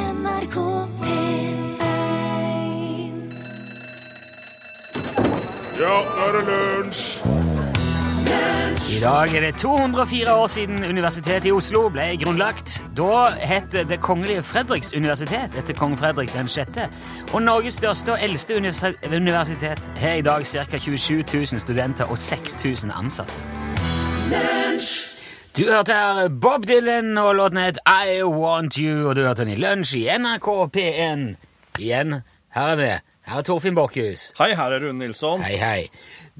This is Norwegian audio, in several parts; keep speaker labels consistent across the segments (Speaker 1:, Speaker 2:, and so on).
Speaker 1: NRK P1
Speaker 2: Ja, nå er det lunsj!
Speaker 3: I dag er det 204 år siden Universitetet i Oslo ble grunnlagt. Da het Det kongelige Fredriks universitet etter kong Fredrik 6. Og Norges største og eldste universi- universitet har i dag ca. 27 000 studenter og 6000 ansatte. Du hørte her Bob Dylan og låten het I Want You, og du hørte den i lunsj i NRK P1. Igjen, her er vi. Her er Torfinn Borkhus.
Speaker 2: Hei, her er Rune Nilsson.
Speaker 3: Hei, hei.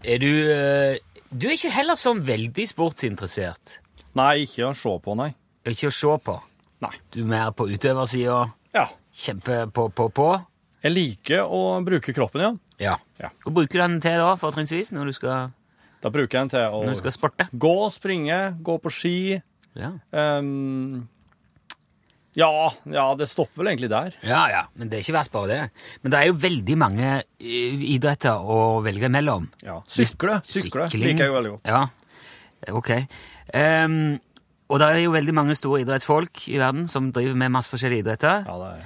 Speaker 3: Er du eh, Du er ikke heller sånn veldig sportsinteressert.
Speaker 2: Nei, ikke å se på, nei.
Speaker 3: Ikke å se på.
Speaker 2: Nei.
Speaker 3: Du er mer på utøversida.
Speaker 2: Ja.
Speaker 3: Kjempe på, på, på.
Speaker 2: Jeg liker å bruke kroppen igjen.
Speaker 3: Ja.
Speaker 2: Ja.
Speaker 3: Hva bruker du den til da, fortrinnsvis, når, du skal-
Speaker 2: Da bruker jeg den til å
Speaker 3: når du skal sporte?
Speaker 2: gå, springe, gå på ski.
Speaker 3: Ja.
Speaker 2: ehm, ja, ja, det stopper vel egentlig der.
Speaker 3: ja, ja. Men det er ikke verst, bare det. Men det er jo veldig mange eh, idretter å velge mellom.
Speaker 2: Ja. Sykle. Sykle
Speaker 3: Sykling.
Speaker 2: liker jeg jo veldig godt.
Speaker 3: Ja, ok. Ehm, og det er jo veldig mange store idrettsfolk i verden som driver med masse forskjellige idretter.
Speaker 2: Ja, det er...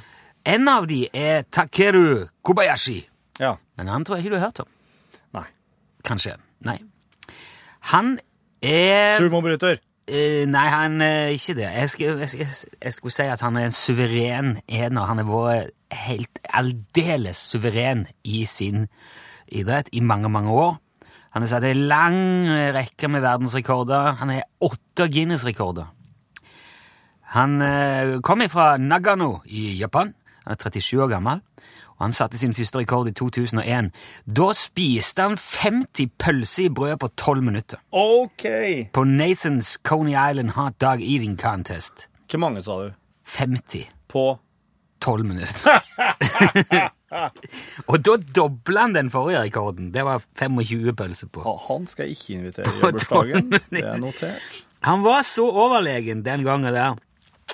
Speaker 3: En av de er Takeru Kobayashi.
Speaker 2: ja.
Speaker 3: Men han tror jeg ikke du har hørt om.
Speaker 2: Nei.
Speaker 3: Kanskje. Nei. Han er
Speaker 2: Sumobryter.
Speaker 3: eh, Nei, han er ikke det. Jeg, skal, jeg, skal, jeg skulle si at han er en suveren ener. Han har vært helt aldeles suveren i sin idrett i mange, mange år. Han har satt en lang rekke med verdensrekorder. Han har åtte Guinness-rekorder. Han eh, kom fra Nagano i Japan. Han er 37 år gammel. Og han satte sin første rekord i 2001. Da spiste han 50 pølser i brød på 12 minutter.
Speaker 2: OK.
Speaker 3: På Nathans Coney Island Hot Dog Eating Contest.
Speaker 2: Hvor mange, sa du?
Speaker 3: 50.
Speaker 2: På
Speaker 3: 12 minutter. og da dobla han den forrige rekorden. Det var 25 pølser på.
Speaker 2: Ha- Han skal jeg ikke invitere i
Speaker 3: På
Speaker 2: bursdagen.
Speaker 3: tolv
Speaker 2: Det er notert.
Speaker 3: Han var så overlegen den gangen der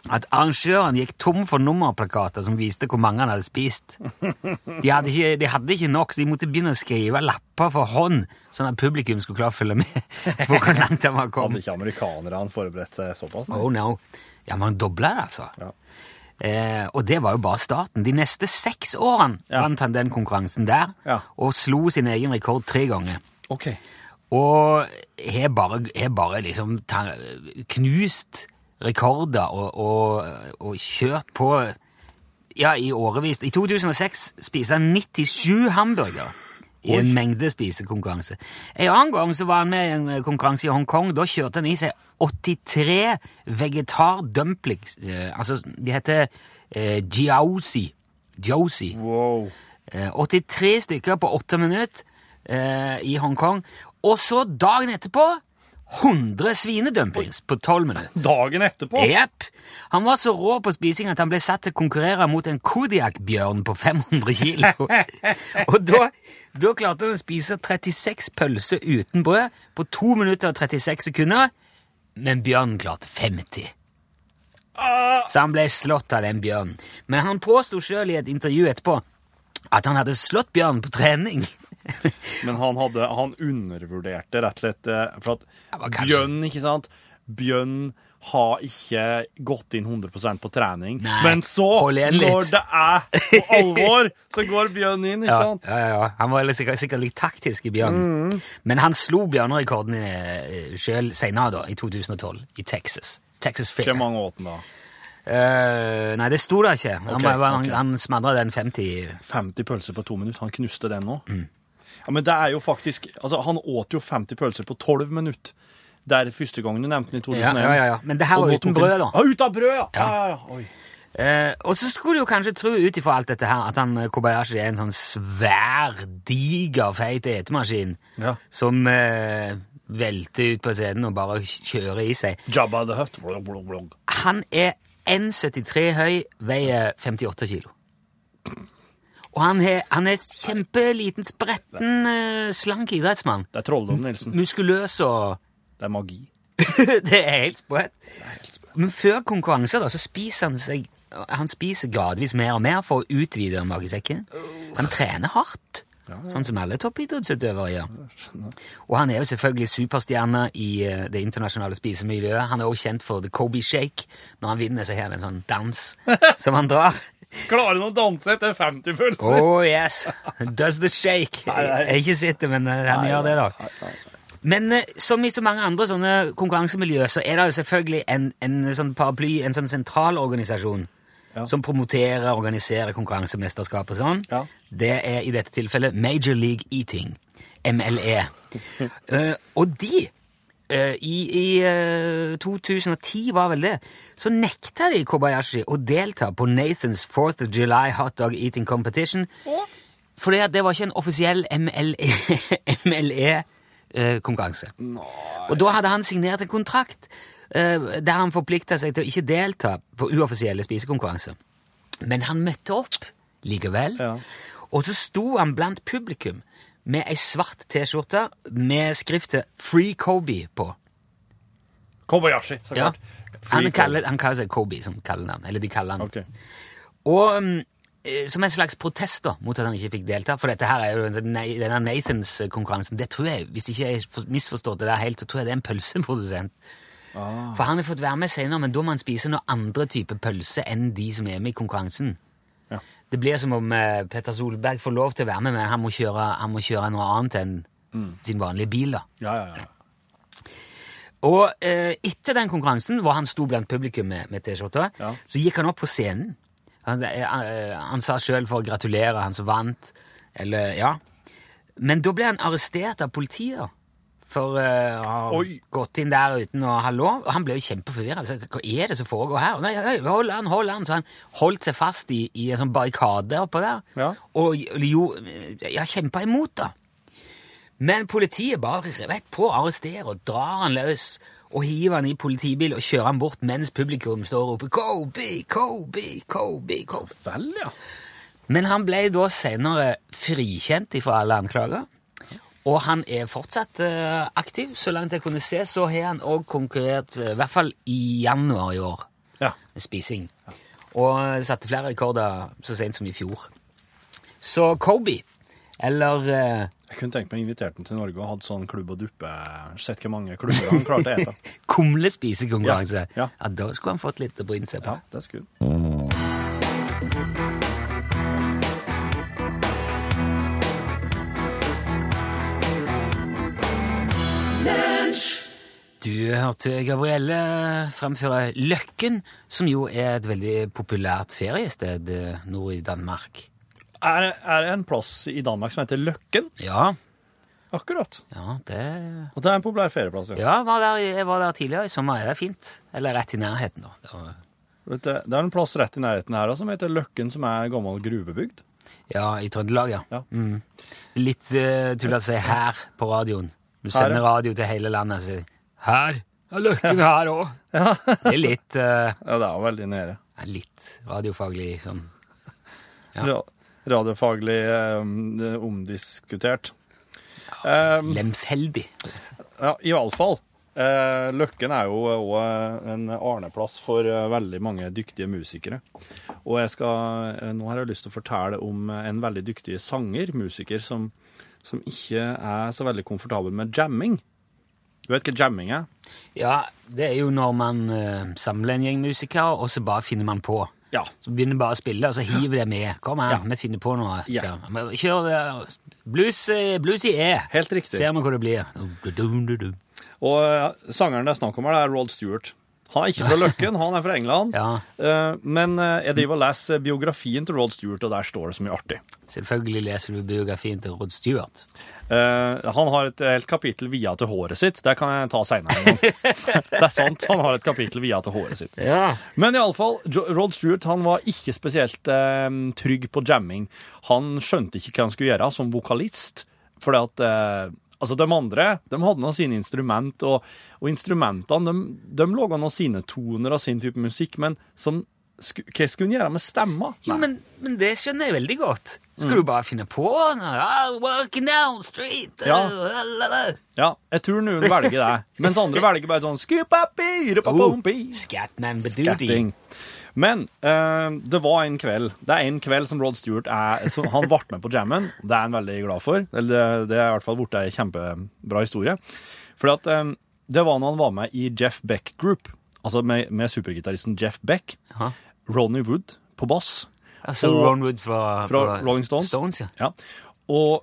Speaker 3: at arrangøren gikk tom for nummerplakater som viste hvor mange han hadde spist. De hadde ikke, de hadde ikke nok, så de måtte begynne å skrive lapper for hånd, sånn at publikum skulle klare å følge med på hvor langt han var
Speaker 2: Hadde
Speaker 3: kommet.
Speaker 2: ikke amerikanerne forberedt seg såpass? nei?
Speaker 3: Oh no. Ja, man dobla det, altså.
Speaker 2: Ja.
Speaker 3: Eh, og det var jo bare starten. De neste seks årene
Speaker 2: Ja.
Speaker 3: vant han den konkurransen der,
Speaker 2: Ja.
Speaker 3: og slo sin egen rekord tre ganger.
Speaker 2: OK.
Speaker 3: Og har bare, har bare liksom ta- knust rekorder og, og, og kjørt på ja, i årevis. I 2006 spiste han 97 hamburgere i en mengde spisekonkurranse. En annen gang så var han med i en konkurranse i Hongkong. Da kjørte han i seg 83 vegetar-dumplings. Eh, altså, de heter eh, jiaozi. Jiaozi.
Speaker 2: Wow.
Speaker 3: Eh, 83 stykker på 8 minutter eh, i Hongkong. Og så dagen etterpå 100 svinedumpings på 12 minutter.
Speaker 2: Dagen etterpå?
Speaker 3: Jepp. Han var så rå på spising at han ble satt til å konkurrere mot en Kodiak-bjørn på 500 kilo. og da, da klarte han å spise 36 pølser uten brød på 2 minutter og 36 sekunder, men bjørnen klarte 50. Så han ble slått av den bjørnen. Men han påsto sjøl i et intervju etterpå at han hadde slått bjørnen på trening.
Speaker 2: Men han, hadde, han undervurderte rett og slett eh, For
Speaker 3: men
Speaker 2: at
Speaker 3: kanskje-
Speaker 2: Bjørn, ikke sant? Bjørn har ikke gått inn 100 på trening.
Speaker 3: Nei,
Speaker 2: Men så,
Speaker 3: hold igjen litt.
Speaker 2: når det er på alvor, så går Bjørn inn, ikke
Speaker 3: Ja,
Speaker 2: sant? Mm.
Speaker 3: ja, ja. Han var litt- sikkert, sikkert litt taktisk i bjørnen. Men han slo bjørnerekorden eh, sjøl seinere, da, i 2012, i Texas. Texas Fair.
Speaker 2: Hvor mange åt han da?
Speaker 3: Eh, nei, det sto der ikke. Han,
Speaker 2: Ok,
Speaker 3: var- han,
Speaker 2: ok.
Speaker 3: han smadra den 50
Speaker 2: 50 pølser på to minutter. Han knuste den nå.
Speaker 3: Mm.
Speaker 2: Ja, men det er jo faktisk Altså, han åt jo 50 pølser på 12 minutter. Det er første gangen du nevnte den i 2001.
Speaker 3: Ja, ja, ja, ja. Men det her
Speaker 2: Og
Speaker 3: var
Speaker 2: nå
Speaker 3: uten
Speaker 2: tok han-
Speaker 3: brød, da.
Speaker 2: Ja, ut av brød, ja! ja. ja, ja. Oi.
Speaker 3: Eh, og så skulle du jo kanskje tro ut ifra alt dette her at han eh, Kobayashi er en sånn svær, diger, feit etemaskin
Speaker 2: Ja.
Speaker 3: som eh, velter ut på scenen og bare kjører i seg.
Speaker 2: Jabba the Hutt. Blog, blog, blog.
Speaker 3: Han er 1,73 høy, veier 58 kilo. Og han er, han er kjempeliten, spretten, eh, slank idrettsmann.
Speaker 2: Det er
Speaker 3: Mm.
Speaker 2: trolldom, Nilsen.
Speaker 3: Muskuløs og
Speaker 2: Det er magi.
Speaker 3: Det er helt sprøtt. Men før konkurranser da, så spiser han seg han spiser gradvis mer og mer for å utvide magesekken. Han trener hardt, sånn som alle toppidrettsutøvere gjør. Og han er jo selvfølgelig superstjerne i eh, det internasjonale spisemiljøet. Han er også kjent for The Kobe Shake, når han vinner seg her en sånn dans som han drar.
Speaker 2: Klarer han å danse etter 50 pølser?
Speaker 3: Oh yes! Does the shake.
Speaker 2: Nei, nei.
Speaker 3: Jeg har ikke sett det, men eh, han gjør det, da. Men eh, som i så mange andre sånne konkurransemiljø, så er det jo selvfølgelig en, en sånn paraply, en sånn sentralorganisasjon,
Speaker 2: Ja.
Speaker 3: som promoterer, organiserer konkurransemesterskap og sånn.
Speaker 2: Ja.
Speaker 3: Det er i dette tilfellet Major League Eating, MLE. Eh, og de, eh, i, i eh, 2010 var vel det, så nekta de Kobayashi å delta på Nathans 4th of July Hot Dog Eating Competition, fordi at det var ikke en offisiell E, MLE-konkurranse. E, eh, og da hadde han signert en kontrakt eh, der han forplikta seg til å ikke delta på uoffisielle spisekonkurranser. Men han møtte opp likevel,
Speaker 2: Ja.
Speaker 3: og så sto han blant publikum med ei svart T-skjorte med skriftet 'Free Kobe' på.
Speaker 2: Kobayashi, så
Speaker 3: Ja.
Speaker 2: klart.
Speaker 3: Han, kaller, han kaller seg Kobe som kallenavn. Eller de kaller han
Speaker 2: Ok.
Speaker 3: Og mm, eh, som en slags protest da, mot at han ikke fikk delta, for dette her er jo den- denne Nathans-konkurransen, det tror jeg, hvis ikke jeg for- misforstår det der helt, så tror jeg det er en pølseprodusent. For han har fått være med senere, men da må han spise noen andre typer pølse enn de som er med i konkurransen.
Speaker 2: Ja.
Speaker 3: Det blir som om eh, Petter Solberg får lov til å være med, men han må kjøre, han må kjøre noe annet enn sin vanlige bil da.
Speaker 2: Ja, ja, ja.
Speaker 3: Og eh, etter den konkurransen, hvor han sto blant publikum med, med T-skjorta,
Speaker 2: Ja.
Speaker 3: så gikk han opp på scenen. Han, eh, eh, han sa sjøl for å gratulere han som vant, eller ja. Men da ble han arrestert av politiet for eh, å ha
Speaker 2: Oi.
Speaker 3: gått inn der uten å ha lov. Og han ble jo kjempeforvirra. Hva er det som foregår her? Nei, hei, hold han, hold han. Så han holdt seg fast i, i en sånn barrikade oppå der.
Speaker 2: Ja.
Speaker 3: Og jo, ja, kjempa imot, da. Men politiet bare rett på arresterer og drar han løs og hiver han i politibil og kjører han bort mens publikum står og roper Kobe, Kobe, Kobe, Kobe.
Speaker 2: Vel, ja.
Speaker 3: Men han ble da senere frikjent ifra alle anklager. Og han er fortsatt eh, aktiv. Så langt jeg kunne se, så har han òg konkurrert, eh, i hvert fall i januar i år,
Speaker 2: Ja.
Speaker 3: med spising. Og satte flere rekorder så sent som i fjor. Så Kobe, eller eh,
Speaker 2: Jeg kunne tenkt meg å invitere den til Norge og hatt sånn klubb og duppe. Sett hvor mange klubber han klarte å ete.
Speaker 3: kumlespisekonkurranse.
Speaker 2: Ja, ja.
Speaker 3: Ja, da skulle han fått litt å bryne seg på.
Speaker 2: Ja, det er skudd.
Speaker 3: Du hørte Gabrielle fremføre Løkken, som jo er et veldig populært feriested eh, nord i Danmark.
Speaker 2: Er, er det en plass i Danmark som heter Løkken?
Speaker 3: Ja,
Speaker 2: Akkurat.
Speaker 3: ja, det
Speaker 2: Og det er en populær ferieplass. Ja.
Speaker 3: Ja, jeg var der, jeg var der tidligere i sommer. Er det fint? Eller rett i nærheten, da. Det var-
Speaker 2: Vet du, Det er en plass rett i nærheten her da, som heter Løkken, som er gammel gruvebygd.
Speaker 3: Ja, i Trøndelag, ja.
Speaker 2: Ja.
Speaker 3: Mm. Litt uh, tull å si her på radioen. Du
Speaker 2: Her,
Speaker 3: sender
Speaker 2: ja.
Speaker 3: radio til hele landet og sier Her! Ja, Løkken her òg! Det er litt eh,
Speaker 2: Ja, det er jo veldig nede.
Speaker 3: Ja, litt radiofaglig sånn. Ja.
Speaker 2: Ra radiofaglig eh, omdiskutert. Um,
Speaker 3: Lemfeldig.
Speaker 2: ja, I alle fall. Eh, Løkken er jo òg en arneplass for eh, veldig mange dyktige musikere. Og jeg skal, eh, nå har jeg lyst til å fortelle om eh, en veldig dyktig sanger, musiker, som, som ikke er så veldig komfortabel med jamming. Du vet hva jamming er?
Speaker 3: Ja, det er jo når man eh, samler en gjeng musikere, og så bare finner man på.
Speaker 2: Ja.
Speaker 3: Så begynner bare å spille, og så hiver det med. Kom her,
Speaker 2: Ja.
Speaker 3: vi finner på noe.
Speaker 2: Ja.
Speaker 3: Så, men Kjør eh, blues, eh, blues i E.
Speaker 2: Helt riktig.
Speaker 3: Ser vi hvor det blir. Du-du-du-du.
Speaker 2: Og eh, sangeren det er snakk om her, det er Rod Stewart. Han er ikke fra Løkken, han er fra England.
Speaker 3: Ja.
Speaker 2: Eh, Men eh, jeg driver og leser biografien til Rod Stewart, og der står det så mye artig.
Speaker 3: Selvfølgelig leser du biografien til Rod Stewart.
Speaker 2: Eh, han har et helt kapittel via til håret sitt. Det kan jeg ta seinere. det er sant, han har et kapittel via til håret sitt.
Speaker 3: Ja.
Speaker 2: Men iallfall, Rod Stewart han var ikke spesielt eh, trygg på jamming. Han skjønte ikke hva han skulle gjøre som vokalist, fordi at eh, Altså, De andre de hadde nå sine instrument, og, og instrumentene de, de laga nå sine toner og sin type musikk, men som, sku, hva skulle han gjøre med stemma?
Speaker 3: Jo, men, men det skjønner jeg veldig godt. Skal
Speaker 2: Mm.
Speaker 3: du bare finne på noe? Ah, walking down street. Ah,
Speaker 2: Ja.
Speaker 3: la, la, la.
Speaker 2: Ja, Jeg tror noen velger det, mens andre velger bare sånn skupapi, rupapompi.
Speaker 3: Oh, Scatman Bedudi.
Speaker 2: Skatting. Men eh, det var en kveld Det er en kveld som Rod Stewart er, som Han ble med på jammen. Det er han veldig glad for. Eller det, det er i hvert fall blitt ei kjempebra historie. Fordi at eh, det var når han var med i Jeff Beck Group. Altså med, med supergitaristen Jeff Beck.
Speaker 3: Jaha.
Speaker 2: Ronny Wood på bass.
Speaker 3: Altså
Speaker 2: Og-
Speaker 3: Ron Wood fra,
Speaker 2: Fra Rolling Stones.
Speaker 3: ja.
Speaker 2: Ja. Og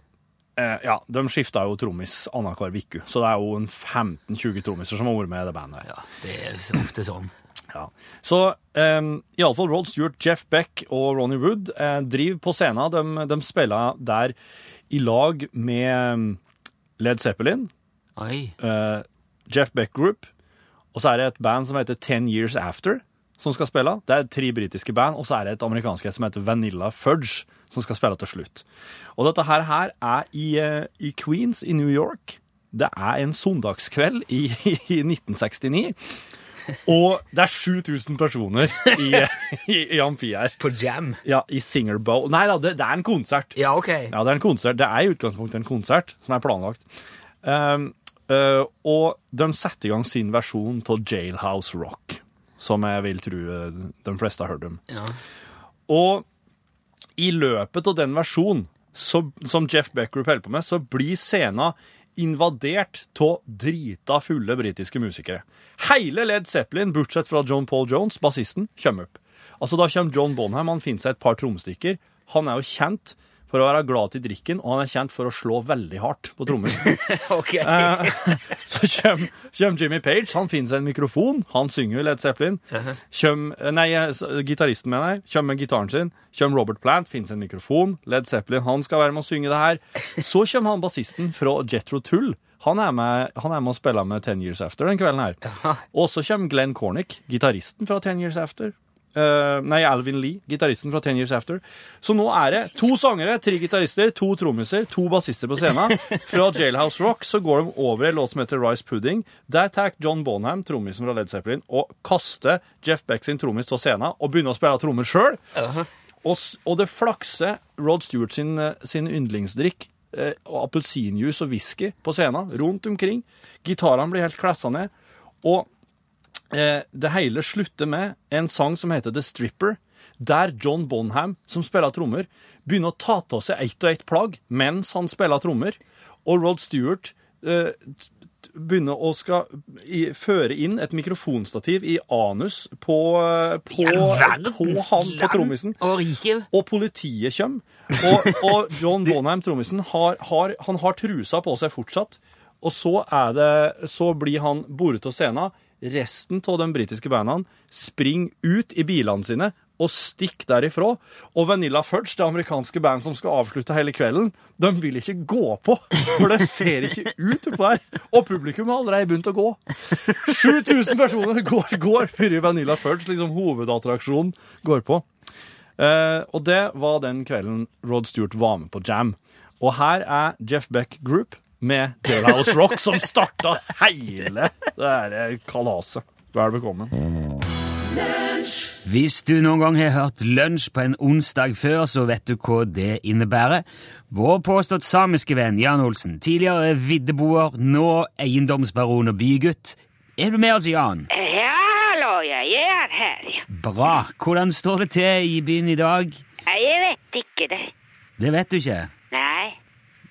Speaker 2: eh, ja, de skifta jo trommis annenhver uke, så det er jo en 15-20 trommiser som har vært med i det bandet. her.
Speaker 3: ja. Det er så ofte sånn.
Speaker 2: Ja. Så um, iallfall Rod Stewart, Jeff Beck og Ronny Wood eh, driver på scenen. De, de spiller der i lag med um, Led Zeppelin,
Speaker 3: Oi.
Speaker 2: eh, Jeff Beck Group, og så er det et band som heter Ten Years After, som skal spille. Det er tre britiske band, og så er det et amerikansk et som heter Vanilla Fudge, som skal spille til slutt. Og dette her, her er i, eh, i Queens i New York. Det er en søndagskveld i, i 1969. Og det er 7000 personer i, i, i Amfi her.
Speaker 3: På jam.
Speaker 2: Ja, I Singer Bowl. Nei da, det, det er en konsert.
Speaker 3: Ja, OK.
Speaker 2: Ja, det er en konsert. Det er i utgangspunktet en konsert som er planlagt. Ehm, eh, og de setter i gang sin versjon av Jailhouse Rock, som jeg vil tro eh, de fleste har hørt om.
Speaker 3: Ja.
Speaker 2: Og i løpet av den versjonen så, som Jeff Becker holder på med, så blir scenen invadert av drita fulle britiske musikere. Hele Led Zeppelin, bortsett fra John Paul Jones, bassisten, kommer opp. Altså Da kommer John Bonham, han finner seg et par tromstikker. Han er jo kjent for å være glad til drikken, og han er kjent for å slå veldig hardt på trommer.
Speaker 3: OK.
Speaker 2: Eh, Så kommer kjem Jimmy Page, han finner seg en mikrofon, han synger jo Led Zeppelin. Kjem, eh, nei, s- gitaristen mener jeg, kommer med gitaren sin. Kjem Robert Plant, finner seg en mikrofon. Led Zeppelin, han skal være med å synge det her. Så kommer han bassisten fra Jethro Tull. Han er, med, han er med å spille med Ten Years After den kvelden her. Og så kommer Glenn Cornick, gitaristen fra Ten Years After. Eh, nei, Alvin Lee, gitaristen fra Ten Years After. Så nå er det to sangere, tre gitarister, to trommiser, to bassister på scenen. Fra Jailhouse Rock så går de over i en låt som heter Rice Pudding. Der tar John Bonham, trommisen fra Led Zeppelin, og kaster Jeff Beck sin trommis av scenen og begynner å spille trommer sjøl. Og, s- og det flakser Rod Stewart sin, eh, sin yndlingsdrikk, eh, og appelsinjuice og whisky, på scenen rundt omkring. Gitarene blir helt klessa ned. Og eh, det hele slutter med en sang som heter The Stripper, der John Bonham, som spiller trommer, begynner å ta av seg ett og ett plagg mens han spiller trommer, og Rod Stewart eh, t- t- begynner å skal i, føre inn et mikrofonstativ i anus på, eh, på, på han på trommisen.
Speaker 3: Og rike.
Speaker 2: Og politiet kommer. Og, og John Bonham, trommisen, har, har, han har trusa på seg fortsatt. Og så, er det, så blir han boret av scenen. Resten av de britiske bandene springer ut i bilene sine og stikker derifra. Og Vanilla Fudge, det amerikanske band som skal avslutte hele kvelden, de vil ikke gå på, for det ser ikke ut oppå her. Og publikum har allerede begynt å gå. 7000 personer går, går før Vanilla Fudge, liksom hovedattraksjonen, går på. Eh, og det var den kvelden Rod Stewart var med på Jam. Og her er Jeff Beck Group med Jailhouse Rock, som starta hele det her eh, kalaset. Vær velkommen.
Speaker 3: Hvis du noen gang har hørt lunsj på en onsdag før, så vet du hva det innebærer. Vår påstått samiske venn Jan Olsen, tidligere viddeboer, nå eiendomsbaron og bygutt. Er du med oss, Jan?
Speaker 1: Ja, hallo, ja, jeg er her. ja.
Speaker 3: Bra. Hvordan står det til i byen i dag?
Speaker 1: Nei, Jeg vet ikke det.
Speaker 3: Det vet du ikke.
Speaker 1: Nei.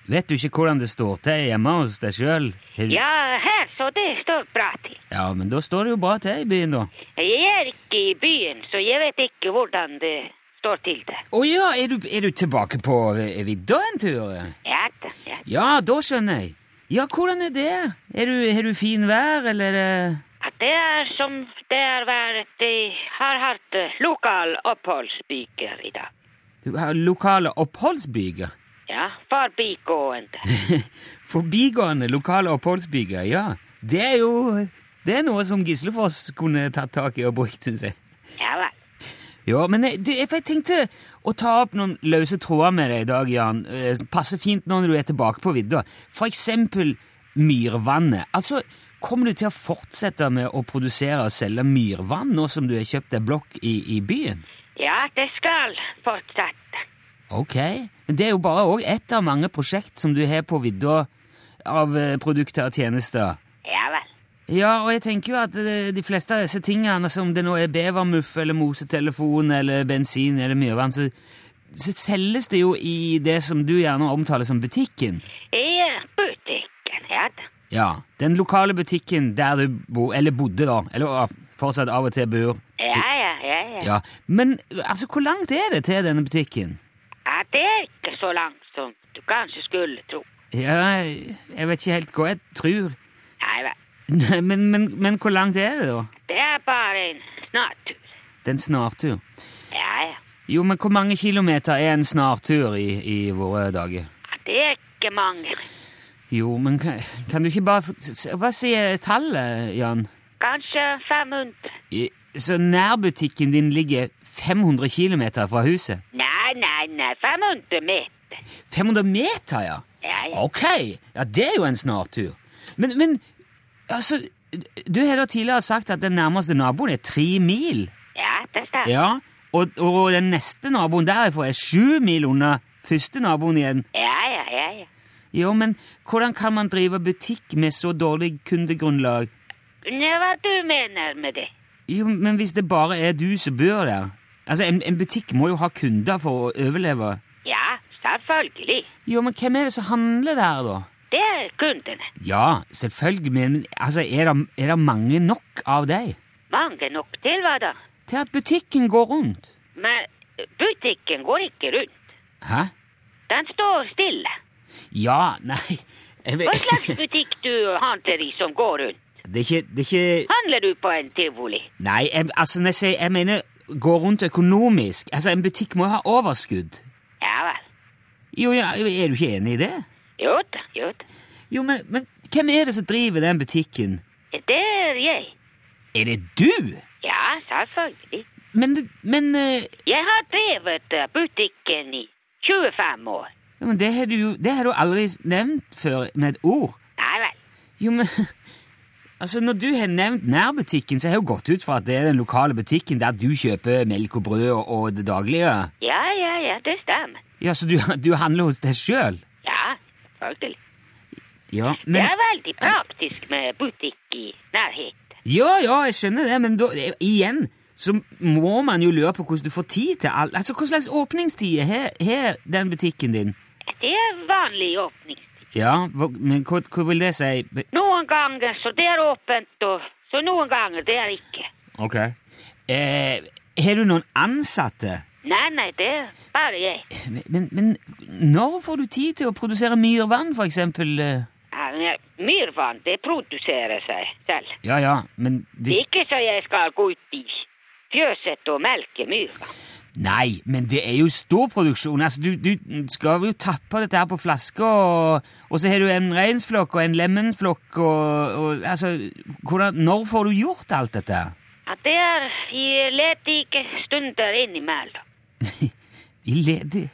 Speaker 3: Vet du ikke hvordan det står til hjemme hos deg sjøl?
Speaker 1: Ja, her, så det står bra til.
Speaker 3: ja, men da står det jo bra til i byen, da.
Speaker 1: Jeg er ikke i byen, så jeg vet ikke hvordan det står til der.
Speaker 3: Å ja, er du, er du tilbake på eh, vidda en tur?
Speaker 1: Ja, da, ja.
Speaker 3: Ja, da skjønner jeg. Ja, hvordan er det? Er du, er du fin vær, eller eh?
Speaker 1: At Det er som det har vært, de har hatt eh, lokal oppholdsbyger i dag.
Speaker 3: Du har lokale oppholdsbyger?
Speaker 1: Ja, forbigående.
Speaker 3: Forbigående lokale oppholdsbyger, ja. Det er jo det er noe som Gislefoss kunne tatt tak i og brukt, syns jeg.
Speaker 1: Ja vel.
Speaker 3: Ja, men jeg, du, jeg for jeg tenkte å ta opp noen løse tråder med deg i dag, Jan. Eh, Passer fint nå når du er tilbake på vidda. For eksempel myrvannet. Altså, kommer du til å fortsette med å produsere og selge myrvann nå som du har kjøpt deg blokk i, i byen?
Speaker 1: Ja, det skal fortsette.
Speaker 3: Ok, men det er jo bare også ett av mange prosjekt som du har på vidda av eh, produkter og tjenester.
Speaker 1: Ja vel.
Speaker 3: Ja, og jeg tenker jo at eh, de fleste av disse tingene, som det nå er bevermuff eller mosetelefon eller bensin eller myrvann, så, så selges det jo i det som du gjerne omtaler som butikken.
Speaker 1: I eh, butikken, ja da.
Speaker 3: Ja, den lokale butikken der du bo, eller bodde da, eller ah, fortsatt av og til bor.
Speaker 1: Ja, ja. ja, ja.
Speaker 3: Ja. Men altså, hvor langt er det til denne butikken?
Speaker 1: Ja, det er ikke så langt som du kanskje skulle tro.
Speaker 3: Ja, jeg vet ikke helt hva jeg tror.
Speaker 1: Nei vel,
Speaker 3: Nei, Men, men, men hvor langt er det, da?
Speaker 1: det er bare en snartur.
Speaker 3: Det er en snartur.
Speaker 1: Ja, ja.
Speaker 3: Jo, men hvor mange kilometer er en snartur i, i våre dager?
Speaker 1: Ja, Det er ikke mange.
Speaker 3: Jo, men kan, kan du ikke bare få- s- s- Hva sier tallet, Jan?
Speaker 1: Kanskje 500.
Speaker 3: I, så nærbutikken din ligger 500 kilometer fra huset?
Speaker 1: Nei, nei, nei, 500 meter.
Speaker 3: 500 meter, ja?
Speaker 1: Ja, ja.
Speaker 3: Ok, ja, det er jo en snartur. Men, men altså Du har da tidligere sagt at den nærmeste naboen er tre mil.
Speaker 1: Ja, det stemmer. Ja.
Speaker 3: Ja, og, og den neste naboen derifra er sju mil unna første naboen igjen.
Speaker 1: ja, ja, ja,
Speaker 3: Jo, men hvordan kan man drive butikk med så dårlig kundegrunnlag?
Speaker 1: Nei, hva du mener med det?
Speaker 3: Jo, men hvis det bare er du som bor der Altså, en, en butikk må jo ha kunder for å overleve.
Speaker 1: Ja, selvfølgelig.
Speaker 3: Jo, men hvem er det som handler der, da?
Speaker 1: Det er kundene.
Speaker 3: Ja, selvfølgelig, men altså, er det, er det mange nok av deg
Speaker 1: Mange nok til, hva da?
Speaker 3: til at butikken går rundt?
Speaker 1: Men butikken går ikke rundt.
Speaker 3: Hæ?
Speaker 1: Den står stille.
Speaker 3: Ja, nei jeg
Speaker 1: Hva
Speaker 3: vet,
Speaker 1: slags butikk du handler i som går rundt?
Speaker 3: det, er ikke, det er ikke
Speaker 1: Handler du på en tivoli?
Speaker 3: Nei, jeg, altså, når jeg, sier, jeg mener gå rundt økonomisk. Altså, En butikk må jo ha overskudd.
Speaker 1: Ja vel.
Speaker 3: Jo, ja, Er du ikke enig i det?
Speaker 1: Jo da, jo da.
Speaker 3: Jo, men, men hvem er det som driver den butikken?
Speaker 1: Det er jeg.
Speaker 3: Er det du?
Speaker 1: Ja, selvfølgelig.
Speaker 3: Men, du- men, eh,
Speaker 1: Jeg har drevet eh, butikken i 25 år.
Speaker 3: ja, men det har du jo det har du aldri nevnt før med et ord.
Speaker 1: Nei vel.
Speaker 3: Jo, men Altså, Når du har nevnt nærbutikken, så har jeg jo gått ut fra at det er den lokale butikken der du kjøper melk og brød og, og det daglige.
Speaker 1: Ja, ja, ja, det stemmer.
Speaker 3: Ja, Så du, du handler hos deg sjøl?
Speaker 1: Ja, selvfølgelig.
Speaker 3: Ja,
Speaker 1: Det
Speaker 3: men,
Speaker 1: er veldig praktisk med butikk i nærheten.
Speaker 3: ja, ja, jeg skjønner det, men da, eh, igjen så må man jo lure på hvordan du får tid til alt. Altså, Hva slags åpningstider har har den butikken din?
Speaker 1: Det er vanlig åpning.
Speaker 3: Ja, hva, men hva, hva vil det si? Be-
Speaker 1: Noen ganger så det er åpent, og så noen ganger det er ikke.
Speaker 3: Ok. Eh, har du noen ansatte?
Speaker 1: Nei, nei, det er bare jeg.
Speaker 3: Men, men når får du tid til å produsere myrvann, for eksempel? eh?
Speaker 1: Ja, men Myrvann, det produserer seg selv.
Speaker 3: Ja, ja, men det,
Speaker 1: Ikke så jeg skal gå ut i fjøset og melke myrvann.
Speaker 3: Nei, men det er jo stor produksjon. Altså, du, du skal jo tappe dette her på flasker, og, og så har du en reinsflokk og en lemenflokk og, og Altså, hvordan, når får du gjort alt dette? her?
Speaker 1: Ja, det er i ledige stunder innimellom.
Speaker 3: I ledig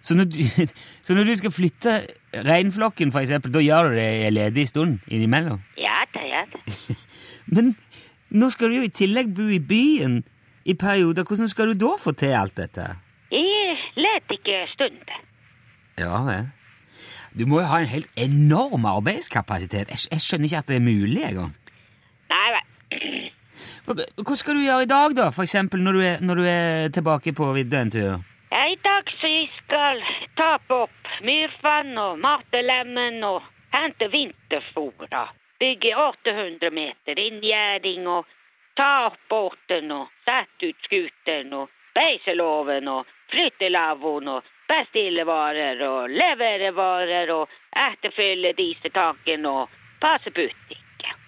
Speaker 3: så når, du, så når du skal flytte reinflokken, for eksempel, da gjør du det i en ledig stund innimellom?
Speaker 1: Ja da, ja da.
Speaker 3: Men nå skal du jo i tillegg bo i byen i perioder. Hvordan skal du da få til alt dette?
Speaker 1: I ledige stunder.
Speaker 3: Ja vel. Du må jo ha en helt enorm arbeidskapasitet. Jeg, skj- jeg skjønner ikke at det er mulig engang.
Speaker 1: Nei vel.
Speaker 3: Hva hva skal du gjøre i dag, da? For eksempel når du er, når du er tilbake på vidda en tur?
Speaker 1: Ja, I dag så jeg skal tape opp myrvann og matelemmen og hente vinterfôr. da. Bygge 800 meter inngjerding og ta opp båten og sette ut skuteren og beiseloven og flyttelavvoen og bestillevarer og leverevarer og etterfylle dieseltanken og passe butikken.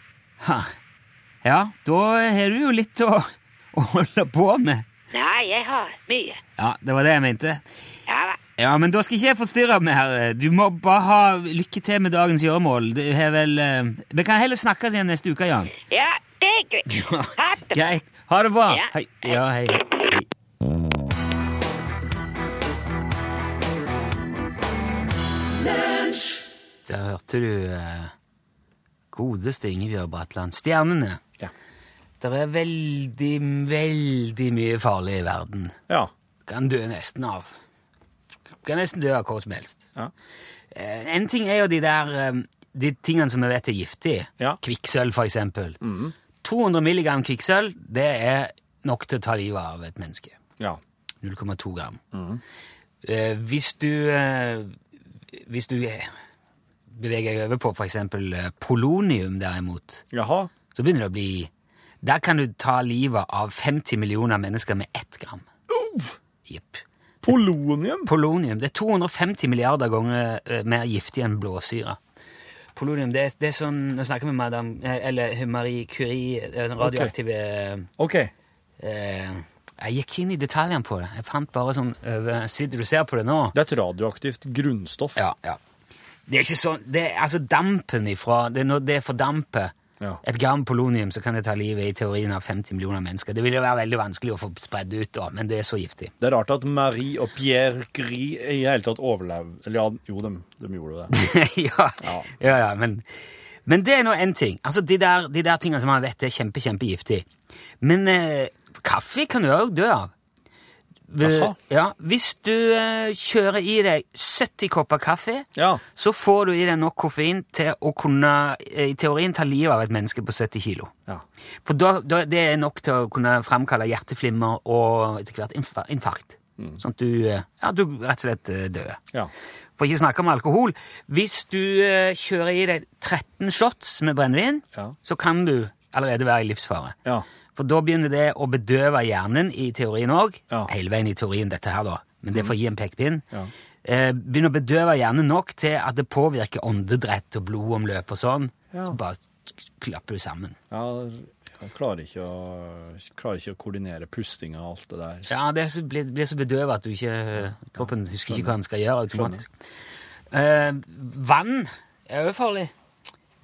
Speaker 3: Ha. Ja, da har du jo litt å, å holde på med.
Speaker 1: Nei, jeg har mye.
Speaker 3: Ja, det var det jeg mente.
Speaker 1: Ja, vel.
Speaker 3: Ja, men da skal ikke jeg forstyrre mer. Du må bare ha lykke til med dagens gjøremål. Du har vel eh, Vi kan heller snakkes igjen neste uke, Jan.
Speaker 1: ja det er greit. Ha det.
Speaker 3: Greit. Ha det bra.
Speaker 1: Ja.
Speaker 3: Hei. Ja, hei. hei. Der hørte du eh, godeste Ingebjørg Bratland. Stjernene.
Speaker 2: Ja.
Speaker 3: Det er veldig, veldig mye farlig i verden.
Speaker 2: Ja.
Speaker 3: Kan dø nesten av. Kan nesten dø av hva som helst.
Speaker 2: Ja.
Speaker 3: Eh, En ting er jo de der eh, De tingene som vi vet er giftige.
Speaker 2: Ja. Mm.
Speaker 3: Kvikksølv, for eksempel. 200 milligram kvikksølv, det er nok til å ta livet av et menneske.
Speaker 2: ja.
Speaker 3: 0,2 gram.
Speaker 2: Mm.
Speaker 3: Eh, hvis du eh, Hvis du eh, beveger deg over på for eksempel eh, polonium, derimot,
Speaker 2: Jaha.
Speaker 3: så begynner det å bli Der kan du ta livet av 50 millioner mennesker med ett gram. Jepp.
Speaker 2: Polonium?
Speaker 3: Polonium det er 250 milliarder ganger eh, mer giftig enn blåsyre. Polonium, det er, det er sånn Nå snakker vi med madame eh, Eller Marie Curie, det er sånn radioaktive
Speaker 2: OK.
Speaker 3: eh, Jeg gikk ikke inn i detaljene på det. Jeg fant bare sånn over Sitter du og ser på det nå?
Speaker 2: Det er et radioaktivt grunnstoff.
Speaker 3: Ja, ja. Det er ikke sånn det er, Altså, dampen ifra det er Når det fordamper
Speaker 2: Ja.
Speaker 3: et gram polonium, så kan det ta livet i teorien av 50 millioner mennesker. Det vil jo være veldig vanskelig å få spredd ut, da, men det er så giftig.
Speaker 2: Det er rart at Marie og Pierre Gris i det hele tatt overlevde Eller ja, jo, de, de gjorde jo det.
Speaker 3: ja, ja, ja, men, men det er nå én ting. Altså, de der, de der tingene som man vet er kjempe, kjempegiftig. Men eh, kaffe kan du òg dø av.
Speaker 2: Jaha.
Speaker 3: Ja, hvis du eh, kjører i deg 70 kopper kaffe,
Speaker 2: Ja.
Speaker 3: så får du i deg nok koffein til å kunne eh, i teorien ta livet av et menneske på 70 kilo.
Speaker 2: ja.
Speaker 3: For da, da, det er nok til å kunne framkalle hjerteflimmer og etter hvert infa- infarkt. Sånn at du, eh, ja, du rett og slett eh, dør.
Speaker 2: Mm. ja.
Speaker 3: For ikke å snakke om alkohol. Hvis du eh, kjører i deg 13 shots med brennevin,
Speaker 2: Ja.
Speaker 3: så kan du allerede være i livsfare.
Speaker 2: Ja.
Speaker 3: For da begynner det å bedøve hjernen i teorien òg.
Speaker 2: Ja.
Speaker 3: Hele veien i teorien, dette her, da. Men det får gi en pekepinn.
Speaker 2: Ja.
Speaker 3: Eh, begynner å bedøve hjernen nok til at det påvirker åndedrett og blodomløp og sånn.
Speaker 2: Ja.
Speaker 3: Så bare klapper du sammen.
Speaker 2: Ja, jeg klarer ikke å, klarer ikke å koordinere pustinga og alt det der.
Speaker 3: Ja, det er så, blir, blir så bedøvet at du ikke, eh, kroppen husker ikke hva den skal gjøre automatisk. Eh, vann er jo farlig.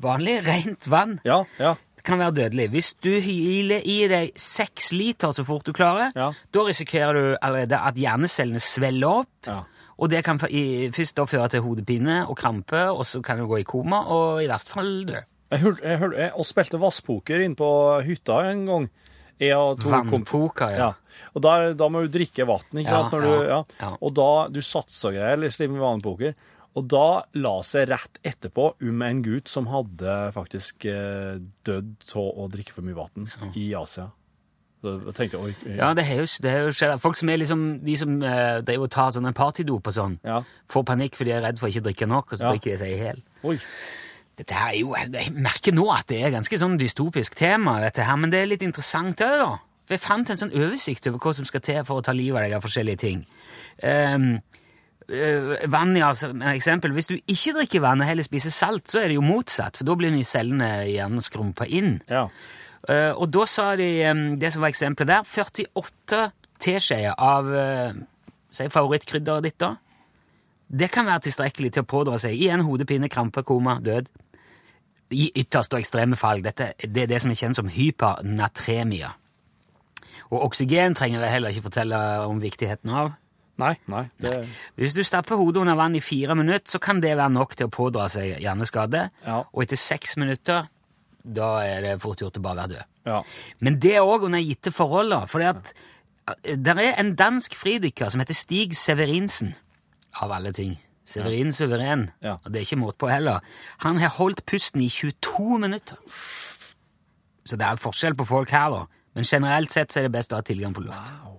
Speaker 3: Vanlig, rent vann
Speaker 2: Ja, ja.
Speaker 3: kan være dødelig. Hvis du hyler i deg seks liter så fort du klarer,
Speaker 2: Ja.
Speaker 3: da risikerer du allerede at hjernecellene svelger opp,
Speaker 2: Ja.
Speaker 3: og det kan f- i, først da føre til hodepine og krampe, og så kan du gå i koma, og i verste fall dø.
Speaker 2: Jeg hørte, jeg hørte, jeg, og spilte vasspoker inn på hytta en gang. Jeg og to komp-
Speaker 3: Vannpoker, ja.
Speaker 2: Ja. Og der, da må du drikke vann, ikke
Speaker 3: Ja,
Speaker 2: sant? Når du,
Speaker 3: ja,
Speaker 2: ja.
Speaker 3: ja.
Speaker 2: Og da du satsa greier, eller slik med vanepoker, og da la seg rett etterpå om en gutt som hadde faktisk eh, dødd av å drikke for mye vann i Asia. Så jeg tenkte oi, oi,
Speaker 3: Ja, det har jo, det har jo skjedd. Folk som er liksom, de som eh, driver og tar sånne partydop og sånn,
Speaker 2: Ja.
Speaker 3: får panikk fordi de er redd for å ikke drikke nok, og så
Speaker 2: Ja.
Speaker 3: drikker de seg i hjel.
Speaker 2: oi.
Speaker 3: Dette her er jo, jeg merker nå at det er ganske sånn dystopisk tema, dette her, men det er litt interessant òg, da. For jeg fant en sånn oversikt over hva som skal til for å ta livet av deg av forskjellige ting. Ehm, øh, vann, ja, som et eksempel. Hvis du ikke drikker vann og heller spiser salt, så er det jo motsatt, for da blir de cellene gjerne skrumpa inn.
Speaker 2: Ja.
Speaker 3: Eh, og da sa de eh, det som var eksempelet der, 48 teskjeer av eh, si favorittkrydderet ditt, da. Det kan være tilstrekkelig til å pådra seg igjen hodepine, krampe, koma, død. I ytterste og ekstreme fall. Dette, det er det som er kjent som hypernatremia. Og oksygen trenger jeg heller ikke fortelle om viktigheten av.
Speaker 2: Nei. Nei. Det,
Speaker 3: Hvis du stapper hodet under vann i fire minutter, så kan det være nok til å pådra seg hjerneskade.
Speaker 2: Ja.
Speaker 3: Og etter seks minutter, da er det fort gjort å bare være død.
Speaker 2: ja.
Speaker 3: Men det er òg under gitte forhold, da. Fordi at eh, der er en dansk fridykker som heter Stig Severinsen. Av alle ting. Severin Suveren.
Speaker 2: Ja.
Speaker 3: Og det er ikke måte på heller. Han har holdt pusten i 22 minutter. Så det er forskjell på folk her, da. Men generelt sett så er det best å ha tilgang på luft.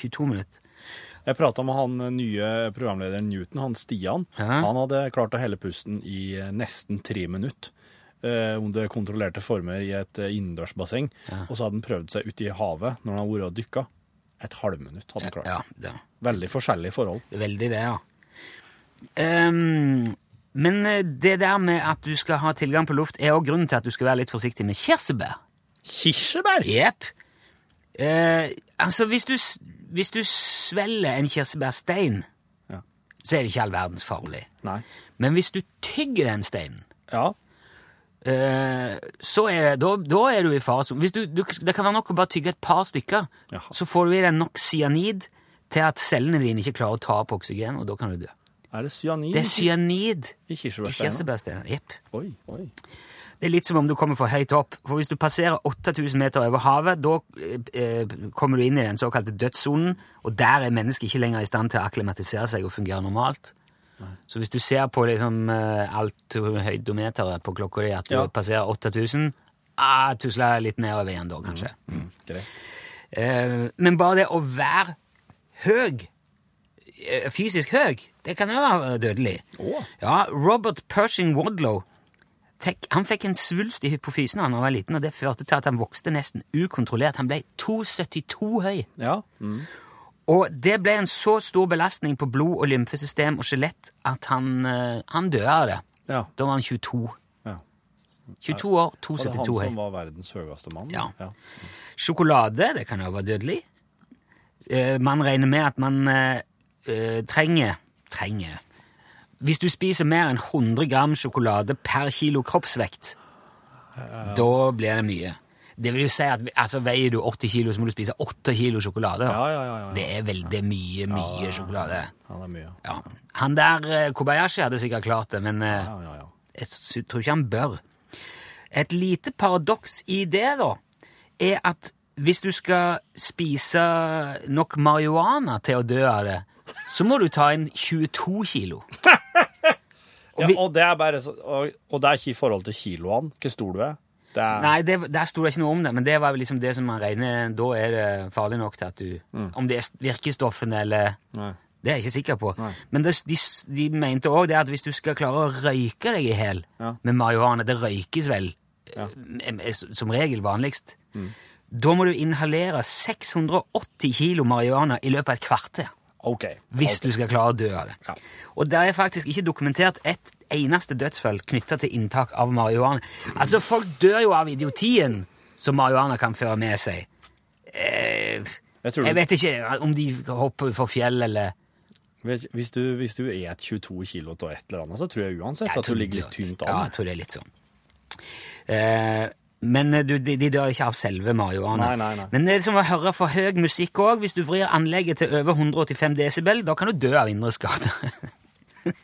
Speaker 3: 22 minutter.
Speaker 2: Jeg prata med han nye programlederen Newton, han Stian.
Speaker 3: Ja.
Speaker 2: Han hadde klart å helle pusten i eh, nesten tre minutter. eh, Under kontrollerte former i et eh, innendørsbasseng. Og så hadde han prøvd seg ute i havet når han hadde vært og dykka. Et halvminutt hadde han klart.
Speaker 3: Ja, det er
Speaker 2: Veldig forskjellige forhold.
Speaker 3: Veldig det, ja. Ehm, men det der med at du skal ha tilgang på luft, er òg grunnen til at du skal være litt forsiktig med kirsebær.
Speaker 2: Kirsebær!
Speaker 3: Jepp. Eh, altså, hvis du, s- hvis du svelger en kirsebærstein,
Speaker 2: Ja.
Speaker 3: så er det ikke all verdens farlig.
Speaker 2: Nei.
Speaker 3: Men hvis du tygger den steinen,
Speaker 2: Ja.
Speaker 3: eh, så er det, da, da er du i faresonen. Hvis du- du- Det kan være nok å bare tygge et par stykker,
Speaker 2: Jaha.
Speaker 3: så får du i deg nok cyanid til at cellene dine ikke klarer å ta opp oksygen, og da kan du dø.
Speaker 2: Er det cyanin
Speaker 3: Det er cyanid
Speaker 2: i
Speaker 3: i
Speaker 2: kirsebærsteinen?
Speaker 3: kirsebærsteinen. Jepp.
Speaker 2: Oi, oi.
Speaker 3: Det er litt som om du kommer for høyt opp. For hvis du passerer 8000 meter over havet, da eh, kommer du inn i den såkalte dødssonen, og der er mennesket ikke lenger i stand til å akklimatisere seg og fungere normalt. Så hvis du ser på liksom, eh, alt høydometeret på klokka di, at du
Speaker 2: Ja.
Speaker 3: passerer 8000, ah, tusler litt nedover igjen da, kanskje.
Speaker 2: Mm, Greit.
Speaker 3: Eh, men bare det å være høy, eh, fysisk høy, det kan jo være dødelig.
Speaker 2: Å.
Speaker 3: Ja, Robert Pershing Wadlow Fikk, han fikk en svulst i hypofysen da han var liten, og det førte til at han vokste nesten ukontrollert. Han ble 2,72 høy.
Speaker 2: Ja. Mm.
Speaker 3: Og det ble en så stor belastning på blod- og lymfesystem og skjelett at han, eh, han døde av det.
Speaker 2: ja.
Speaker 3: Da var han 22.
Speaker 2: Ja.
Speaker 3: 22
Speaker 2: Var
Speaker 3: år,
Speaker 2: det han
Speaker 3: 2,72 høy.
Speaker 2: som var verdens høyeste mann?
Speaker 3: Ja. Sjokolade det kan jo være dødelig. Eh, Man regner med at man eh, eh, trenger trenger Hvis du spiser mer enn 100 gram sjokolade per kilo kroppsvekt, da blir det mye. Det vil jo si at altså, Veier du 80 kilo, så må du spise 8 kilo sjokolade. da.
Speaker 2: Ja, ja, ja, ja, ja.
Speaker 3: Det er veldig mye, mye sjokolade.
Speaker 2: Ja, det er mye.
Speaker 3: Ja. Han der eh, Kobayashi hadde sikkert klart det, men eh,
Speaker 2: Ja, ja, ja.
Speaker 3: jeg sy- tror ikke han bør. Et lite paradoks i det, da, er at hvis du skal spise nok marihuana til å dø av det, så må du ta inn 22 kilo.
Speaker 2: ja
Speaker 3: vi-
Speaker 2: og, det er bare så, og, og det er ikke i forhold til kiloene, hvor stor du er. Det er
Speaker 3: Nei, det, der sto det ikke noe om det, men det var vel liksom det som man regner Da er det farlig nok til at du Om det er s- virkestoffene eller
Speaker 2: Mm. Nei.
Speaker 3: Det er jeg ikke sikker på. Men det, de, s- de mente òg det at hvis du skal klare å røyke deg i hjel
Speaker 2: Ja.
Speaker 3: med marihuana Det røykes vel
Speaker 2: Ja. Mm.
Speaker 3: eh, eh, s- som regel vanligst. Da må du inhalere 680 kilo marihuana i løpet av et kvarter.
Speaker 2: OK.
Speaker 3: Hvis
Speaker 2: Ok.
Speaker 3: du skal klare å dø av det.
Speaker 2: Ja.
Speaker 3: Og det er faktisk ikke dokumentert et eneste dødsfall knytta til inntak av marihuana. Altså, folk dør jo av idiotien som marihuana kan føre med seg. Eh,
Speaker 2: Jeg tror
Speaker 3: jeg
Speaker 2: du,
Speaker 3: vet ikke om de hopper for fjell eller
Speaker 2: hvis- hvis, du, hvis du er et 22 kilo av et eller annet, så tror jeg uansett
Speaker 3: Jeg
Speaker 2: at du
Speaker 3: tror
Speaker 2: ligger
Speaker 3: de
Speaker 2: litt
Speaker 3: dør.
Speaker 2: tynt
Speaker 3: Ja,
Speaker 2: an.
Speaker 3: jeg tror det er litt sånn. Eh, men eh, du, de, de dør ikke av selve marihuana.
Speaker 2: Nei, nei, nei.
Speaker 3: Men det er som å høre for høy musikk òg. Hvis du vrir anlegget til over 185 desibel, da kan du dø av indre skader.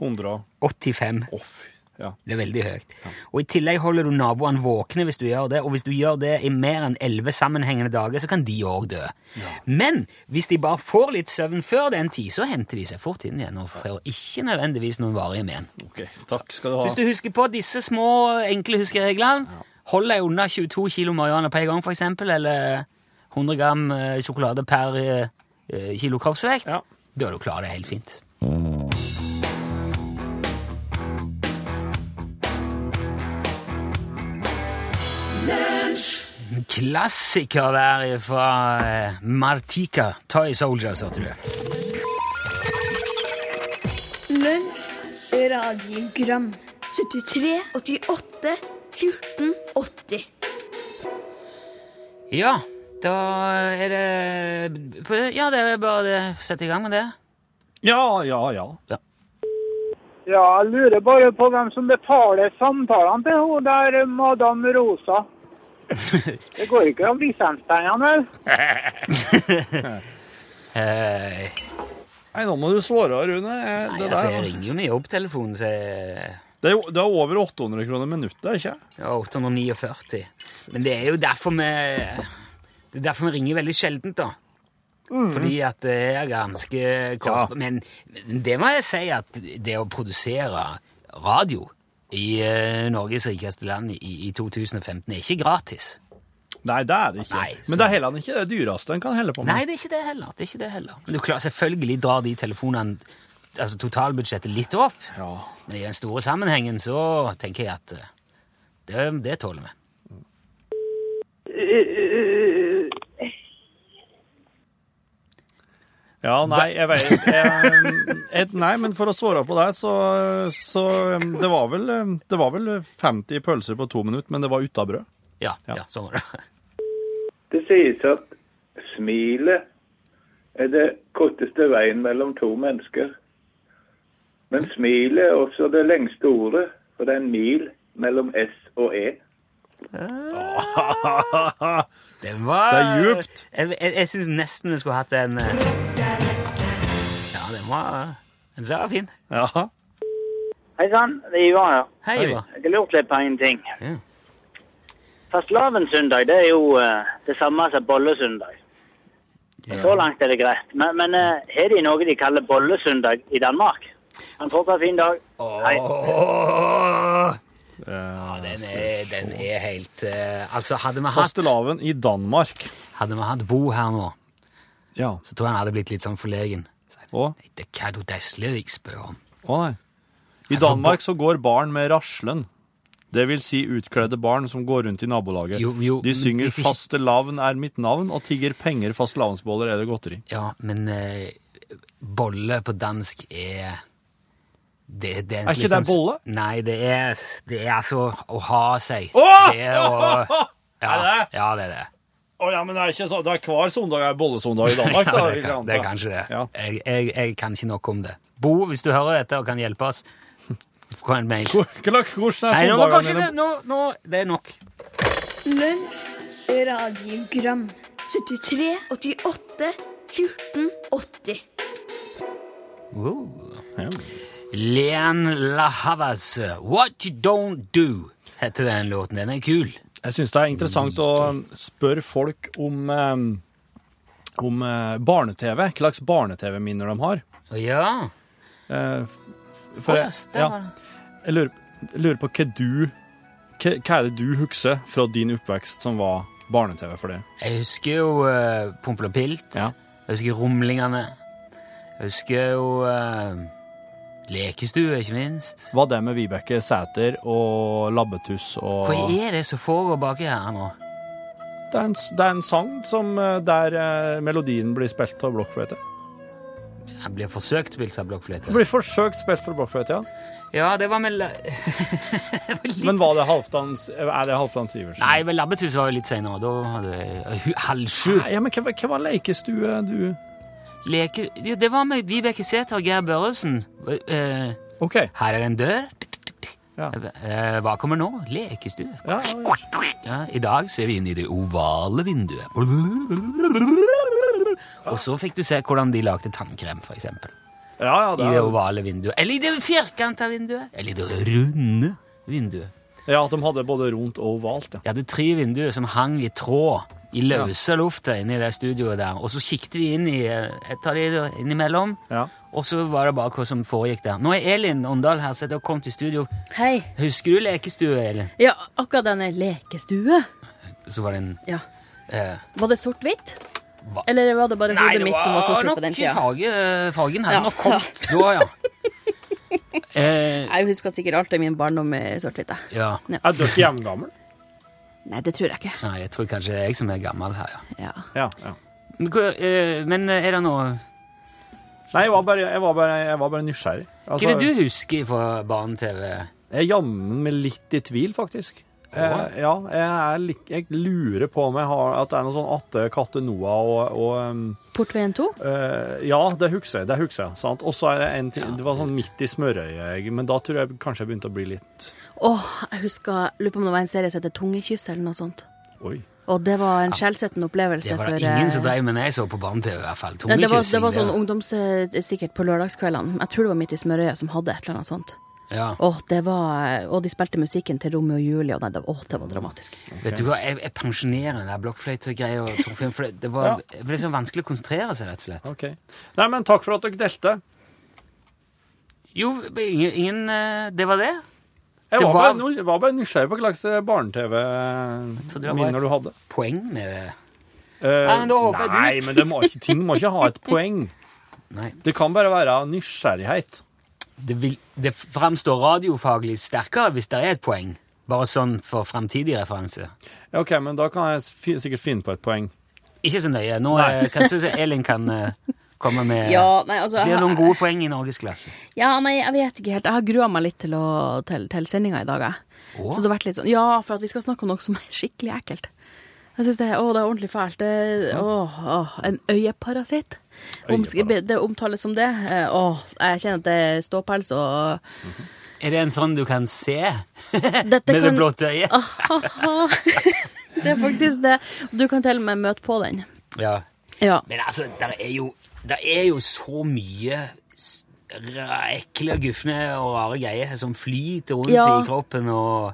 Speaker 2: 100 og
Speaker 3: 85.
Speaker 2: off. Ja.
Speaker 3: Det er veldig høyt. Og I tillegg holder du naboene våkne hvis du gjør det, og hvis du gjør det i mer enn elleve sammenhengende dager, så kan de òg dø. Men hvis de bare får litt søvn før den tid, så henter de seg fort inn igjen og får ikke nødvendigvis noen varige men.
Speaker 2: OK. Takk skal du ha.
Speaker 3: Hvis du husker på disse små, enkle huskereglene, hold deg unna 22 kilo marihuana per gang, for eksempel, eller 100 gram eh, sjokolade per eh, kilo kroppsvekt,
Speaker 2: Ja.
Speaker 3: bør du klare det helt fint. Klassikervær fra eh, Martika Toy Soldiers, hørte du.
Speaker 4: Lunsj, radiogram 73, 88, 14, 80
Speaker 3: Ja, da er det Ja, det er bare å sette i gang med det.
Speaker 2: Ja, ja, ja.
Speaker 5: Ja, jeg lurer bare på hvem som betaler samtalene til hun der eh, Madame Rosa. Det går ikke om lisenspengene, vel?
Speaker 3: Eh,
Speaker 2: Nei, nå må du svare, Rune. Eh,
Speaker 3: nei,
Speaker 2: Det,
Speaker 3: altså,
Speaker 2: der,
Speaker 3: jeg ringer jo med jobbtelefonen, så jeg-
Speaker 2: det, er, jo- det er over 800 kroner minuttet, ikke
Speaker 3: ja, 849. Men det er jo derfor vi Det er derfor vi ringer veldig sjeldent, da. Fordi at det er ganske
Speaker 2: Mhm.
Speaker 3: kostbart.
Speaker 2: Ja.
Speaker 3: Men, men det må jeg si at det å produsere radio i eh, Norges rikeste land i, i 2015 er ikke gratis.
Speaker 2: Nei, det er det ikke.
Speaker 3: Nei,
Speaker 2: Men
Speaker 3: så-
Speaker 2: det er heller ikke det dyreste en kan helle på med.
Speaker 3: Nei, det er ikke det heller. Det er ikke det heller. Men du klarer selvfølgelig drar de telefonene, altså totalbudsjettet, litt opp.
Speaker 2: Ja.
Speaker 3: Men i den store sammenhengen så tenker jeg at eh, det, det tåler vi.
Speaker 2: Ja, nei, jeg vet jeg, et, Nei, men for å svare på det, så, så um, det, var vel, um, det var vel 50 pølser på to minutter, men det var uten brød.
Speaker 3: Ja,
Speaker 2: Ja.
Speaker 3: ja. sånn var det.
Speaker 6: Det sies at smilet er det korteste veien mellom to mennesker. Men smilet er også det lengste ordet, for det er en mil mellom S og E.
Speaker 3: Det var
Speaker 2: Det er djupt.
Speaker 3: Jeg, jeg, jeg syns nesten vi skulle hatt en eh, Ja, den var Den var fin.
Speaker 2: Ja.
Speaker 5: Hei sann, det er Ivar her.
Speaker 3: Hei,
Speaker 2: Oi.
Speaker 3: Ivar.
Speaker 5: Jeg har lurt litt på en ting.
Speaker 3: Ja.
Speaker 5: Fastelavnssøndag det er jo eh, det samme som bollesøndag. Så
Speaker 3: Ja.
Speaker 5: langt er det greit. Men, men eh, har de noe de kaller bollesøndag i Danmark? Han får på en fin dag. Hei.
Speaker 3: Åh,
Speaker 2: Eh,
Speaker 3: den, er, den er helt eh, Altså, hadde vi hatt,
Speaker 2: Fastelavn i Danmark.
Speaker 3: hadde vi hatt Bo her nå,
Speaker 2: Ja.
Speaker 3: så tror jeg han hadde blitt litt sånn forlegen. Så hadde
Speaker 2: Å,
Speaker 3: Nei, Det kan du da slet ikke spørre om.
Speaker 2: å nei. I
Speaker 3: for
Speaker 2: Danmark så går barn med raslen. Det vil si utkledde barn som går rundt i nabolaget.
Speaker 3: Jo, jo,
Speaker 2: de synger
Speaker 3: men vi får ikke-
Speaker 2: 'Fastelavn er mitt navn' og tigger penger, fastelavnsboller eller godteri.
Speaker 3: Ja, men eh, bolle på dansk er det, det er, en
Speaker 2: Er ikke
Speaker 3: litt
Speaker 2: det
Speaker 3: sånn-
Speaker 2: bolle?
Speaker 3: Nei, det er, det er altså å ha seg.
Speaker 2: Åh!
Speaker 3: Det er å ja,
Speaker 2: Er det?
Speaker 3: Ja, det er det.
Speaker 2: Å ja, men det er ikke sånn. Det er hver søndag er bollesøndag i Danmark,
Speaker 3: Ja,
Speaker 2: da.
Speaker 3: det,
Speaker 2: vil jeg
Speaker 3: kan,
Speaker 2: anta.
Speaker 3: det er kanskje det.
Speaker 2: Ja.
Speaker 3: Jeg, jeg, jeg kan ikke nok om det. Bo, hvis du hører dette og kan hjelpe oss, få en mail.
Speaker 2: Hvor- Hvordan er
Speaker 3: Nei, nå må
Speaker 2: søndagene
Speaker 3: kanskje det,
Speaker 2: dine?
Speaker 3: nå, nå, det er nok.
Speaker 4: Lunsj, radiogram 73, 88, 14, 80
Speaker 3: Wow.
Speaker 2: Ja.
Speaker 3: Leon Lahavas, What You Don't Do, heter den låten. Den er kul.
Speaker 2: Jeg syns det er interessant å um, spørre folk om, eh, om eh, barne-TV. Hva slags barne-TV-minner de har.
Speaker 3: Å ja.
Speaker 2: Eh, for jeg,
Speaker 3: Yes, det
Speaker 2: ja,
Speaker 3: var-
Speaker 2: jeg, lurer, jeg lurer på hva du hva, hva er det du husker fra din oppvekst som var barne-TV for det?
Speaker 3: Jeg husker jo uh, Pompel og Pilt.
Speaker 2: Ja.
Speaker 3: Jeg husker Rumlingene. Jeg husker jo eh, Lekestue, ikke minst.
Speaker 2: Var det med Vibeke Sæter og Labbetuss og
Speaker 3: Hva er det som foregår baki her nå?
Speaker 2: Det er en, s- det er en sang som, eh, der eh, melodien blir spilt av blokkfløyte.
Speaker 3: Jeg blir forsøkt spilt av blokkfløyte.
Speaker 2: Det blir forsøkt spilt for blokkfløyte, ja.
Speaker 3: Ja, det var med la... Det var litt-
Speaker 2: Men var det Halvdan S- er det Halvdan Sivertsen?
Speaker 3: Nei, men Labbetuss var jo litt seinere. Da hadde jeg hu- halv sju.
Speaker 2: Nei, Ja, men hva, hva var lekestue du
Speaker 3: Leke... Ja, det var med Vibeke Sæther og Geir Børresen. Eh,
Speaker 2: OK.
Speaker 3: her er det en dør.
Speaker 2: Ja.
Speaker 3: Eh, hva kommer nå? Lekestue.
Speaker 2: Ja, ja.
Speaker 3: Ja, I dag ser vi inn i det ovale vinduet. Og så fikk du se hvordan de lagde tannkrem, for eksempel.
Speaker 2: ja, ja,
Speaker 3: I
Speaker 2: det
Speaker 3: det
Speaker 2: er,
Speaker 3: ovale vinduet. Eller i det firkanta vinduet. Eller i det runde vinduet.
Speaker 2: ja, at de hadde både rundt og ovalt, ja.
Speaker 3: Jeg hadde tre vinduer som hang i tråd i løse lufta inne i det studioet der. Og så kikket vi inn i eh, et av de innimellom,
Speaker 2: Ja.
Speaker 3: og så var det bare hva som foregikk der. Nå er Elin Åndal her, så jeg har kommet i studio.
Speaker 7: Hei.
Speaker 3: Husker du lekestue, Elin?
Speaker 7: Ja, akkurat denne lekestue.
Speaker 3: Så var det en
Speaker 7: Ja.
Speaker 3: eh,
Speaker 7: Var det sort-hvitt?
Speaker 3: Hva?
Speaker 7: Eller var det bare
Speaker 3: Nei,
Speaker 7: hodet mitt som var sort-hvitt på den
Speaker 3: Det
Speaker 7: tida?
Speaker 3: var nok i farge, fargen hadde
Speaker 7: Ja.
Speaker 3: nok kommet da, ja. eh,
Speaker 7: Jeg husker sikkert alt i min barndom med sort-hvitt. jeg.
Speaker 3: ja.
Speaker 2: Er dere hjemgammel?
Speaker 7: Nei, det tror jeg ikke.
Speaker 3: Nei, jeg tror kanskje det er jeg som er gammel her, ja.
Speaker 7: Ja.
Speaker 2: Ja, ja.
Speaker 3: Men, hva- eh, men er det noe
Speaker 2: Nei, jeg var bare, jeg var bare, jeg var bare nysgjerrig. Altså,
Speaker 7: Altså-
Speaker 3: Hva er det du husker fra barne-TV?
Speaker 2: Jeg er jammen meg litt i tvil, faktisk. Eh, ja, jeg, er lik- jeg lurer på om jeg har at det er noe sånn Atte, Katte, Noah og, og um,
Speaker 7: Portveien 2?
Speaker 2: eh, Ja, det husker jeg. det husker jeg, sant? Og så er det en ting Det var sånn midt i smørøyet, jeg- men da tror jeg kanskje jeg begynte å bli litt
Speaker 7: Åh, jeg husker Lurer på om det var en serie som heter Tungekyss eller noe sånt.
Speaker 2: Oi.
Speaker 7: Og det var en skjellsettende opplevelse.
Speaker 3: Det var
Speaker 7: for,
Speaker 3: det
Speaker 7: eh,
Speaker 3: ingen som drev med når jeg så på barne-TV, i hvert fall.
Speaker 7: Nei, det, var,
Speaker 3: Tungekyssing,
Speaker 7: det var sånn ungdoms... eh, Sikkert på lørdagskveldene. Jeg tror det var midt i smørøyet som hadde et eller annet sånt.
Speaker 3: Ja.
Speaker 7: Åh, det var, og de spilte musikken til Romeo og Julie, og nei, det, åh, det var dramatisk.
Speaker 3: Vet du hva, jeg, jeg pensjonerer den der blokkfløytegreia. og tungfilm, for Det, det, var- det ble så vanskelig å konsentrere seg, rett og slett.
Speaker 2: OK. Nei, men takk for at dere delte.
Speaker 3: Jo, ingen, ingen eh, Det var det.
Speaker 2: Jeg
Speaker 3: Det
Speaker 2: var,
Speaker 3: var-
Speaker 2: bare, no- jeg var bare nysgjerrig på hva slags eh,
Speaker 3: Så det var et-
Speaker 2: barne-TV-minner du hadde.
Speaker 3: Poeng med det.
Speaker 2: Eh,
Speaker 3: Nei, men da håper jeg du-
Speaker 2: nei, men det må ikke, ting må ikke ha et poeng.
Speaker 3: Nei.
Speaker 2: Det kan bare være nysgjerrighet.
Speaker 3: det, vil, det fremstår radiofaglig sterkere hvis det er et poeng. Bare sånn for fremtidig referanse.
Speaker 2: Ja, OK, men da kan jeg fi- sikkert finne på et poeng.
Speaker 3: Ikke så nøye. Nå eh, kan synes jeg Elin kan eh, komme med
Speaker 7: Ja, nei, altså,
Speaker 3: Blir det noen
Speaker 7: jeg-
Speaker 3: gode poeng i norgesklasse?
Speaker 7: Ja, nei, jeg vet ikke helt. Jeg har grua meg litt til, å- til, til sendinga i dag, jeg.
Speaker 3: Åh.
Speaker 7: Så det har vært litt sånn Ja, for at vi skal snakke om noe som er skikkelig ekkelt. Jeg synes det, er- åh, det er ordentlig fælt. Det, åh, åh, en øyeparasitt. Om,
Speaker 2: Øyeparasitt.
Speaker 7: det omtales som det. Eh, Åh, jeg kjenner at det er ståpels og
Speaker 3: Er det en sånn du kan se
Speaker 7: Dette Ah.
Speaker 3: med det blotte øyet?
Speaker 7: Aha. det er faktisk det. Du kan til og med møte på den.
Speaker 3: Ja.
Speaker 7: Ja.
Speaker 3: Men altså, der er jo, der er jo så mye s- ra- ekle, gufne og rare greier som flyter rundt
Speaker 7: Ja.
Speaker 3: i kroppen og,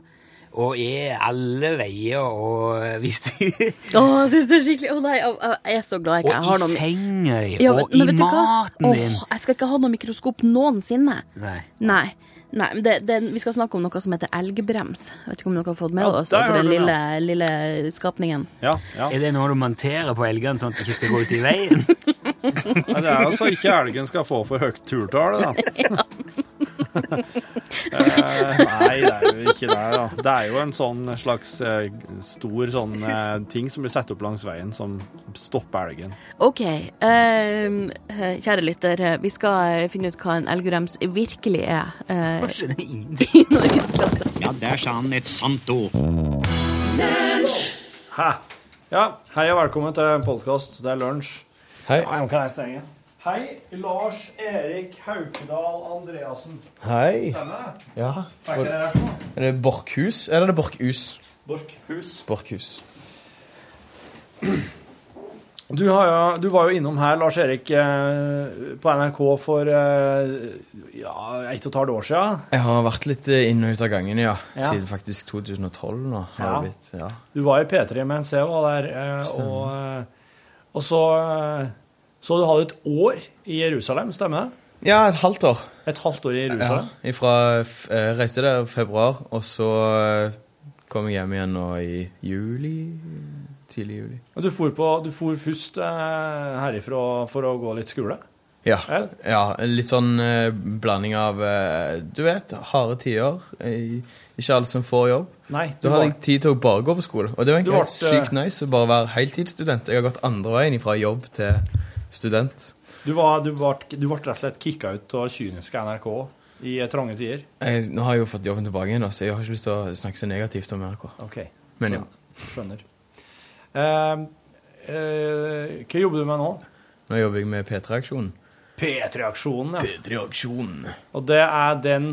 Speaker 3: og er alle veier og eh, hvis de
Speaker 7: Åh, jeg synes det er skikkelig Åh, nei, åh, åh, jeg er så glad jeg ikke
Speaker 3: Og
Speaker 7: har
Speaker 3: i
Speaker 7: noe
Speaker 3: senga di,
Speaker 7: Ja,
Speaker 3: og
Speaker 7: men- men
Speaker 3: i
Speaker 7: vet du hva?
Speaker 3: maten din.
Speaker 7: Åh, jeg skal ikke ha noe mikroskop noensinne.
Speaker 3: Nei.
Speaker 7: Nei. Nei, men det, det, Vi skal snakke om noe som heter elgbrems. Jeg vet ikke om dere har fått med
Speaker 2: Ja,
Speaker 7: dere oss
Speaker 2: der
Speaker 7: på den
Speaker 2: har du det,
Speaker 7: lille, lille skapningen.
Speaker 2: Ja, ja.
Speaker 3: Er det noe du monterer på elgene sånn at de ikke skal gå ut i veien?
Speaker 2: Nei, det er altså ikke elgen skal få for høyt turtall, da. Eh, nei, det er jo ikke det. Da. Det er jo en sånn slags eh, stor sånn eh, ting som blir satt opp langs veien, som stopper elgen.
Speaker 7: OK, ehm, kjære lytter, vi skal finne ut hva en elgrems virkelig er. eh,
Speaker 3: Jeg skjønner ingenting.
Speaker 7: I norgesklasse.
Speaker 8: Ja, der sa han et sant ord.
Speaker 2: Hæ? Ja, hei og velkommen til en podkast. Det er lunsj.
Speaker 9: Hei.
Speaker 2: Hei, Lars Erik Haukedal Andreassen.
Speaker 9: Hei.
Speaker 2: Stemmer det?
Speaker 9: Ja.
Speaker 2: Er ikke det her sånn?
Speaker 9: Er det Borkhus, eller er det Borkhus?
Speaker 2: Borkhus.
Speaker 9: Borkhus.
Speaker 2: Du, har jo, du var jo innom her, Lars Erik, eh, på NRK for eh, ja, ett og et halvt år siden.
Speaker 9: Jeg har vært litt eh, inn og ut av gangen, ja.
Speaker 2: Ja.
Speaker 9: Siden faktisk 2012 nå. Har
Speaker 2: Ja.
Speaker 9: det blitt, ja.
Speaker 2: Du var i P3 mens jeg var der, eh, og, eh, og så, eh, så du hadde et år i Jerusalem, stemmer det?
Speaker 9: ja, et halvt år.
Speaker 2: Et halvt år i
Speaker 9: Ja.
Speaker 2: Jerusalem?
Speaker 9: Ifra, f- eh, reiste der i februar, og så eh, kom jeg hjem igjen nå i juli. Tidlig juli.
Speaker 2: Og Du for, på, du for først eh, herifra for å gå litt skole?
Speaker 9: Ja.
Speaker 2: Vel?
Speaker 9: ja litt sånn eh, blanding av eh, Du vet, harde tider. eh, Ikke alle som får jobb.
Speaker 2: Nei, du
Speaker 9: Da hadde
Speaker 2: var,
Speaker 9: jeg tid til å bare gå på skole. Og det var egentlig
Speaker 2: Du
Speaker 9: helt
Speaker 2: ble, eh,
Speaker 9: sykt nice å bare være heltidsstudent. Jeg har gått andre veien fra jobb til student.
Speaker 2: du, var, du, var, du ble rett og slett kicka ut av kyniske NRK i eh, trange tider.
Speaker 9: Jeg, nå har jeg jo fått jobben tilbake igjen, da, så jeg har ikke lyst til å snakke så negativt om NRK.
Speaker 2: Ok,
Speaker 9: Men ja,
Speaker 2: skjønner. Eh, eh, hva jobber du med nå?
Speaker 9: nå jobber jeg med P3-aksjonen.
Speaker 2: P3-aksjonen, ja.
Speaker 9: P3-aksjonen.
Speaker 2: Og det er den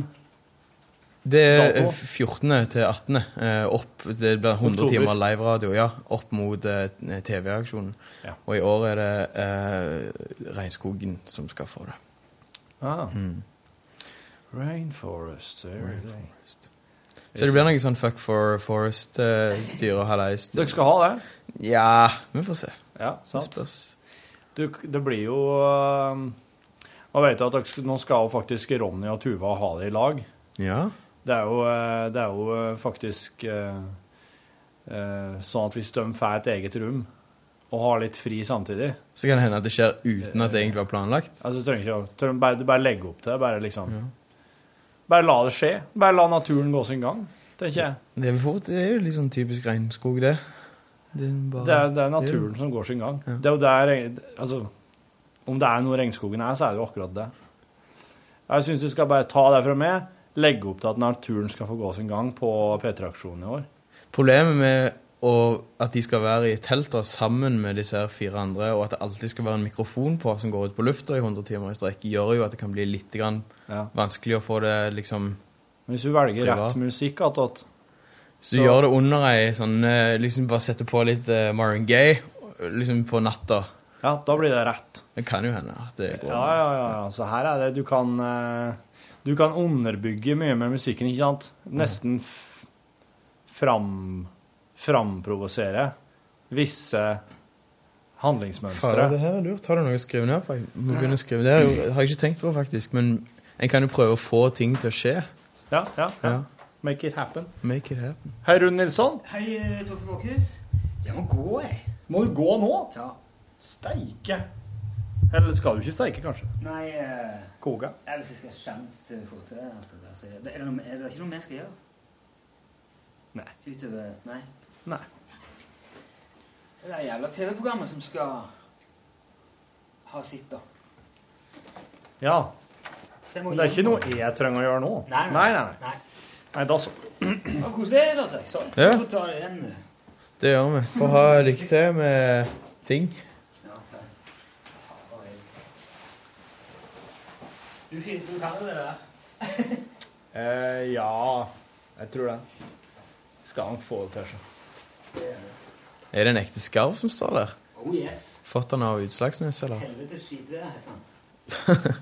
Speaker 9: Det er
Speaker 2: Dato?
Speaker 9: eh, 14. til 18. eh, Opp, det blir 100
Speaker 2: Oktober.
Speaker 9: timer liveradio, ja. Opp mot eh, TV-aksjonen.
Speaker 2: Ja.
Speaker 9: Og i år er det eh, Regnskogen som skal få det.
Speaker 2: ah. Rainforest every day.
Speaker 9: Så det blir noe sånn Fuck for Forest-styre og hallais.
Speaker 2: Dere skal ha det?
Speaker 9: Ja, vi får se.
Speaker 2: Ja,
Speaker 9: Det
Speaker 2: sant.
Speaker 9: spørs.
Speaker 2: Du, det blir jo øhm, Nå vet jeg at dere, skal- nå skal jo faktisk Ronny og Tuva ha det i lag.
Speaker 9: Ja.
Speaker 2: Det er jo, øh, det er jo øh, faktisk øh, øh, sånn at hvis de får et eget rom og har litt fri samtidig
Speaker 9: Så kan det hende at det skjer uten at det egentlig var planlagt.
Speaker 2: altså trenger ikke, å- trenger bare, bare legge opp til det. Bare liksom Bare la det skje. Bare la naturen gå sin gang, tenker jeg.
Speaker 9: Det er, fort, det er jo litt sånn typisk regnskog, det. Det er, bare,
Speaker 2: Det er, det er naturen som går sin gang. Det er jo der Altså, om det er noe regnskogen er, så er det jo akkurat det. Jeg syns du skal bare ta det fra meg, legge opp til at naturen skal få gå sin gang på P3-aksjonen i år.
Speaker 9: Problemet med å, at de skal være i telter sammen med disse her fire andre, og at det alltid skal være en mikrofon på som går ut på lufta i 100 timer i strekk, gjør jo at det kan bli litt grann
Speaker 2: Ja.
Speaker 9: vanskelig å få det liksom
Speaker 2: Men hvis du velger
Speaker 9: Privat.
Speaker 2: rett musikk attåt
Speaker 9: Hvis du gjør det under ei sånn eh, liksom Bare setter på litt eh, Marvin Gaye liksom på natta.
Speaker 2: Ja, da blir det rett.
Speaker 9: Det kan jo hende at det går.
Speaker 2: Ja, ja, ja. ja. Så her er det Du kan eh, Du kan underbygge mye med musikken, ikke sant? Nesten f fram framprovosere visse handlingsmønstre.
Speaker 9: Fader, det her er lurt. Har du noe å skrive ned på? Jeg må begynne å skrive. Det har jeg jo- har jeg ikke tenkt på, faktisk. Men en kan jo prøve å få ting til å skje.
Speaker 2: Ja, ja, ja.
Speaker 9: Ja.
Speaker 2: Make it happen.
Speaker 9: Make it happen.
Speaker 2: Hei, Rune Nilsson.
Speaker 3: Hei, Toffe Borkhus. Jeg må gå, jeg.
Speaker 2: Må du gå nå?
Speaker 3: Ja.
Speaker 2: Steike. Eller skal du ikke steike, kanskje?
Speaker 3: Nei,
Speaker 2: Koke.
Speaker 3: hvis jeg skal ha sjanse til å få til alt det der, så er det, er det, noe, er det ikke noe vi skal gjøre?
Speaker 2: Nei.
Speaker 3: Utover Nei.
Speaker 2: Nei.
Speaker 3: Det er det jævla TV-programmet som skal ha sitt, da.
Speaker 2: Ja.
Speaker 3: Så jeg må
Speaker 2: Men det er ikke
Speaker 3: hjem nå.
Speaker 2: noe jeg trenger å gjøre nå.
Speaker 3: Nei,
Speaker 2: nei.
Speaker 3: nei.
Speaker 2: nei, nei. Nei, da så.
Speaker 3: Det var koselig, altså. Så,
Speaker 9: Ja.
Speaker 3: jeg får ta det igjen. eh.
Speaker 9: Det gjør vi. Få ha lykke til med ting.
Speaker 3: Ja, ok. Du, fin- du kan jo det der.
Speaker 2: Eh, ja, jeg tror det. Skal han få det til seg.
Speaker 9: Er det en ekte skarv som står der?
Speaker 3: Oh yes.
Speaker 9: Fått den av Utslagsnes, eller?
Speaker 3: Helvete skitvær heter han.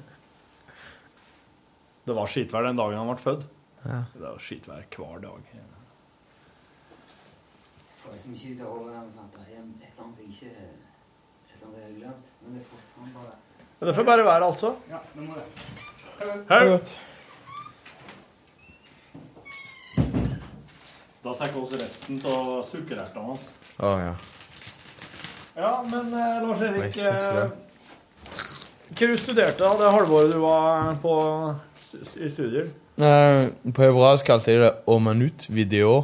Speaker 2: Det var skitvær den dagen han ble født.
Speaker 9: Ja.
Speaker 2: Det var skitvær hver dag.
Speaker 3: For jeg som ikke tar over den planta, er et eller annet jeg ikke Et eller annet jeg har glemt. Men det får man bare
Speaker 2: Men det får bare være, altså.
Speaker 3: Ja, vi må det.
Speaker 2: Hei.
Speaker 9: Det er godt.
Speaker 2: Da tar vi oss resten av sukkerertene hans.
Speaker 9: Å ja.
Speaker 2: Ja, men eh, Lars Erik
Speaker 9: Nice, nice,
Speaker 2: eh, Hva du studerte du det halvåret du var på i studier?
Speaker 9: Nei, Eh, På hebraisk kalte de det omanut video.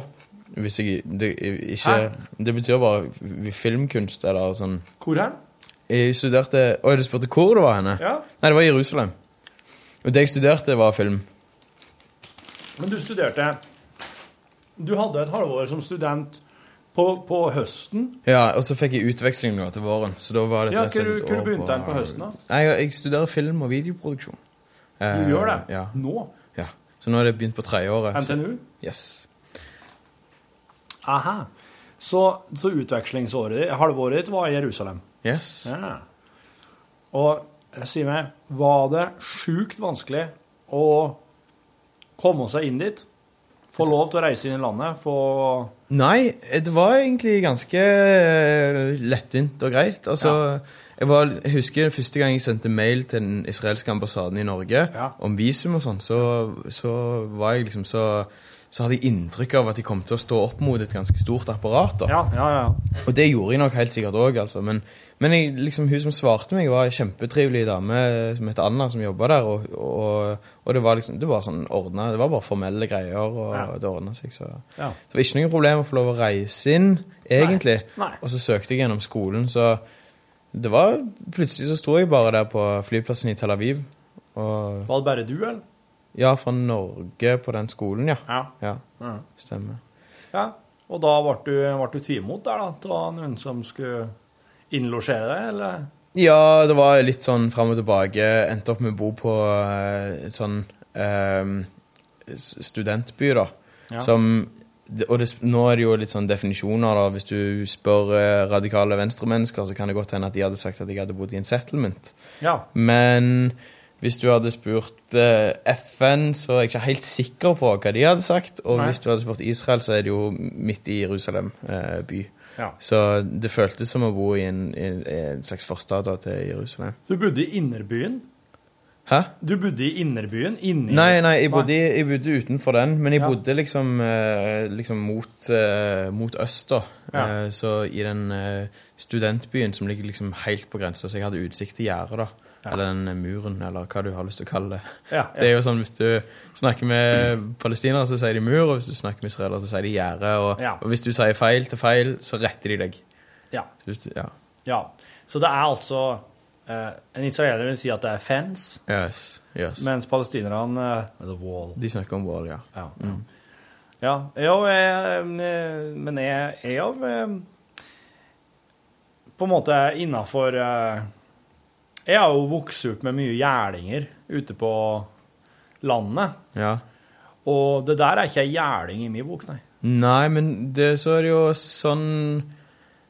Speaker 9: Hvis jeg det, ikke Det betyr bare vi- filmkunst eller sånn.
Speaker 2: Hvor hen?
Speaker 9: Jeg studerte Oi, du spurte hvor det var henne?
Speaker 2: Ja.
Speaker 9: Nei, det var i Jerusalem. Og det jeg studerte, var film.
Speaker 2: Men du studerte Du hadde et halvår som student på, på høsten.
Speaker 9: Ja, Og så fikk jeg utveksling nå til våren. Så da var det
Speaker 2: Ja, Hvor hvor du begynte den på høsten, da?
Speaker 9: Nei, jeg, jeg studerer film og videoproduksjon. Eh,
Speaker 2: Du gjør det?
Speaker 9: Ja.
Speaker 2: Nå?
Speaker 9: ja. Så nå har det begynt på tredjeåret. så-
Speaker 2: NTNU?
Speaker 9: Yes.
Speaker 2: Aha. Så, så utvekslingsåret ditt, halvåret ditt, var i Jerusalem.
Speaker 9: Yes.
Speaker 2: Ja. Og eh, si meg, var det sjukt vanskelig å komme seg inn dit? Få lov til å reise inn i landet? Få
Speaker 9: Nei, det var egentlig ganske eh, lettvint og greit. Altså, jeg, var, jeg husker første gang jeg sendte mail til den israelske ambassaden i Norge
Speaker 2: Ja.
Speaker 9: om visum og sånn, så, så var jeg liksom så så hadde jeg inntrykk av at jeg kom til å stå opp mot et ganske stort apparat. da.
Speaker 2: Ja, ja, ja.
Speaker 9: Og det gjorde jeg nok helt sikkert òg, altså. Men, men jeg, liksom, hun som svarte meg, var ei kjempetrivelig dame eh, som het Anna, som jobba der. Og, og, og det var liksom, det var sånn ordnet, det var bare formelle greier, og
Speaker 2: Ja.
Speaker 9: det ordna seg. så...
Speaker 2: ja.
Speaker 9: Så det var ikke noe problem å få lov å reise inn, egentlig.
Speaker 2: Nei, nei.
Speaker 9: Og så søkte jeg gjennom skolen, så det var Plutselig så sto jeg bare der på flyplassen i Tel Aviv.
Speaker 2: Var
Speaker 9: Og
Speaker 2: det bare du, eller?
Speaker 9: Ja, fra Norge på den skolen, ja.
Speaker 2: Ja.
Speaker 9: Ja,
Speaker 2: ja.
Speaker 9: stemmer.
Speaker 2: ja. Og da ble du, ble du tvimot der, da? Til noen som skulle innlosjere deg, eller?
Speaker 9: Ja, det var litt sånn fram og tilbake. Endte opp med å bo på eh, et sånn eh, s- studentby, da.
Speaker 2: Ja.
Speaker 9: Som det- Og det, sp- nå er det jo litt sånn definisjoner, da. Hvis du spør eh, radikale venstremennesker, så kan det godt hende at de hadde sagt at jeg hadde bodd i en settlement.
Speaker 2: Ja.
Speaker 9: Men hvis du hadde spurt eh, FN, så er jeg ikke helt sikker på hva de hadde sagt. Og
Speaker 2: Nei.
Speaker 9: hvis du hadde spurt Israel, så er det jo midt i Jerusalem eh, by.
Speaker 2: Ja.
Speaker 9: Så det føltes som å bo i en, i en- i en slags forstad da, til Jerusalem.
Speaker 2: Du bodde i innerbyen?
Speaker 9: Hæ?
Speaker 2: Du bodde i innerbyen? Inni
Speaker 9: Nei, nei, jeg bodde, jeg bodde utenfor den, men jeg
Speaker 2: Ja.
Speaker 9: bodde liksom, eh, liksom mot, eh, mot øst, da.
Speaker 2: Ja.
Speaker 9: Eh, så i den eh, studentbyen som ligger liksom helt på grensa, så jeg hadde utsikt til gjerdet, da.
Speaker 2: Ja.
Speaker 9: Eller den eh, muren, eller hva du har lyst til å kalle det.
Speaker 2: Ja,
Speaker 9: Det er jo sånn Hvis du snakker med palestinere, så sier de mur, og hvis du snakker med israelere, så sier de gjerde. Og,
Speaker 2: Ja.
Speaker 9: og hvis du sier feil til feil, så retter de deg.
Speaker 2: ja.
Speaker 9: Så Hvis du, ja.
Speaker 2: ja. Så det er altså eh, En israeler vil si at det er fence.
Speaker 9: Yes, yes.
Speaker 2: Mens palestinerne eh, The wall.
Speaker 9: de snakker om vold, ja.
Speaker 2: Ja. ja. Jo, jeg, eh, men jeg er jo eh, på en måte innafor Jeg har jo vokst opp med mye gjerdinger ute på landet.
Speaker 9: ja.
Speaker 2: Og det der er ikke ei gjerding i min bok, nei.
Speaker 9: Nei, men det, så er det jo sånn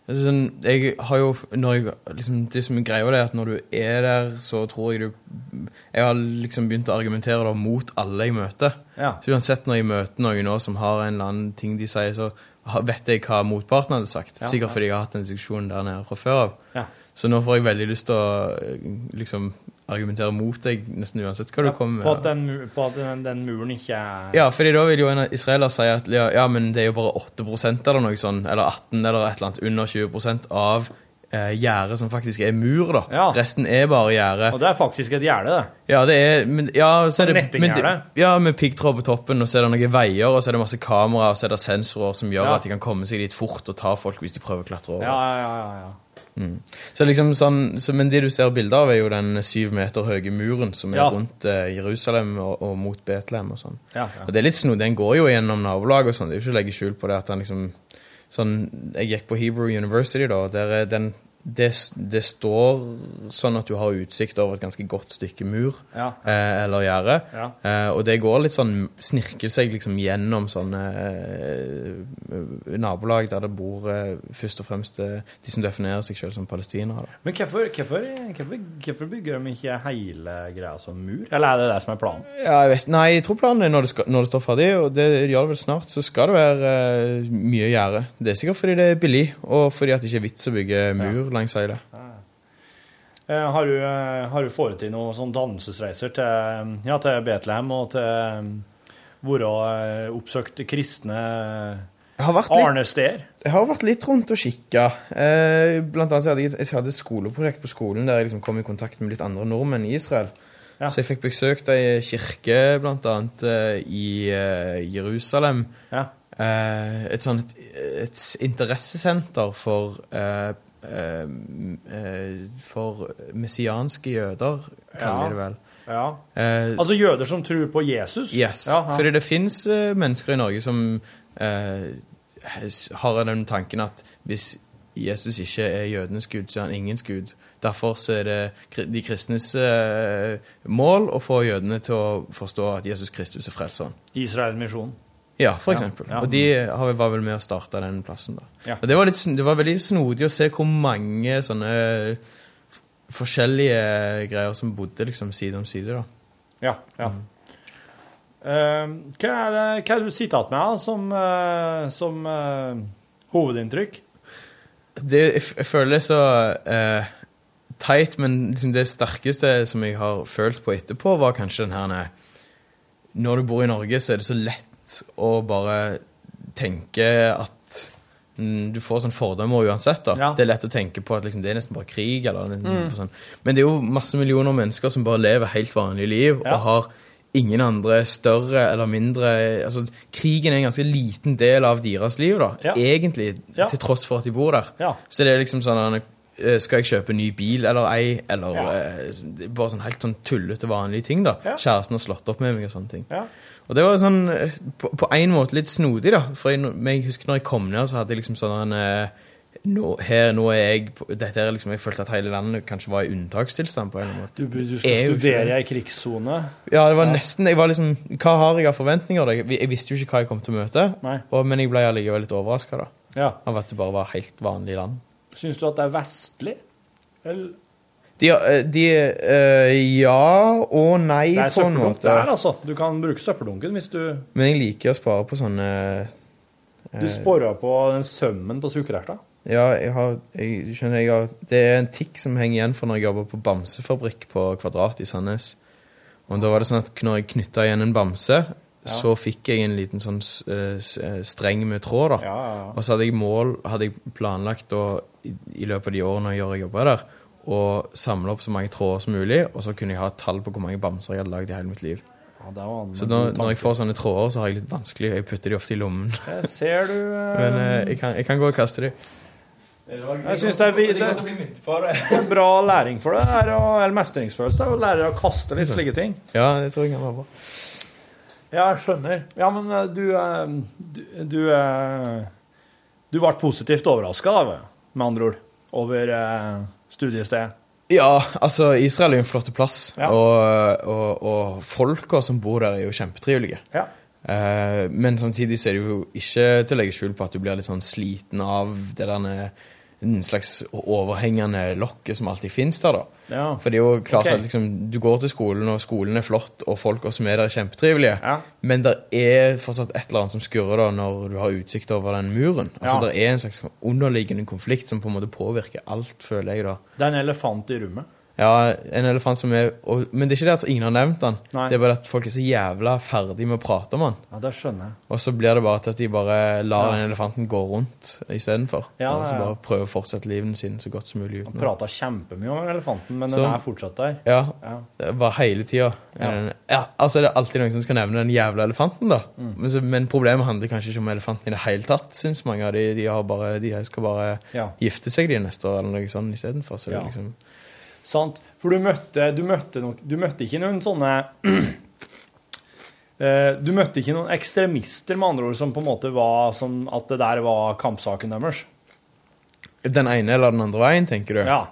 Speaker 9: altså sånn, jeg har jo når jeg, liksom, Det som er greia, det er at når du er der, så tror jeg du Jeg har liksom begynt å argumentere da, mot alle jeg møter.
Speaker 2: Ja.
Speaker 9: Så uansett når jeg møter noen nå som har en eller annen ting de sier, så har- vet jeg hva motparten hadde sagt.
Speaker 2: Ja,
Speaker 9: Sikkert
Speaker 2: ja.
Speaker 9: fordi jeg har hatt en diskusjon der nede fra før av.
Speaker 2: Ja.
Speaker 9: Så nå får jeg veldig lyst til å eh, liksom argumentere mot deg, nesten uansett hva du kommer
Speaker 2: På at,
Speaker 9: med.
Speaker 2: den, mu- på at den, den muren ikke er
Speaker 9: Ja, fordi da vil jo en israeler si at ja, ja, men det er jo bare 8 eller noe sånn, eller 18 eller et eller annet, under 20 av eh, gjerdet som faktisk er mur, da.
Speaker 2: Ja.
Speaker 9: Resten er bare gjerde.
Speaker 2: Og det er faktisk et gjerde, det.
Speaker 9: Ja, det er, men, ja, så
Speaker 2: Sånn
Speaker 9: er det, men, det-
Speaker 2: nettinggjerde.
Speaker 9: ja, med piggtråd på toppen, og så er det noen veier, og så er det masse kameraer, og så er det sensorer som gjør
Speaker 2: Ja.
Speaker 9: at de kan komme seg dit fort og ta folk hvis de prøver å klatre over.
Speaker 2: Ja, ja, ja. ja, ja.
Speaker 9: Så liksom sånn, så, men det du ser bilder av, er jo den syv meter høye muren som er
Speaker 2: Ja.
Speaker 9: rundt eh, Jerusalem og, og mot Betlehem og sånn.
Speaker 2: ja,
Speaker 9: Og
Speaker 2: ja.
Speaker 9: det er litt snodig. Den går jo gjennom nabolag og sånn. Det er jo ikke å legge skjul på det at den liksom sånn, Jeg gikk på Hebrew University, da. og Der er den, det, det står sånn at du har utsikt over et ganske godt stykke mur
Speaker 2: Ja.
Speaker 9: eh, eller gjerde.
Speaker 2: Ja.
Speaker 9: Eh, og det går litt sånn Snirker seg liksom gjennom sånne eh, nabolag der det bor eh, først og fremst eh, de som definerer seg sjøl som palestinere. da.
Speaker 2: Men hvorfor, hvorfor, hvorfor, hvorfor bygger de ikke hele greia som mur? Eller er det det som er planen?
Speaker 9: Ja, jeg vet, nei, jeg tror planen er når det, skal, når det står ferdig, og det gjør det vel snart, så skal det være eh, mye gjerde. Det er sikkert fordi det er billig, og fordi at det ikke er vits å bygge mur langs hele.
Speaker 2: Eh, har du, eh, har du foretatt noen sånn dannelsesreiser til, ja, til Betlehem og til eh, hvor eh, oppsøkt kristne
Speaker 9: Jeg har vært litt,
Speaker 2: arnesteder?
Speaker 9: jeg har vært litt rundt og kikka. Eh, blant annet så hadde jeg, jeg hadde et skoleprosjekt på skolen der jeg liksom kom i kontakt med litt andre nordmenn i Israel.
Speaker 2: Ja.
Speaker 9: Så jeg fikk besøkt ei kirke, blant annet, eh, i eh, Jerusalem.
Speaker 2: Ja.
Speaker 9: Eh, et sånn et, et s- interessesenter for eh, eh, eh, For messianske jøder, kaller
Speaker 2: Ja.
Speaker 9: de det vel.
Speaker 2: Ja.
Speaker 9: Eh,
Speaker 2: Altså jøder som tror på Jesus?
Speaker 9: Yes,
Speaker 2: Ja, ja.
Speaker 9: fordi det finnes eh, mennesker i Norge som eh, s- har den tanken at hvis Jesus ikke er jødenes gud, så er han ingens gud. Derfor så er det kri- de kristnes eh, mål å få jødene til å forstå at Jesus Kristus er frelseren.
Speaker 2: Israel-misjonen.
Speaker 9: Ja, for
Speaker 2: Ja,
Speaker 9: eksempel.
Speaker 2: ja.
Speaker 9: Og de har, var vel med å starte den plassen da.
Speaker 2: Ja.
Speaker 9: Og det var, litt, sn- det var veldig snodig å se hvor mange sånne f- forskjellige greier som bodde liksom side om side da.
Speaker 2: Ja. ja. Mm. Eh, hva er det hva er det du sitter igjen med da, som, eh, som eh, hovedinntrykk?
Speaker 9: det, jeg, f- jeg føler det er så eh, teit, men liksom det sterkeste som jeg har følt på etterpå, var kanskje den her nei, Når du bor i Norge, så er det så lett å bare tenke at mm, du får sånn fordommer uansett. da.
Speaker 2: Ja. Mm.
Speaker 9: Det er lett å tenke på at liksom, det er nesten bare krig. Eller, noe sånn. Men det er jo masse millioner mennesker som bare lever helt vanlige liv
Speaker 2: Ja.
Speaker 9: og har ingen andre større eller mindre altså Krigen er en ganske liten del av deres liv, da,
Speaker 2: Ja.
Speaker 9: egentlig,
Speaker 2: Ja.
Speaker 9: til tross for at de bor der.
Speaker 2: Ja.
Speaker 9: Så det er liksom sånn eh, Skal jeg kjøpe ny bil eller ei? Eller
Speaker 2: Ja.
Speaker 9: eh, det er bare sånn helt sånn tullete, vanlige ting. da
Speaker 2: Ja.
Speaker 9: Kjæresten har slått opp med meg og sånne ting.
Speaker 2: Ja.
Speaker 9: Og det var sånn eh, på, på en måte litt snodig, da. For jeg, men jeg husker når jeg kom ned, så hadde jeg liksom sånn eh, nå, Her, nå er jeg på- Dette er liksom Jeg følte at hele landet kanskje var i unntakstilstand på en eller annen måte.
Speaker 2: Du, du
Speaker 9: Er
Speaker 2: skal
Speaker 9: jo ikke det.
Speaker 2: studere i ei krigssone.
Speaker 9: Ja, det var nesten jeg var liksom, Hva har jeg av forventninger? da? Jeg, jeg visste jo ikke hva jeg kom til å møte,
Speaker 2: Nei.
Speaker 9: og, men jeg ble allikevel litt overraska
Speaker 2: Ja.
Speaker 9: av at det bare var helt vanlig land.
Speaker 2: Syns du at det er vestlig? Eller
Speaker 9: De, de eh, Ja og nei,
Speaker 2: Det er
Speaker 9: på en
Speaker 2: søppeldunk
Speaker 9: måte.
Speaker 2: der, altså. Du kan bruke søppeldunken hvis du
Speaker 9: Men jeg liker å spare på sånne Eh.
Speaker 2: Du sporer på den sømmen på sukererta.
Speaker 9: Ja, jeg har jeg, du skjønner, jeg har, Det er en tikk som henger igjen fra når jeg jobba på bamsefabrikk på Kvadrat i Sandnes. Og da var det sånn at når jeg knytta igjen en bamse, så fikk jeg en liten sånn s- eh, s- eh, streng med tråd, da.
Speaker 2: Ja, ja, ja.
Speaker 9: Og så hadde jeg mål, hadde jeg planlagt da, i, i løpet av de årene jeg jobba der, å samle opp så mange tråder som mulig, og så kunne jeg ha et tall på hvor mange bamser jeg hadde lagd i hele mitt liv.
Speaker 2: Ja, det var en
Speaker 9: Så
Speaker 2: god
Speaker 9: da,
Speaker 2: tanke.
Speaker 9: når jeg får sånne tråder, så har jeg litt vanskelig. Jeg putter de ofte i lommen.
Speaker 2: Jeg ser du eh,
Speaker 9: Men eh, jeg, kan, jeg kan gå og kaste de.
Speaker 2: Jeg synes det er vi- det er en bra læring for deg, her, og- eller mestringsfølelse, å lære deg å kaste litt slike ting.
Speaker 9: Ja, det tror jeg kan være bra.
Speaker 2: Ja, jeg skjønner. Ja, men eh, du eh, Du, du, eh, du ble positivt overraska, med andre ord, over eh, studiestedet.
Speaker 9: Ja, altså, Israel er jo en flott plass,
Speaker 2: Ja.
Speaker 9: og, og, og folka som bor der, er jo kjempetrivelige.
Speaker 2: Ja.
Speaker 9: Eh, men samtidig så er det jo ikke til å legge skjul på at du blir litt sånn sliten av det der en slags overhengende lokket som alltid finnes der, da.
Speaker 2: Ja.
Speaker 9: For det er jo klart
Speaker 2: Ok.
Speaker 9: at liksom, du går til skolen, og skolen er flott, og folka som er der, er kjempetrivelige.
Speaker 2: Ja.
Speaker 9: Men det er fortsatt et eller annet som skurrer da når du har utsikt over den muren. Altså,
Speaker 2: Ja.
Speaker 9: Det er en slags underliggende konflikt som på en måte påvirker alt, føler jeg da.
Speaker 2: Det er en elefant i rommet.
Speaker 9: Ja, en elefant som er og, Men det er ikke det at ingen har nevnt den.
Speaker 2: Nei.
Speaker 9: Det er bare at folk er så jævla ferdig med å prate om den.
Speaker 2: Ja, det skjønner jeg.
Speaker 9: Og så blir det bare til at de bare lar
Speaker 2: Ja.
Speaker 9: den elefanten gå rundt istedenfor.
Speaker 2: Ja,
Speaker 9: og så
Speaker 2: ja, ja.
Speaker 9: bare prøver å fortsette livet sin så godt som mulig uten
Speaker 2: Prata kjempemye om elefanten, men den
Speaker 9: Så-
Speaker 2: er fortsatt der.
Speaker 9: Ja.
Speaker 2: Ja.
Speaker 9: Det var hele tida. Ja. Ja, altså det er alltid noen som skal nevne den jævla elefanten, da.
Speaker 2: Mm.
Speaker 9: Men, så, men problemet handler kanskje ikke om elefanten i det hele tatt, syns mange av de. De, har bare, de skal bare
Speaker 2: Ja.
Speaker 9: gifte seg de neste år eller noe sånt istedenfor. Så det
Speaker 2: Ja.
Speaker 9: er liksom
Speaker 2: Sant. For du møtte, du møtte, nok, du møtte ikke noen sånne Eh, Du møtte ikke noen ekstremister, med andre ord, som på en måte var sånn at det der var kampsaken deres?
Speaker 9: Den ene eller den andre veien, tenker du?
Speaker 2: Ja.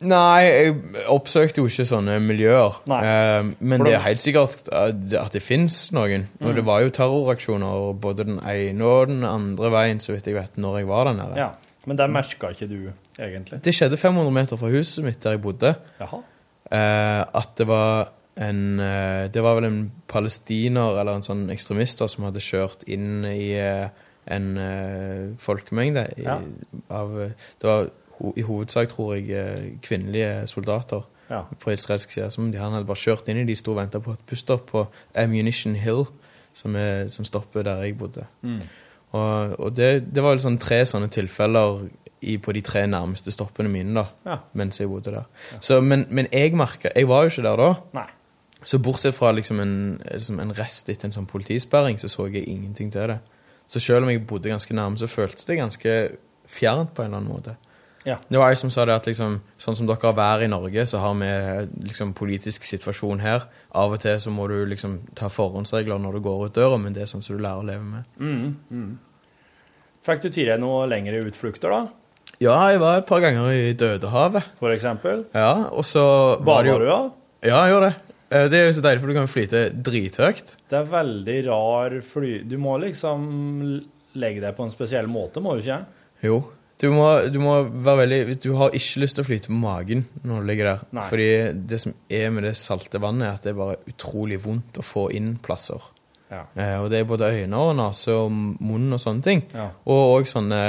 Speaker 9: Nei, jeg oppsøkte jo ikke sånne miljøer.
Speaker 2: Nei.
Speaker 9: Eh, men
Speaker 2: For Mm.
Speaker 9: det
Speaker 2: det-
Speaker 9: er helt sikkert at det- at det fins noen. Og det var jo terroraksjoner både den ene og den andre veien, så vidt jeg vet, når jeg var der nede.
Speaker 2: ja. Men det merka ikke du, egentlig?
Speaker 9: Det skjedde 500 meter fra huset mitt der jeg bodde.
Speaker 2: Jaha.
Speaker 9: eh, at det var en eh, Det var vel en palestiner eller en sånn ekstremist da, som hadde kjørt inn i eh, en eh, folkemengde. I,
Speaker 2: Ja.
Speaker 9: av, eh, det var ho i hovedsak, tror jeg, eh, kvinnelige soldater
Speaker 2: Ja.
Speaker 9: på israelsk side. Som de, han hadde bare kjørt inn i de sto og venta på et busstopp på Ammunition Hill, som, er, som stopper der jeg bodde. Og, og det, det var jo sånn tre sånne tilfeller i, på de tre nærmeste stoppene mine da,
Speaker 6: Ja.
Speaker 9: mens jeg bodde der. Så, men, men jeg merket, jeg var jo ikke der da,
Speaker 6: Nei.
Speaker 9: så bortsett fra liksom en, liksom en rest etter en sånn politisperring, så så jeg ingenting til det. Så selv om jeg bodde ganske nærme, så føltes det ganske fjernt på en eller annen måte.
Speaker 6: Ja.
Speaker 9: Det var jeg som sa det at liksom, sånn som dere har vær i Norge, så har vi liksom politisk situasjon her. Av og til så må du liksom ta forhåndsregler når du går ut døra, men det er sånn som du lærer å leve med.
Speaker 6: Fikk du til deg noen lengre utflukter, da?
Speaker 9: Ja, jeg var et par ganger i Dødehavet.
Speaker 6: For eksempel?
Speaker 9: Ja, og så var
Speaker 6: Bader
Speaker 9: det jo...
Speaker 6: du, ja?
Speaker 9: Ja, jeg gjorde det. Eh, Det er jo så deilig, for du kan flyte drithøyt.
Speaker 6: Det er veldig rar fly... Du må liksom legge deg på en spesiell måte, må du ikke?
Speaker 9: Jo. Du må, du må være veldig Du har ikke lyst til å flyte på magen når du ligger der.
Speaker 6: Nei.
Speaker 9: Fordi det som er med det salte vannet, er at det er bare utrolig vondt å få inn plasser.
Speaker 6: Ja.
Speaker 9: Eh, og det er både øyne og nase og munn og sånne ting.
Speaker 6: Ja.
Speaker 9: Og òg sånne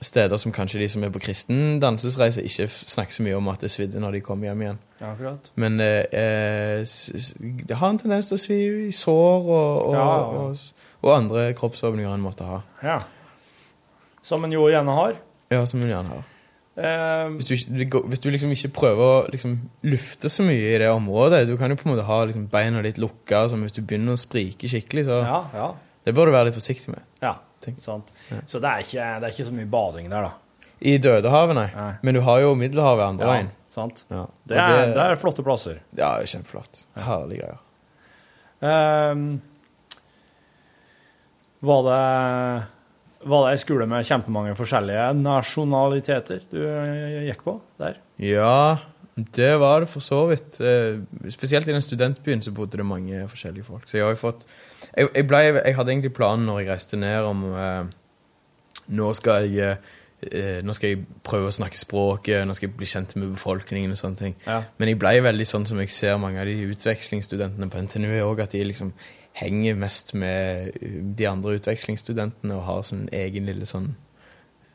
Speaker 9: steder som kanskje de som er på kristen dansesreise, ikke f- snakker så mye om at det svidde når de kommer hjem igjen.
Speaker 6: Ja, akkurat.
Speaker 9: Men eh, eh, s- s- det har en tendens til å svi i sår og, og,
Speaker 6: Ja.
Speaker 9: og, s- og andre kroppsåpninger en måtte ha.
Speaker 6: Ja. Som en jo gjerne har.
Speaker 9: Ja, som hun gjerne har.
Speaker 6: Eh,
Speaker 9: hvis du, ikke- det går- hvis du liksom ikke prøver å liksom lufte så mye i det området Du kan jo på en måte ha liksom beina litt lukka, så hvis du begynner å sprike skikkelig, så
Speaker 6: ja, ja.
Speaker 9: Det bør du være litt forsiktig med.
Speaker 6: Ja,
Speaker 9: Tenk.
Speaker 6: sant. Så det er, ikke, det er ikke så mye bading der, da.
Speaker 9: I Dødehavet, nei.
Speaker 6: Nei.
Speaker 9: Men du har jo Middelhavet andre
Speaker 6: Ja,
Speaker 9: veien.
Speaker 6: sant?
Speaker 9: Ja.
Speaker 6: Det er,
Speaker 9: Og
Speaker 6: det er flotte plasser.
Speaker 9: ja, det er kjempeflott. Herlige greier.
Speaker 6: Ehm, var det var det ei skole med kjempemange forskjellige nasjonaliteter du eh, gikk på der?
Speaker 9: Ja, det var det for så vidt. Eh, Spesielt i den studentbyen så bodde det mange forskjellige folk. Så jeg har jo fått Jeg, jeg, ble, jeg hadde egentlig planen når jeg reiste ned om eh, nå, skal jeg, eh, nå skal jeg prøve å snakke språket, nå skal jeg bli kjent med befolkningen og sånne ting.
Speaker 6: Ja.
Speaker 9: Men jeg ble veldig sånn som jeg ser mange av de utvekslingsstudentene på NTNU òg, at de liksom henger mest med eh, de andre utvekslingsstudentene og har sin egen lille sånn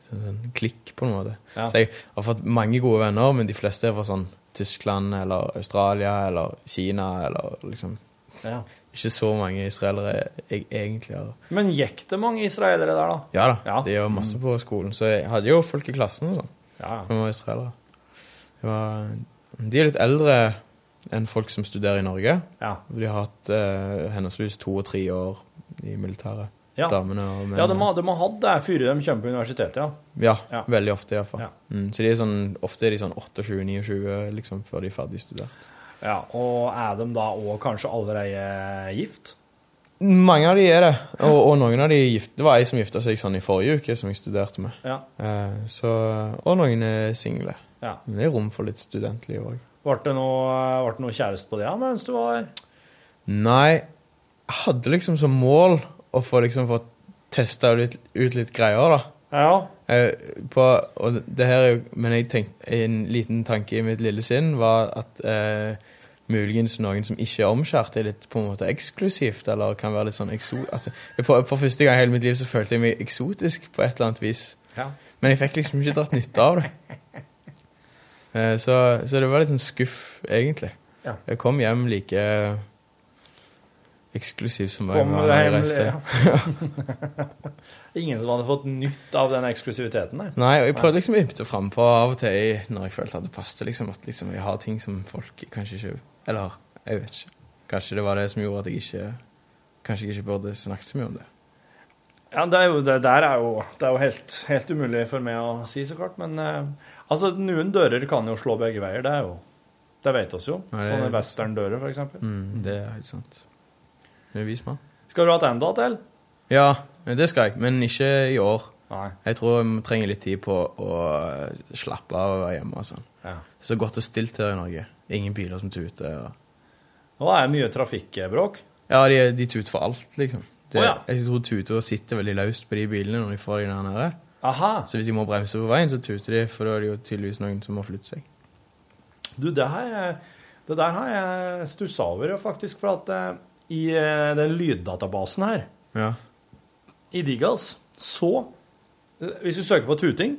Speaker 9: sånn, sånn klikk, på en måte.
Speaker 6: Ja.
Speaker 9: Så jeg har fått mange gode venner, men de fleste er fra sånn Tyskland eller Australia eller Kina eller liksom
Speaker 6: Ja.
Speaker 9: Ikke så mange israelere jeg egentlig har.
Speaker 6: Men gikk det mange israelere der, da?
Speaker 9: Ja da,
Speaker 6: Ja.
Speaker 9: de gjør masse på skolen, så jeg hadde jo folk i klassen og sånn.
Speaker 6: Ja.
Speaker 9: som var israelere. Det var, de er litt eldre enn folk som studerer i Norge.
Speaker 6: Ja.
Speaker 9: De har hatt eh, henholdsvis to og tre år i militæret.
Speaker 6: Ja.
Speaker 9: Damene og mennene.
Speaker 6: Ja, de har, de har hatt det før de kommer på universitetet, ja.
Speaker 9: Ja,
Speaker 6: Ja.
Speaker 9: veldig ofte iallfall.
Speaker 6: Ja.
Speaker 9: Ja. Mm, så de er sånn, ofte er de sånn 28-29 liksom, før de er ferdig studert.
Speaker 6: ja. Og er de da òg kanskje allerede gift?
Speaker 9: Mange av de er det, og, og noen av de gift, det var ei som gifta seg sånn i forrige uke, som jeg studerte med.
Speaker 6: Ja.
Speaker 9: Eh, så, og noen er single.
Speaker 6: ja.
Speaker 9: Men det er rom for litt studentliv òg.
Speaker 6: Ble det noe, ble det noe kjæreste på det ja, mens du var der?
Speaker 9: Nei, jeg hadde liksom som mål å få, liksom, få testa ut, ut litt greier, da.
Speaker 6: Ja.
Speaker 9: Eh, på, og det- det her er jo Men jeg tenkte, en liten tanke i mitt lille sinn var at eh, muligens noen som ikke er omskjært, er litt på en måte eksklusivt, eller kan være litt sånn ekso... Altså, jeg- for, for første gang i hele mitt liv så følte jeg meg eksotisk på et eller annet vis.
Speaker 6: Ja.
Speaker 9: Men jeg fikk liksom ikke dratt nytte av det. Eh, så, så det var litt sånn skuff, egentlig.
Speaker 6: Ja.
Speaker 9: Jeg kom hjem like eksklusiv som jeg
Speaker 6: Kom
Speaker 9: var
Speaker 6: du
Speaker 9: da jeg
Speaker 6: hjem
Speaker 9: reiste.
Speaker 6: ja. Ingen som hadde fått nytt av den eksklusiviteten der?
Speaker 9: Nei, og jeg prøvde liksom å ymte frampå av og til jeg, når jeg følte at det passet. Liksom, at liksom jeg har ting som folk kanskje ikke Eller jeg vet ikke. Kanskje det var det som gjorde at jeg ikke Kanskje jeg ikke burde snakke så mye om det.
Speaker 6: Ja, det, er jo, det der er jo, det er jo helt, helt umulig for meg å si, så klart. Men eh, altså, noen dører kan jo slå begge veier. Det er jo Det vet oss jo.
Speaker 9: Ja, det-
Speaker 6: Sånne westerndører, for eksempel.
Speaker 9: Det er helt sant. Mm. Du er vis mann.
Speaker 6: Skal du ha et enda til?
Speaker 9: Ja, det skal jeg, men ikke i år.
Speaker 6: Nei.
Speaker 9: Jeg tror jeg trenger litt tid på å slappe av og være hjemme og sånn.
Speaker 6: Ja.
Speaker 9: Så godt og stilt her i Norge. Ingen biler som tuter. og...
Speaker 6: Nå er det mye trafikkbråk.
Speaker 9: Ja, de, de tuter for alt, liksom. Det,
Speaker 6: Å, ja.
Speaker 9: Jeg tror tuter sitter veldig løst på de bilene når de får de der nede.
Speaker 6: Aha.
Speaker 9: Så hvis de må bremse på veien, så tuter de, for da er det jo tydeligvis noen som må flytte seg.
Speaker 6: Du, det, her, eh, det der har jeg stussa over, jo, faktisk. For at eh, i eh, den lyddatabasen her,
Speaker 9: Ja.
Speaker 6: i Digas, så Hvis du søker på tuting,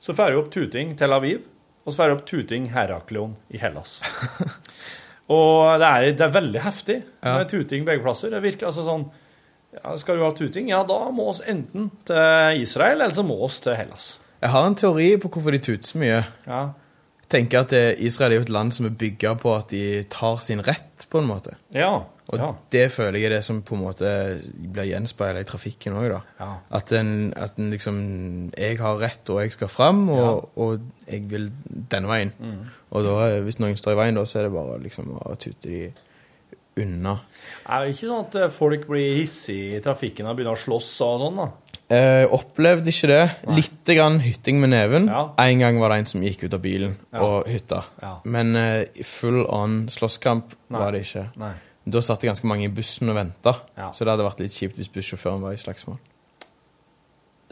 Speaker 6: så får du opp tuting Tel Aviv, og så får du opp tuting Heraklion i Hellas. og det er, det er veldig heftig
Speaker 9: Ja.
Speaker 6: med tuting begge plasser. Det virker altså sånn Ja, skal du ha tuting? Ja, da må oss enten til Israel, eller så må oss til Hellas.
Speaker 9: Jeg har en teori på hvorfor de tuter så mye.
Speaker 6: Ja.
Speaker 9: Jeg tenker at eh, Israel er jo et land som er bygget på at de tar sin rett, på en måte.
Speaker 6: Ja.
Speaker 9: Og
Speaker 6: ja.
Speaker 9: det føler jeg er det som på en måte blir gjenspeilet i trafikken òg, da.
Speaker 6: Ja.
Speaker 9: At, en, at en liksom Jeg har rett, og jeg skal fram, og, og jeg vil denne veien.
Speaker 6: Mm.
Speaker 9: Og da, eh, hvis noen står i veien, da, så er det bare liksom å tute de unna.
Speaker 6: Er det ikke sånn at eh, folk blir hissige i trafikken og begynner å slåss og sånn, da?
Speaker 9: Eh, opplevde ikke det. Litt grann hytting med neven.
Speaker 6: Ja.
Speaker 9: En gang var det en som gikk ut av bilen og hytta.
Speaker 6: Ja.
Speaker 9: Men eh, full on slåsskamp var det ikke.
Speaker 6: Nei.
Speaker 9: Da satt det ganske mange i bussen og venta,
Speaker 6: Ja.
Speaker 9: så det hadde vært litt kjipt hvis bussjåføren var i slagsmål.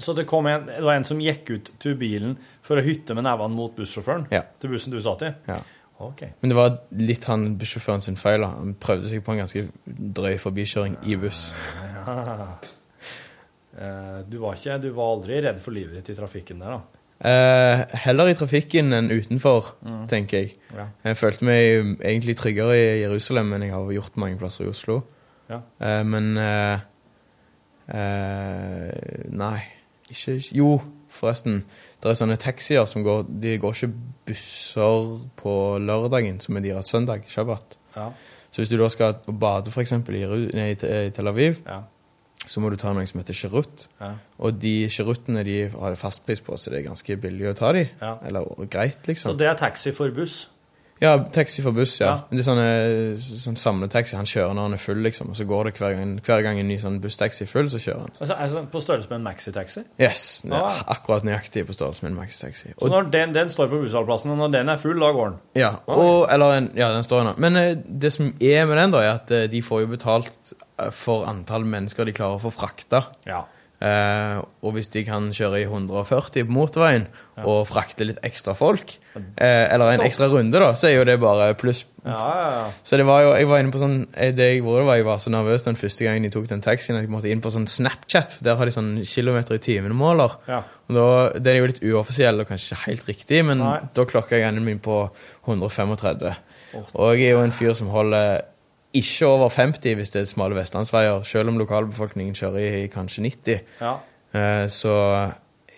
Speaker 6: Så det, kom en, det var en som gikk ut til bilen for å hytte med nevene mot bussjåføren?
Speaker 9: Ja.
Speaker 6: Til bussen du satt i?
Speaker 9: Ja.
Speaker 6: OK.
Speaker 9: Men det var litt han bussjåføren sin feil. da. Han prøvde seg på en ganske drøy forbikjøring i buss.
Speaker 6: Eh, Du var, ikke, du var aldri redd for livet ditt i trafikken der, da?
Speaker 9: Eh, heller i trafikken enn utenfor, tenker jeg.
Speaker 6: Mm. Ja.
Speaker 9: Jeg følte meg egentlig tryggere i Jerusalem enn jeg har gjort mange plasser i Oslo.
Speaker 6: Ja.
Speaker 9: Eh, men eh, eh, Nei. Ikke Jo, forresten. Det er sånne taxier som går De går ikke busser på lørdagen, som er deres søndag, shabbat.
Speaker 6: Ja.
Speaker 9: Så hvis du da skal og bade, for eksempel, i, Jeru- nei, i Te- i Tel Aviv,
Speaker 6: Ja.
Speaker 9: så må du ta noe som heter sherut.
Speaker 6: Ja.
Speaker 9: Og de cheruttene de har fastpris på, så det er ganske billig å ta de.
Speaker 6: Ja.
Speaker 9: Eller greit,
Speaker 6: Så
Speaker 9: liksom.
Speaker 6: det er taxi for buss?
Speaker 9: Ja, taxi for buss, ja.
Speaker 6: Ja.
Speaker 9: Men Det er sånne, sånn samletaxi. Han kjører når han er full, liksom. Og så går det hver gang, hver gang en ny sånn busstaxi er full, så kjører han.
Speaker 6: Altså, altså På størrelse med en maxitaxi?
Speaker 9: Yes, det er
Speaker 6: Ah.
Speaker 9: akkurat nøyaktig på størrelse med en maxtaxi.
Speaker 6: Så når den, den står på bussholdeplassen, og når den er full, da går den?
Speaker 9: Ja, og, eller en, ja, den står ennå. Men eh, det som er med den, da, er at eh, de får jo betalt eh, for antall mennesker de klarer å få frakta.
Speaker 6: Ja.
Speaker 9: Eh, og hvis de kan kjøre i 140 på motorveien og frakte litt ekstra folk, eh, eller en ekstra runde, da, så er jo det bare pluss.
Speaker 6: Ja, ja, ja.
Speaker 9: Så det var jo, jeg var inne på sånn eh, Det jeg gjorde, var jeg var så nervøs den første gangen de tok den taxien, at jeg måtte inn på sånn Snapchat, for der har de sånn kilometer i timen-måler.
Speaker 6: Ja.
Speaker 9: Og da, Den er jo litt uoffisiell og kanskje ikke helt riktig, men
Speaker 6: Nei.
Speaker 9: da klokka jeg enden min på 135. Og jeg er jo en fyr som holder ikke over 50 hvis det er smale vestlandsveier, selv om lokalbefolkningen kjører i, i kanskje 90.
Speaker 6: Ja.
Speaker 9: Eh, Så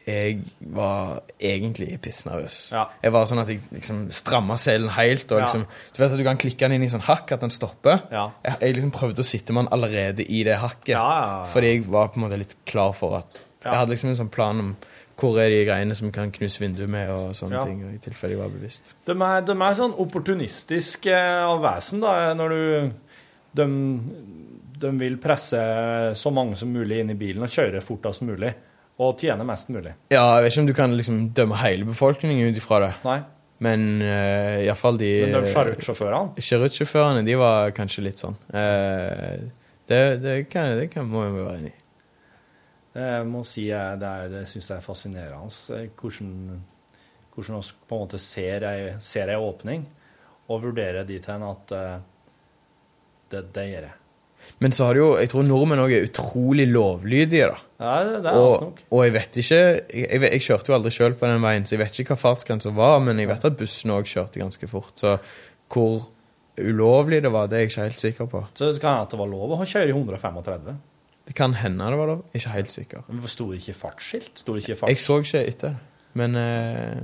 Speaker 9: jeg var egentlig pissnervøs.
Speaker 6: Ja.
Speaker 9: Jeg var sånn at jeg liksom stramma selen helt. Og
Speaker 6: Ja.
Speaker 9: liksom, du vet at du kan klikke den inn i sånn hakk, at den stopper.
Speaker 6: Ja.
Speaker 9: Jeg, jeg liksom prøvde å sitte med den allerede i det hakket.
Speaker 6: Ja, ja, ja.
Speaker 9: Fordi jeg var på en måte litt klar for at Jeg
Speaker 6: Ja.
Speaker 9: hadde liksom en sånn plan om hvor er de greiene som kan knuse vinduet med, og sånne
Speaker 6: Ja.
Speaker 9: ting. og I tilfelle jeg var bevisst.
Speaker 6: De er, de er sånn opportunistisk eh, av vesen, da, når du de, de vil presse så mange som mulig inn i bilen og kjøre fortest mulig. Og tjene mest mulig.
Speaker 9: Ja, jeg vet ikke om du kan liksom dømme hele befolkningen ut ifra det,
Speaker 6: Nei.
Speaker 9: men uh, iallfall de
Speaker 6: Men de sjaruttsjåførene
Speaker 9: Kjerutsjåførene, de var kanskje litt sånn. Eh, det, det, kan, det kan, må jeg være enig i.
Speaker 6: Jeg må si jeg det er- det syns jeg er fascinerende eh, hvordan, hvordan oss på en måte ser ei, ser ei åpning, og vurderer dit hen at eh, det, det gjør jeg.
Speaker 9: Men så har du jo Jeg tror nordmenn òg er utrolig lovlydige, da.
Speaker 6: Ja, det, det er altså
Speaker 9: Og,
Speaker 6: nok.
Speaker 9: og jeg vet ikke jeg, jeg, vet- jeg kjørte jo aldri sjøl på den veien, så jeg vet ikke hva fartsgrensa var, men jeg vet at bussene òg kjørte ganske fort. Så hvor ulovlig det var, det er jeg ikke helt sikker på.
Speaker 6: Så det kan hende at det var lov å kjøre i 135.
Speaker 9: Det kan hende det var lov. Jeg er ikke helt sikker.
Speaker 6: Men Sto det ikke fartsskilt? Sto det ikke
Speaker 9: Jeg
Speaker 6: fartsskilt?
Speaker 9: så ikke etter, men eh,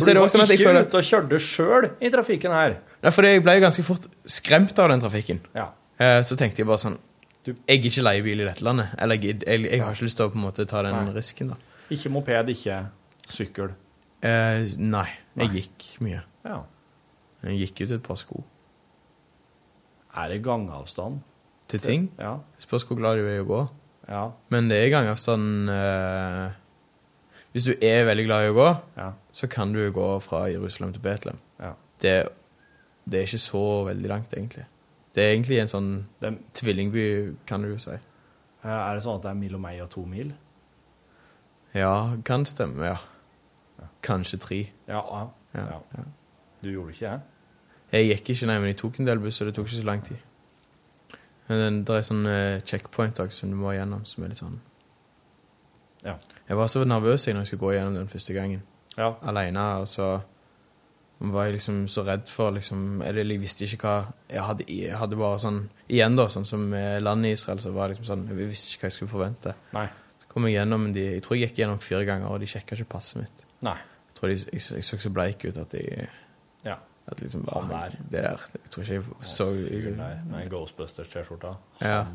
Speaker 6: For
Speaker 9: så er
Speaker 6: du
Speaker 9: det
Speaker 6: var
Speaker 9: også sånn at jeg
Speaker 6: ikke
Speaker 9: føler
Speaker 6: ute og kjørte sjøl i trafikken her.
Speaker 9: Nei, for jeg ble jo ganske fort skremt av den trafikken.
Speaker 6: Ja.
Speaker 9: Eh, Så tenkte jeg bare sånn
Speaker 6: Du-
Speaker 9: Jeg er ikke leiebil i dette landet. Eller jeg, gidd- jeg, jeg har ikke lyst til å på en måte ta den
Speaker 6: Nei.
Speaker 9: risken, da.
Speaker 6: Ikke moped, ikke sykkel.
Speaker 9: Eh, nei. Jeg
Speaker 6: Nei.
Speaker 9: gikk mye.
Speaker 6: Ja.
Speaker 9: Jeg gikk ut et par sko
Speaker 6: Er det gangavstand?
Speaker 9: til ting.
Speaker 6: Ja.
Speaker 9: Spørs hvor glad du er i å gå.
Speaker 6: Ja.
Speaker 9: Men det er gangavstand eh, Hvis du er veldig glad i å gå,
Speaker 6: Ja.
Speaker 9: så kan du gå fra Jerusalem til Betlehem.
Speaker 6: ja.
Speaker 9: Det, det er ikke så veldig langt, egentlig. Det er egentlig en sånn
Speaker 6: Det,
Speaker 9: tvillingby, kan du jo si.
Speaker 6: er det sånn at det er mil og meg og to mil?
Speaker 9: Ja, kan stemme, ja. Kanskje tre.
Speaker 6: Ja. ja.
Speaker 9: Ja,
Speaker 6: ja. Du gjorde ikke det?
Speaker 9: Jeg gikk ikke, nei, men jeg tok en del buss, og det tok ikke så lang tid. Men den, det er sånn eh, checkpoint også, som du må gjennom, som er litt sånn
Speaker 6: Ja.
Speaker 9: Jeg var så nervøs jeg når jeg skulle gå gjennom den første gangen,
Speaker 6: Ja.
Speaker 9: aleine, og så var jeg liksom så redd for liksom, Eller jeg visste ikke hva Jeg hadde, jeg hadde bare sånn Igjen, da, sånn som med landet i Israel, så var jeg liksom sånn Jeg visste ikke hva jeg skulle forvente.
Speaker 6: Nei.
Speaker 9: Så kom jeg gjennom de Jeg tror jeg gikk gjennom fire ganger, og de sjekka ikke passet mitt.
Speaker 6: Nei.
Speaker 9: Jeg tror de, jeg, jeg så så bleik ut at jeg
Speaker 6: Ja.
Speaker 9: at liksom
Speaker 6: Han
Speaker 9: bare, Det der Jeg tror ikke jeg så
Speaker 6: Nei, nei Ghostbusters-T-skjorta.
Speaker 9: Ja.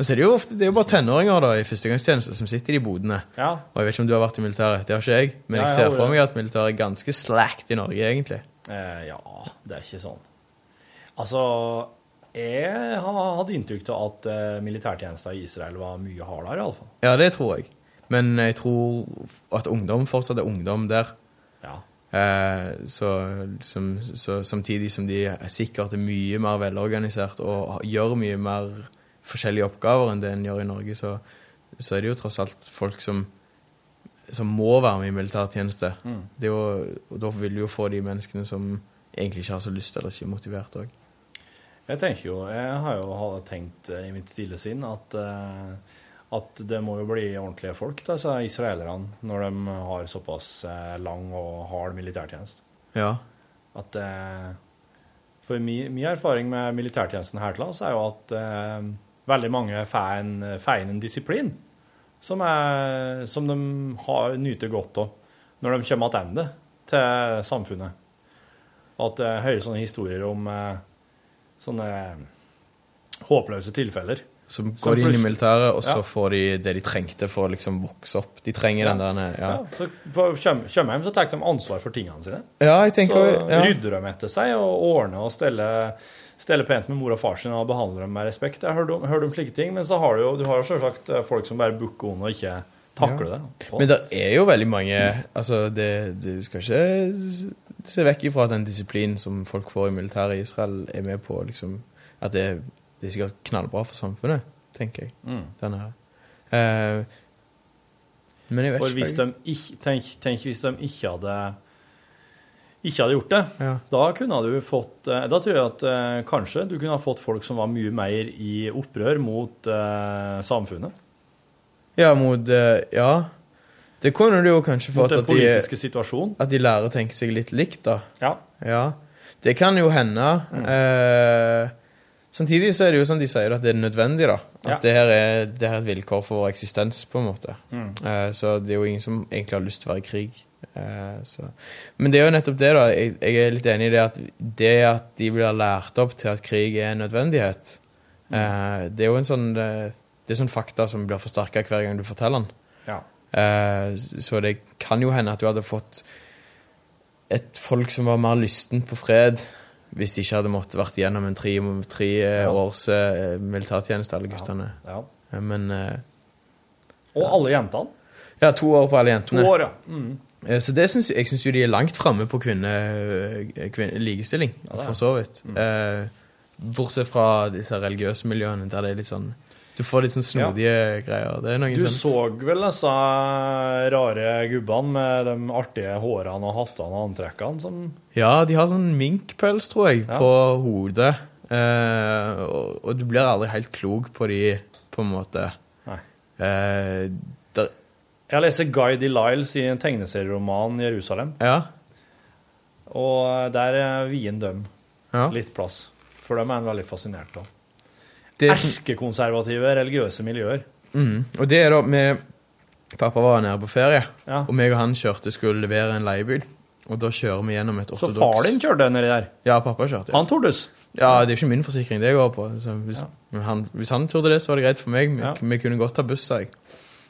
Speaker 9: Og så er det jo ofte Det er jo bare tenåringer da i førstegangstjeneste som sitter i de bodene.
Speaker 6: Ja.
Speaker 9: Og jeg vet ikke om du har vært i militæret. Det har ikke jeg. Men
Speaker 6: Ja,
Speaker 9: jeg
Speaker 6: jeg
Speaker 9: ser
Speaker 6: har
Speaker 9: for
Speaker 6: det.
Speaker 9: meg at militæret er ganske slakt i Norge, egentlig.
Speaker 6: Eh, ja, det er ikke sånn. Altså, jeg har hatt inntrykk av at eh, militærtjenesten i Israel var mye hardere, iallfall.
Speaker 9: Ja, det tror jeg. Men jeg tror at ungdom fortsatt er ungdom der.
Speaker 6: Ja.
Speaker 9: Eh, så, som, så samtidig som de er sikkert er mye mer velorganisert og gjør mye mer forskjellige oppgaver enn det en gjør i Norge, så, så er det jo tross alt folk som, som må være med i militærtjeneste.
Speaker 6: Mm.
Speaker 9: Det er jo, og da vil du jo få de menneskene som egentlig ikke har så lyst eller ikke er motivert òg.
Speaker 6: Jeg tenker jo, jeg har jo ha- tenkt eh, i mitt stille sinn at, eh, at det må jo bli ordentlige folk, disse israelerne, når de har såpass eh, lang og hard militærtjeneste.
Speaker 9: Ja.
Speaker 6: At eh, For min, min erfaring med militærtjenesten her til lands er jo at eh, veldig mange får en, får inn en disiplin som, er, som de har, nyter godt av når de kommer tilbake til samfunnet. At jeg hører sånne historier om eh, sånne eh, håpløse tilfeller.
Speaker 9: Som
Speaker 6: Som
Speaker 9: går de inn i
Speaker 6: plutselig-
Speaker 9: militæret, og så
Speaker 6: Ja.
Speaker 9: får de det de trengte for å liksom vokse opp. De trenger
Speaker 6: Ja.
Speaker 9: den der ja.
Speaker 6: Ja, så for- kommer kommer hjem, så tar de ansvar for tingene sine.
Speaker 9: ja, jeg tenker
Speaker 6: så
Speaker 9: ja.
Speaker 6: rydder de etter seg og ordner og steller, steller pent med mor og far sin og behandler dem med respekt. Jeg hørte om, hørte om slike ting, men så har du jo du har jo selvsagt eh, folk som bare bukker under og ikke takler det.
Speaker 9: Men det er jo veldig mange Altså, det, du skal ikke se vekk ifra at den disiplinen som folk får i militæret i Israel, er med på liksom At det, det er sikkert knallbra for samfunnet, tenker jeg.
Speaker 6: Mm.
Speaker 9: Den her. Eh, men jeg vet
Speaker 6: For hvis
Speaker 9: ikke.
Speaker 6: de ikke, tenk, tenk hvis de ikke hadde ikke hadde gjort det,
Speaker 9: Ja.
Speaker 6: da kunne du fått eh, Da tror jeg at eh, kanskje du kunne ha fått folk som var mye mer i opprør mot eh, samfunnet.
Speaker 9: ja, mot eh, Ja. Det kunne du jo kanskje
Speaker 6: Mot
Speaker 9: fått
Speaker 6: den
Speaker 9: at de,
Speaker 6: politiske situasjonen.
Speaker 9: at de lærer å tenke seg litt likt, da.
Speaker 6: Ja.
Speaker 9: Ja, det kan jo hende. Eh, samtidig så er det jo sånn de sier at det er nødvendig, da.
Speaker 6: Ja.
Speaker 9: At det, her er, det her er et vilkår for vår eksistens, på en måte. Eh, så det er jo ingen som egentlig har lyst til å være i krig. Eh, så. Men det er jo nettopp det, da. Jeg, jeg er litt enig i det at det at de blir lært opp til at krig er en nødvendighet, eh, det er jo en sånn eh, Det er sånn fakta som blir forsterka hver gang du forteller den.
Speaker 6: ja.
Speaker 9: Eh, Så det kan jo hende at du hadde fått et folk som var mer lysten på fred, hvis de ikke hadde måttet vært igjennom en tre, tre eh,
Speaker 6: Ja.
Speaker 9: års eh, militærtjeneste, alle guttene.
Speaker 6: ja.
Speaker 9: Eh, Men eh,
Speaker 6: Og alle jentene.
Speaker 9: Ja, to år på alle
Speaker 6: To
Speaker 9: jentene.
Speaker 6: år, ja. Mm.
Speaker 9: Eh, Så det syns jeg syns jo de er langt framme på kvinne, kvinne, likestilling,
Speaker 6: Ja, det er. Mm.
Speaker 9: for så vidt. Eh, Bortsett fra disse religiøse miljøene, der det er litt sånn Du får litt sånn snodige greier. Det er noen
Speaker 6: Du
Speaker 9: sånn
Speaker 6: så vel disse rare gubbene med de artige hårene og hattene og antrekkene som
Speaker 9: Ja, de har sånn minkpøls, tror jeg,
Speaker 6: Ja.
Speaker 9: på hodet. Eh, og, og du blir aldri helt klok på de, på en måte.
Speaker 6: Nei.
Speaker 9: Eh, der,
Speaker 6: Jeg leser Guy Delisle sin tegneserieroman 'Jerusalem',
Speaker 9: ja.
Speaker 6: og der er vien dem
Speaker 9: ja.
Speaker 6: litt plass. For dem er han veldig fascinert av.
Speaker 9: Det, er sånn-
Speaker 6: Erkekonservative, religiøse miljøer.
Speaker 9: mm, og det er da med Pappa var nede på ferie,
Speaker 6: Ja.
Speaker 9: og meg og han kjørte skulle levere en leiebil. Og da kjører vi gjennom et
Speaker 6: Så
Speaker 9: ortodoks
Speaker 6: far din kjørte nedi der.
Speaker 9: Ja, pappa kjørte.
Speaker 6: Han tordes.
Speaker 9: Ja, det er jo ikke min forsikring det går på. Så hvis,
Speaker 6: Ja.
Speaker 9: men han, hvis han trodde det, så var det greit for meg. Vi,
Speaker 6: Ja.
Speaker 9: vi kunne godt ta buss, sa jeg.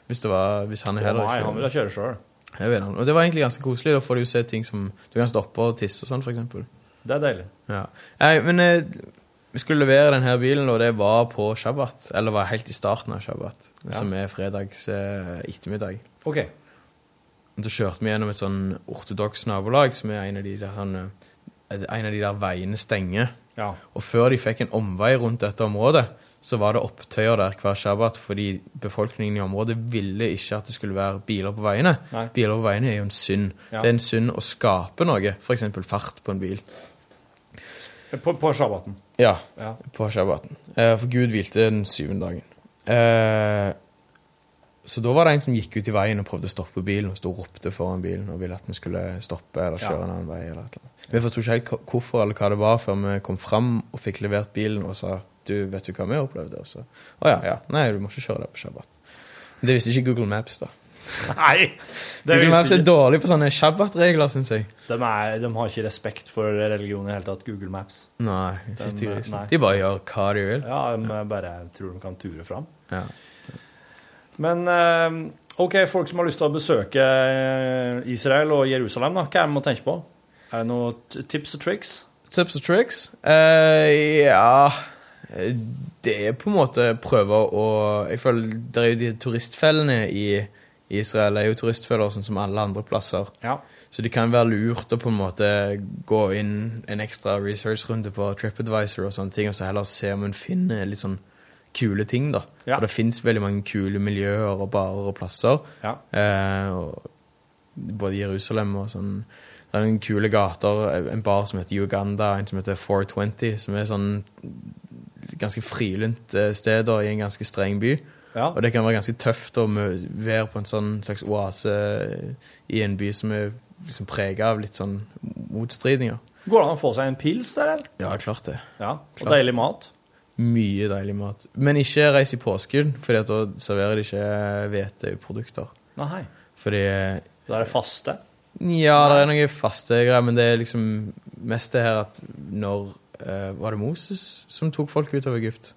Speaker 9: Hvis, det var, hvis han
Speaker 6: Å
Speaker 9: er heller
Speaker 6: nei,
Speaker 9: ikke
Speaker 6: han ville kjøre sjøl.
Speaker 9: Jeg vet han. Og det var egentlig ganske koselig. Da får du jo se ting som Du kan stoppe og tisse og sånn, for eksempel.
Speaker 6: Det er deilig.
Speaker 9: Ja. Nei, men eh, vi skulle levere denne bilen, og det var på shabbat. Eller var helt i starten av shabbat, som er fredags eh, ettermiddag.
Speaker 6: OK.
Speaker 9: Og Da kjørte vi gjennom et sånn ortodoks nabolag, som er en av de der han eh, en av de der veiene stenger.
Speaker 6: Ja.
Speaker 9: Og før de fikk en omvei rundt dette området, så var det opptøyer der hver shabbat fordi befolkningen i området ville ikke at det skulle være biler på veiene.
Speaker 6: Nei.
Speaker 9: Biler på veiene er jo en synd.
Speaker 6: Ja.
Speaker 9: Det er en synd å skape noe, f.eks. fart på en bil.
Speaker 6: På, på sabbaten.
Speaker 9: Ja,
Speaker 6: Ja.
Speaker 9: på shabbaten. Eh, For Gud hvilte den syvende dagen. Eh, Så da var det en som gikk ut i veien og prøvde å stoppe bilen, og sto og ropte foran bilen og ville at vi skulle stoppe eller kjøre en annen vei. eller et eller annet. Vi forsto ikke helt hva- hvorfor eller hva det var før vi kom fram og fikk levert bilen og sa du, vet du hva vi opplevde? Og så å ja, ja, nei, du må ikke kjøre der på shabbat. Men Det visste ikke Google Maps, da.
Speaker 2: Nei! Det
Speaker 9: Google Maps
Speaker 2: visste
Speaker 9: er
Speaker 2: ikke.
Speaker 9: dårlig på sånne shabbat-regler, syns jeg.
Speaker 2: De, er, de har ikke respekt for religion i hele tatt, Google Maps.
Speaker 9: Nei,
Speaker 2: Den, eh,
Speaker 9: fytti grisen.
Speaker 2: nei.
Speaker 9: De bare gjør hva de vil.
Speaker 2: Ja, de bare tror de kan ture fram.
Speaker 9: Ja.
Speaker 2: Men eh, OK, folk som har lyst til å besøke eh, Israel og Jerusalem, da, hva er det de må tenke på? Er det noen t- tips og triks?
Speaker 9: Tips og tricks? Eh, ja Det er på en måte prøve å Jeg føler det er jo de turistfellene i Israel. Det er jo turistfeller sånn som alle andre plasser.
Speaker 2: Ja.
Speaker 9: Så det kan være lurt å på en måte gå inn en ekstra researchrunde på TripAdvisor og sånne ting, og så heller se om en finner litt sånn kule ting, da.
Speaker 2: Ja.
Speaker 9: For det fins veldig mange kule miljøer og barer og plasser.
Speaker 2: Ja.
Speaker 9: Eh, og både i Jerusalem og sånn. Det er noen kule gater, en bar som heter Uganda, en som heter 420, som er sånn ganske frilynt eh, sted da, i en ganske streng by.
Speaker 2: Ja.
Speaker 9: Og det kan være ganske tøft å mø- være på en sånn slags oase eh, i en by som er liksom preget av litt sånn motstridinger.
Speaker 2: Går det an å få seg en pils der, eller?
Speaker 9: Ja, klart det.
Speaker 2: Ja. Og
Speaker 9: Klart.
Speaker 2: deilig mat?
Speaker 9: Mye deilig mat. Men ikke reis i påskudd, for da serverer de ikke eh, hveteprodukter.
Speaker 2: Nei.
Speaker 9: Fordi eh,
Speaker 2: Da er det faste?
Speaker 9: Ja, det er noen faste greier, men det er liksom mest det her at når eh, Var det Moses som tok folk ut av Egypt?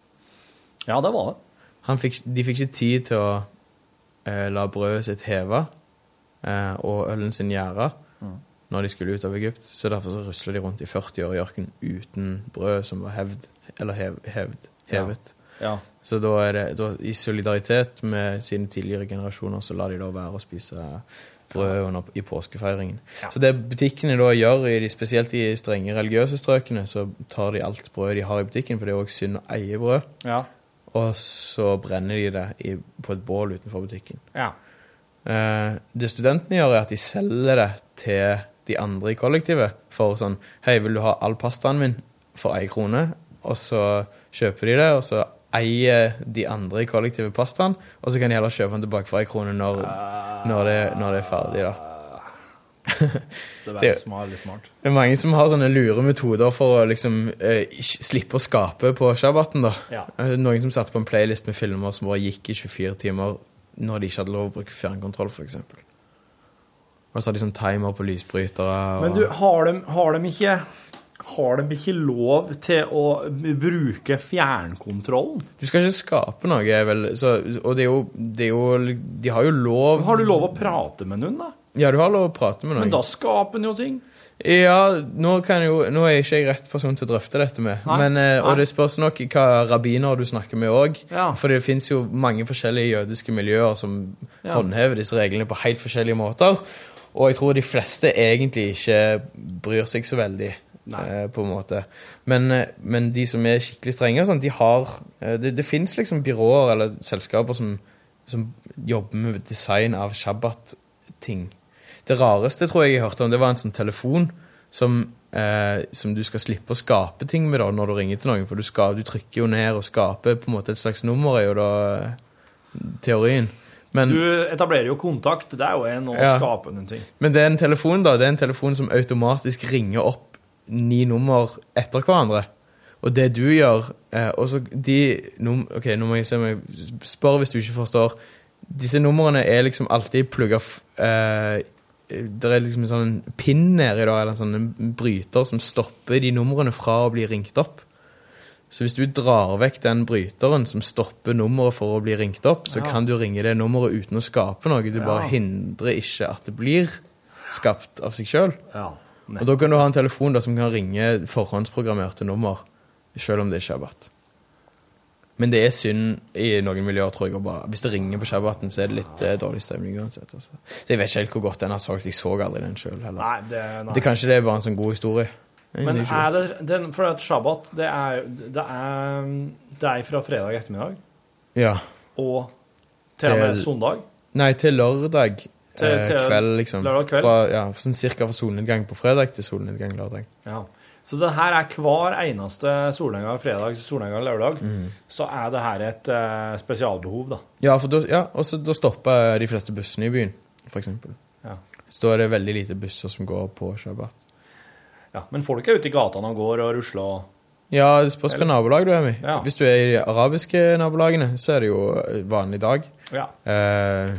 Speaker 2: Ja, det var det.
Speaker 9: Han fikk, de fikk ikke tid til å eh, la brødet sitt heve eh, og ølen sin gjære
Speaker 2: Mm.
Speaker 9: når de skulle ut av Egypt. Så derfor så rusla de rundt i 40 år i ørkenen uten brød som var hevd, eller hev, hevd, hevet.
Speaker 2: Ja.
Speaker 9: Så da er det, da, i solidaritet med sine tidligere generasjoner, så lar de da være å spise brød under, i påskefeiringen.
Speaker 2: Ja.
Speaker 9: Så det butikkene da gjør, i de, spesielt i strenge religiøse strøkene, så tar de alt brød de har i butikken, for det er også synd å eie brød.
Speaker 2: Ja.
Speaker 9: Og så brenner de det i, på et bål utenfor butikken.
Speaker 2: ja.
Speaker 9: Eh, det studentene gjør, er at de selger det til de andre i kollektivet. For sånn Hei, vil du ha all pastaen min for ei krone? Og så kjøper de det, og så eier de andre i kollektivet pastaen. Og så kan de heller kjøpe den tilbake for ei krone når, når, det, når det er ferdig, da.
Speaker 2: Det er
Speaker 9: Det-
Speaker 2: veldig smart. Veldig smart.
Speaker 9: Det er mange som har sånne lure metoder for å liksom eh, ikke- slippe å skape på shabbaten, da.
Speaker 2: Ja.
Speaker 9: Eh, Noen som satte på en playlist med filmer som bare gikk i 24 timer når de ikke hadde lov å bruke fjernkontroll, f.eks. Og så hadde de sånn timer på lysbrytere. Og...
Speaker 2: Men du, har de, har de ikke har de ikke lov til å bruke fjernkontrollen?
Speaker 9: du skal ikke skape noe, er vel så, Og det er, jo, det er jo De har jo lov
Speaker 2: Har du lov å prate med noen, da?
Speaker 9: Ja, du har lov å prate med noen.
Speaker 2: Men da skaper en jo ting.
Speaker 9: Ja, nå, kan jo, nå er ikke jeg rett person til å drøfte dette med.
Speaker 2: Nei,
Speaker 9: Men, eh, og
Speaker 2: nei.
Speaker 9: det spørs nok hva rabbiner du snakker med òg.
Speaker 2: Ja.
Speaker 9: For det fins jo mange forskjellige jødiske miljøer som
Speaker 2: Ja.
Speaker 9: håndhever disse reglene på helt forskjellige måter. Og jeg tror de fleste egentlig ikke bryr seg så veldig.
Speaker 2: Nei.
Speaker 9: eh, på en måte. Men, eh, men de som er skikkelig strenge, og sånt, de har eh, Det, det fins liksom byråer eller selskaper som, som jobber med design av shabbat-ting. Det rareste tror jeg jeg hørte om, det var en sånn telefon som, eh, som du skal slippe å skape ting med da, når du ringer til noen, for du, skal, du trykker jo ned og skaper på en måte et slags nummer, er jo da eh, teorien. Men,
Speaker 2: Du etablerer jo kontakt. Det er jo en å
Speaker 9: Ja.
Speaker 2: skape noen ting.
Speaker 9: men det er en telefon da, det er en telefon som automatisk ringer opp ni nummer etter hverandre. Og det du gjør, eh, og så de, num ok, nå må jeg se om jeg spør hvis du ikke forstår, disse numrene er liksom alltid plugget, f- eh, det er liksom en sånn pinn nedi da, eller en sånn en bryter som stopper de numrene fra å bli ringt opp. Så hvis du drar vekk den bryteren som stopper nummeret for å bli ringt opp, så kan du ringe det nummeret uten å skape noe. Du bare hindrer ikke at det blir skapt av seg sjøl.
Speaker 2: Ja.
Speaker 9: Og da kan du ha en telefon da, som kan ringe forhåndsprogrammerte nummer, sjøl om det er shabbat. Men det er synd i noen miljøer, tror jeg. å Bare. Hvis det ringer på shabbaten, så er det litt eh, dårlig stemning uansett. Altså. Så jeg vet ikke helt hvor godt den har solgt. Jeg så aldri den sjøl heller.
Speaker 2: Nei, det, nei.
Speaker 9: Det, kanskje det er bare en sånn god historie.
Speaker 2: Men
Speaker 9: ikke
Speaker 2: er
Speaker 9: godt.
Speaker 2: det, den, for at shabbat, det er, det, er, det er fra fredag ettermiddag
Speaker 9: Ja.
Speaker 2: og til og med
Speaker 9: Til-
Speaker 2: søndag.
Speaker 9: Nei, til lørdag
Speaker 2: Til-
Speaker 9: eh,
Speaker 2: til
Speaker 9: kveld, liksom.
Speaker 2: lørdag kveld?
Speaker 9: Fra, ja, sånn cirka fra solnedgang på fredag til solnedgang lørdag.
Speaker 2: Ja.
Speaker 6: Så det her er hver eneste solnedgang fredag, solnedgang lørdag, så er det her et eh, spesialbehov, da.
Speaker 9: Ja, for da, ja, og så da stopper de fleste bussene i byen, for eksempel.
Speaker 6: Ja.
Speaker 9: Så da er det veldig lite busser som går på Shabbat.
Speaker 6: Ja, men folk er ute i gatene og går og rusler og
Speaker 9: Ja, det spørs hva nabolag du er med i.
Speaker 6: Ja.
Speaker 9: Hvis du er i de arabiske nabolagene, så er det jo vanlig dag.
Speaker 6: Ja.
Speaker 9: Eh,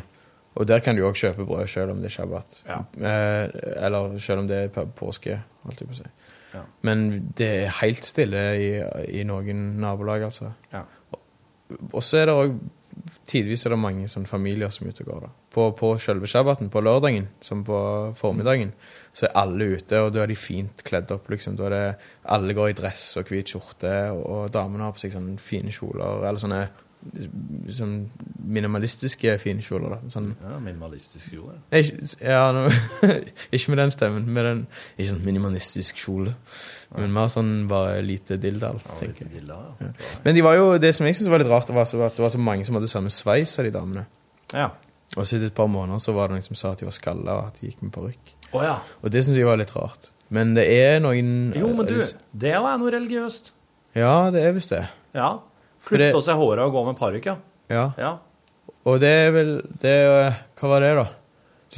Speaker 9: og der kan du òg kjøpe brød selv om det er Shabbat.
Speaker 6: Ja.
Speaker 9: Eh, eller selv om det er på- påske, holdt jeg på å si.
Speaker 6: Ja.
Speaker 9: Men det er helt stille i, i noen nabolag, altså.
Speaker 6: Ja.
Speaker 9: Og så er det òg Tidvis er det mange sånn familier som er ute og går. da. På, på selve shabbaten, på lørdagen, som på formiddagen, så er alle ute, og da er de fint kledd opp. liksom. Da er det, Alle går i dress og hvit skjorte, og, og damene har på seg sånne fine kjoler, eller sånne sånn minimalistiske fine kjoler. da. Sånn,
Speaker 6: ja, Minimalistisk jord.
Speaker 9: Nei, ikke- ja, nå, ikke med den stemmen, med den ikke sånn minimalistisk kjole, men mer sånn bare lite dilldall, tenker jeg.
Speaker 6: Villa, ja.
Speaker 9: Men de var jo, det som jeg syntes var litt rart, var så, at det var så mange som hadde samme sveis av de damene.
Speaker 6: ja.
Speaker 9: Og så etter et par måneder så var det noen som sa at de var skalla, og at de gikk med parykk.
Speaker 6: Å ja.
Speaker 9: Og det syns jeg var litt rart. Men det er noen eh,
Speaker 6: Jo, men du, det er jo noe religiøst.
Speaker 9: Ja, det er visst det.
Speaker 6: Ja.
Speaker 9: det-
Speaker 6: Klippet av seg håret og gå med parykk, ja.
Speaker 9: Ja.
Speaker 6: ja.
Speaker 9: Og det er vel det er, jo- Hva var det, da?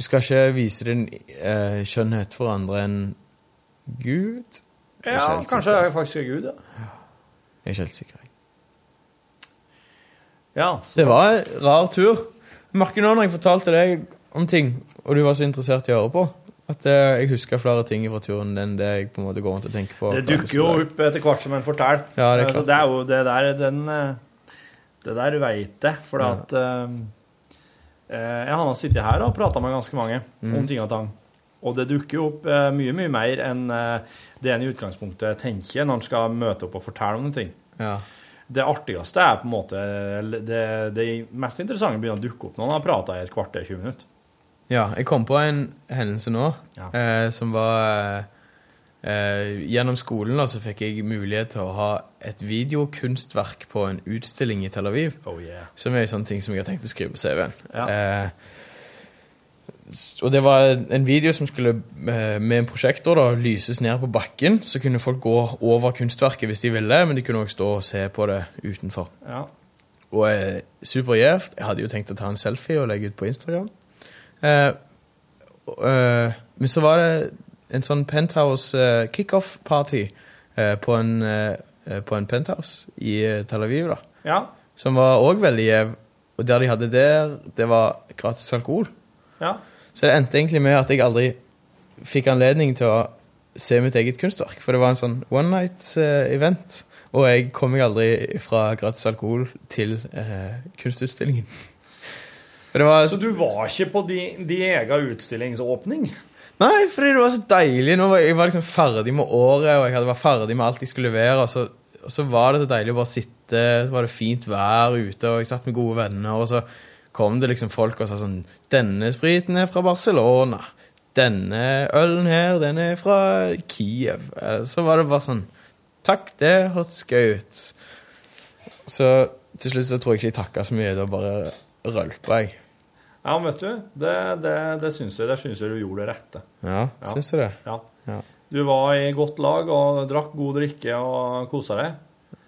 Speaker 9: Du skal ikke vise din eh, skjønnhet for andre enn Gud? Jeg er
Speaker 6: Ja,
Speaker 9: ikke helt
Speaker 6: kanskje
Speaker 9: sikker.
Speaker 6: jeg faktisk er Gud, ja.
Speaker 9: Jeg er ikke helt sikker. jeg.
Speaker 6: Ja,
Speaker 9: Det var en rar tur. Jeg merker nå når jeg fortalte deg om ting, og du var så interessert i å høre på, at eh, jeg husker flere ting fra turen enn det jeg på en måte går rundt og tenker på.
Speaker 6: Det
Speaker 9: hver
Speaker 6: dukker jo
Speaker 9: eneste dag.
Speaker 6: opp etter hvert som en forteller.
Speaker 9: Ja, det er
Speaker 6: Eh, Så
Speaker 9: klart.
Speaker 6: det er jo det der den, eh, Det der veit jeg, for
Speaker 9: Ja.
Speaker 6: at eh, eh, Jeg har nå sittet her og prata med ganske mange
Speaker 9: Mm.
Speaker 6: om ting og tang. Og det dukker jo opp eh, mye, mye mer enn eh, det en i utgangspunktet tenker når en skal møte opp og fortelle om noen ting.
Speaker 9: Ja.
Speaker 6: Det artigste er på en måte eller Det, det mest interessante begynner å dukke opp når en har prata i et kvarter, 20 minutter.
Speaker 9: ja, jeg kom på en hendelse nå
Speaker 6: Ja.
Speaker 9: eh, som var eh, eh, Gjennom skolen da, så fikk jeg mulighet til å ha et videokunstverk på en utstilling i Tel Aviv.
Speaker 6: Oh yeah.
Speaker 9: Som er en sånn ting som jeg har tenkt å skrive på CV-en.
Speaker 6: Ja.
Speaker 9: Eh, s- og det var en video som skulle eh, med en prosjektor da, lyses ned på bakken. Så kunne folk gå over kunstverket hvis de ville, men de kunne også stå og se på det utenfor.
Speaker 6: Ja.
Speaker 9: Og eh, supergjevt. Jeg hadde jo tenkt å ta en selfie og legge ut på Instagram. Eh, og, eh, men så var det en sånn penthouse eh, kickoff-party eh, på, en, eh, eh, på en penthouse i eh, Tel Aviv, da
Speaker 6: Ja.
Speaker 9: som var òg veldig gjev. Og der de hadde der, det var gratis alkohol.
Speaker 6: ja.
Speaker 9: Så det endte egentlig med at jeg aldri fikk anledning til å se mitt eget kunstverk. For det var en sånn one night-event. Og jeg kom meg aldri fra gratis alkohol til eh, kunstutstillingen. For det var,
Speaker 6: Så du var ikke på di- di egen utstillingsåpning?
Speaker 9: Nei, fordi det var så deilig. Nå var jeg, jeg var liksom ferdig med året, og jeg hadde vært ferdig med alt jeg skulle levere. Og så, og så var det så deilig å bare sitte, så var det fint vær ute, og jeg satt med gode venner. Og så kom det liksom folk og sa sånn Denne spriten er fra Barcelona. Denne ølen her, den er fra Kiev. Eh, Så var det bare sånn Takk, det hørtes gøy ut. Så til slutt så tror jeg ikke jeg takka så mye. Da bare rølpa jeg.
Speaker 6: Ja, men vet du, det, det, det syns jeg, det syns jeg du gjorde det rette.
Speaker 9: Ja,
Speaker 6: Ja.
Speaker 9: syns du det?
Speaker 6: Ja.
Speaker 9: Ja.
Speaker 6: Du var i godt lag og drakk god drikke og kosa deg.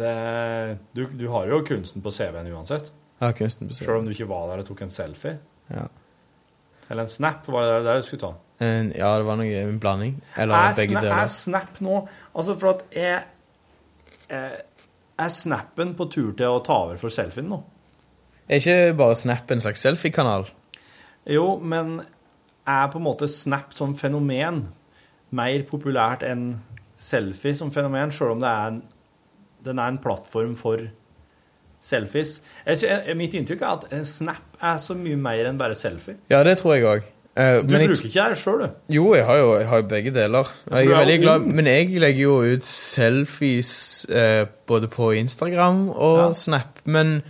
Speaker 6: Det, du, du har jo kunsten på CV-en uansett,
Speaker 9: Ja, kunsten bestemmer.
Speaker 6: sjøl om du ikke var der og tok en selfie.
Speaker 9: Ja.
Speaker 6: Eller en snap, var det det du skulle ta?
Speaker 9: En- Eh, Ja, det var noe, en blanding. Eller
Speaker 6: Jeg
Speaker 9: begge
Speaker 6: sna-
Speaker 9: deler.
Speaker 6: Jeg Ah, snap nå Altså, for at jeg eh, Er snappen på tur til å ta over for selfien nå?
Speaker 9: Er ikke bare Snap en slags selfie-kanal?
Speaker 6: Jo, men er på en måte Snap som fenomen mer populært enn selfie som fenomen, selv om det er en, den er en plattform for selfies? Jeg, sy- jeg, mitt inntrykk er at en Snap er så mye mer enn bare selfie.
Speaker 9: Ja, det tror jeg òg.
Speaker 6: Du bruker ikke det sjøl, du.
Speaker 9: Jo, jeg har jo, jeg har jo begge deler. Jeg
Speaker 6: du
Speaker 9: er
Speaker 6: er
Speaker 9: veldig
Speaker 6: jo
Speaker 9: glad,
Speaker 6: ung.
Speaker 9: men jeg legger jo ut selfies eh, både på Instagram og
Speaker 6: Ja.
Speaker 9: Snap. Men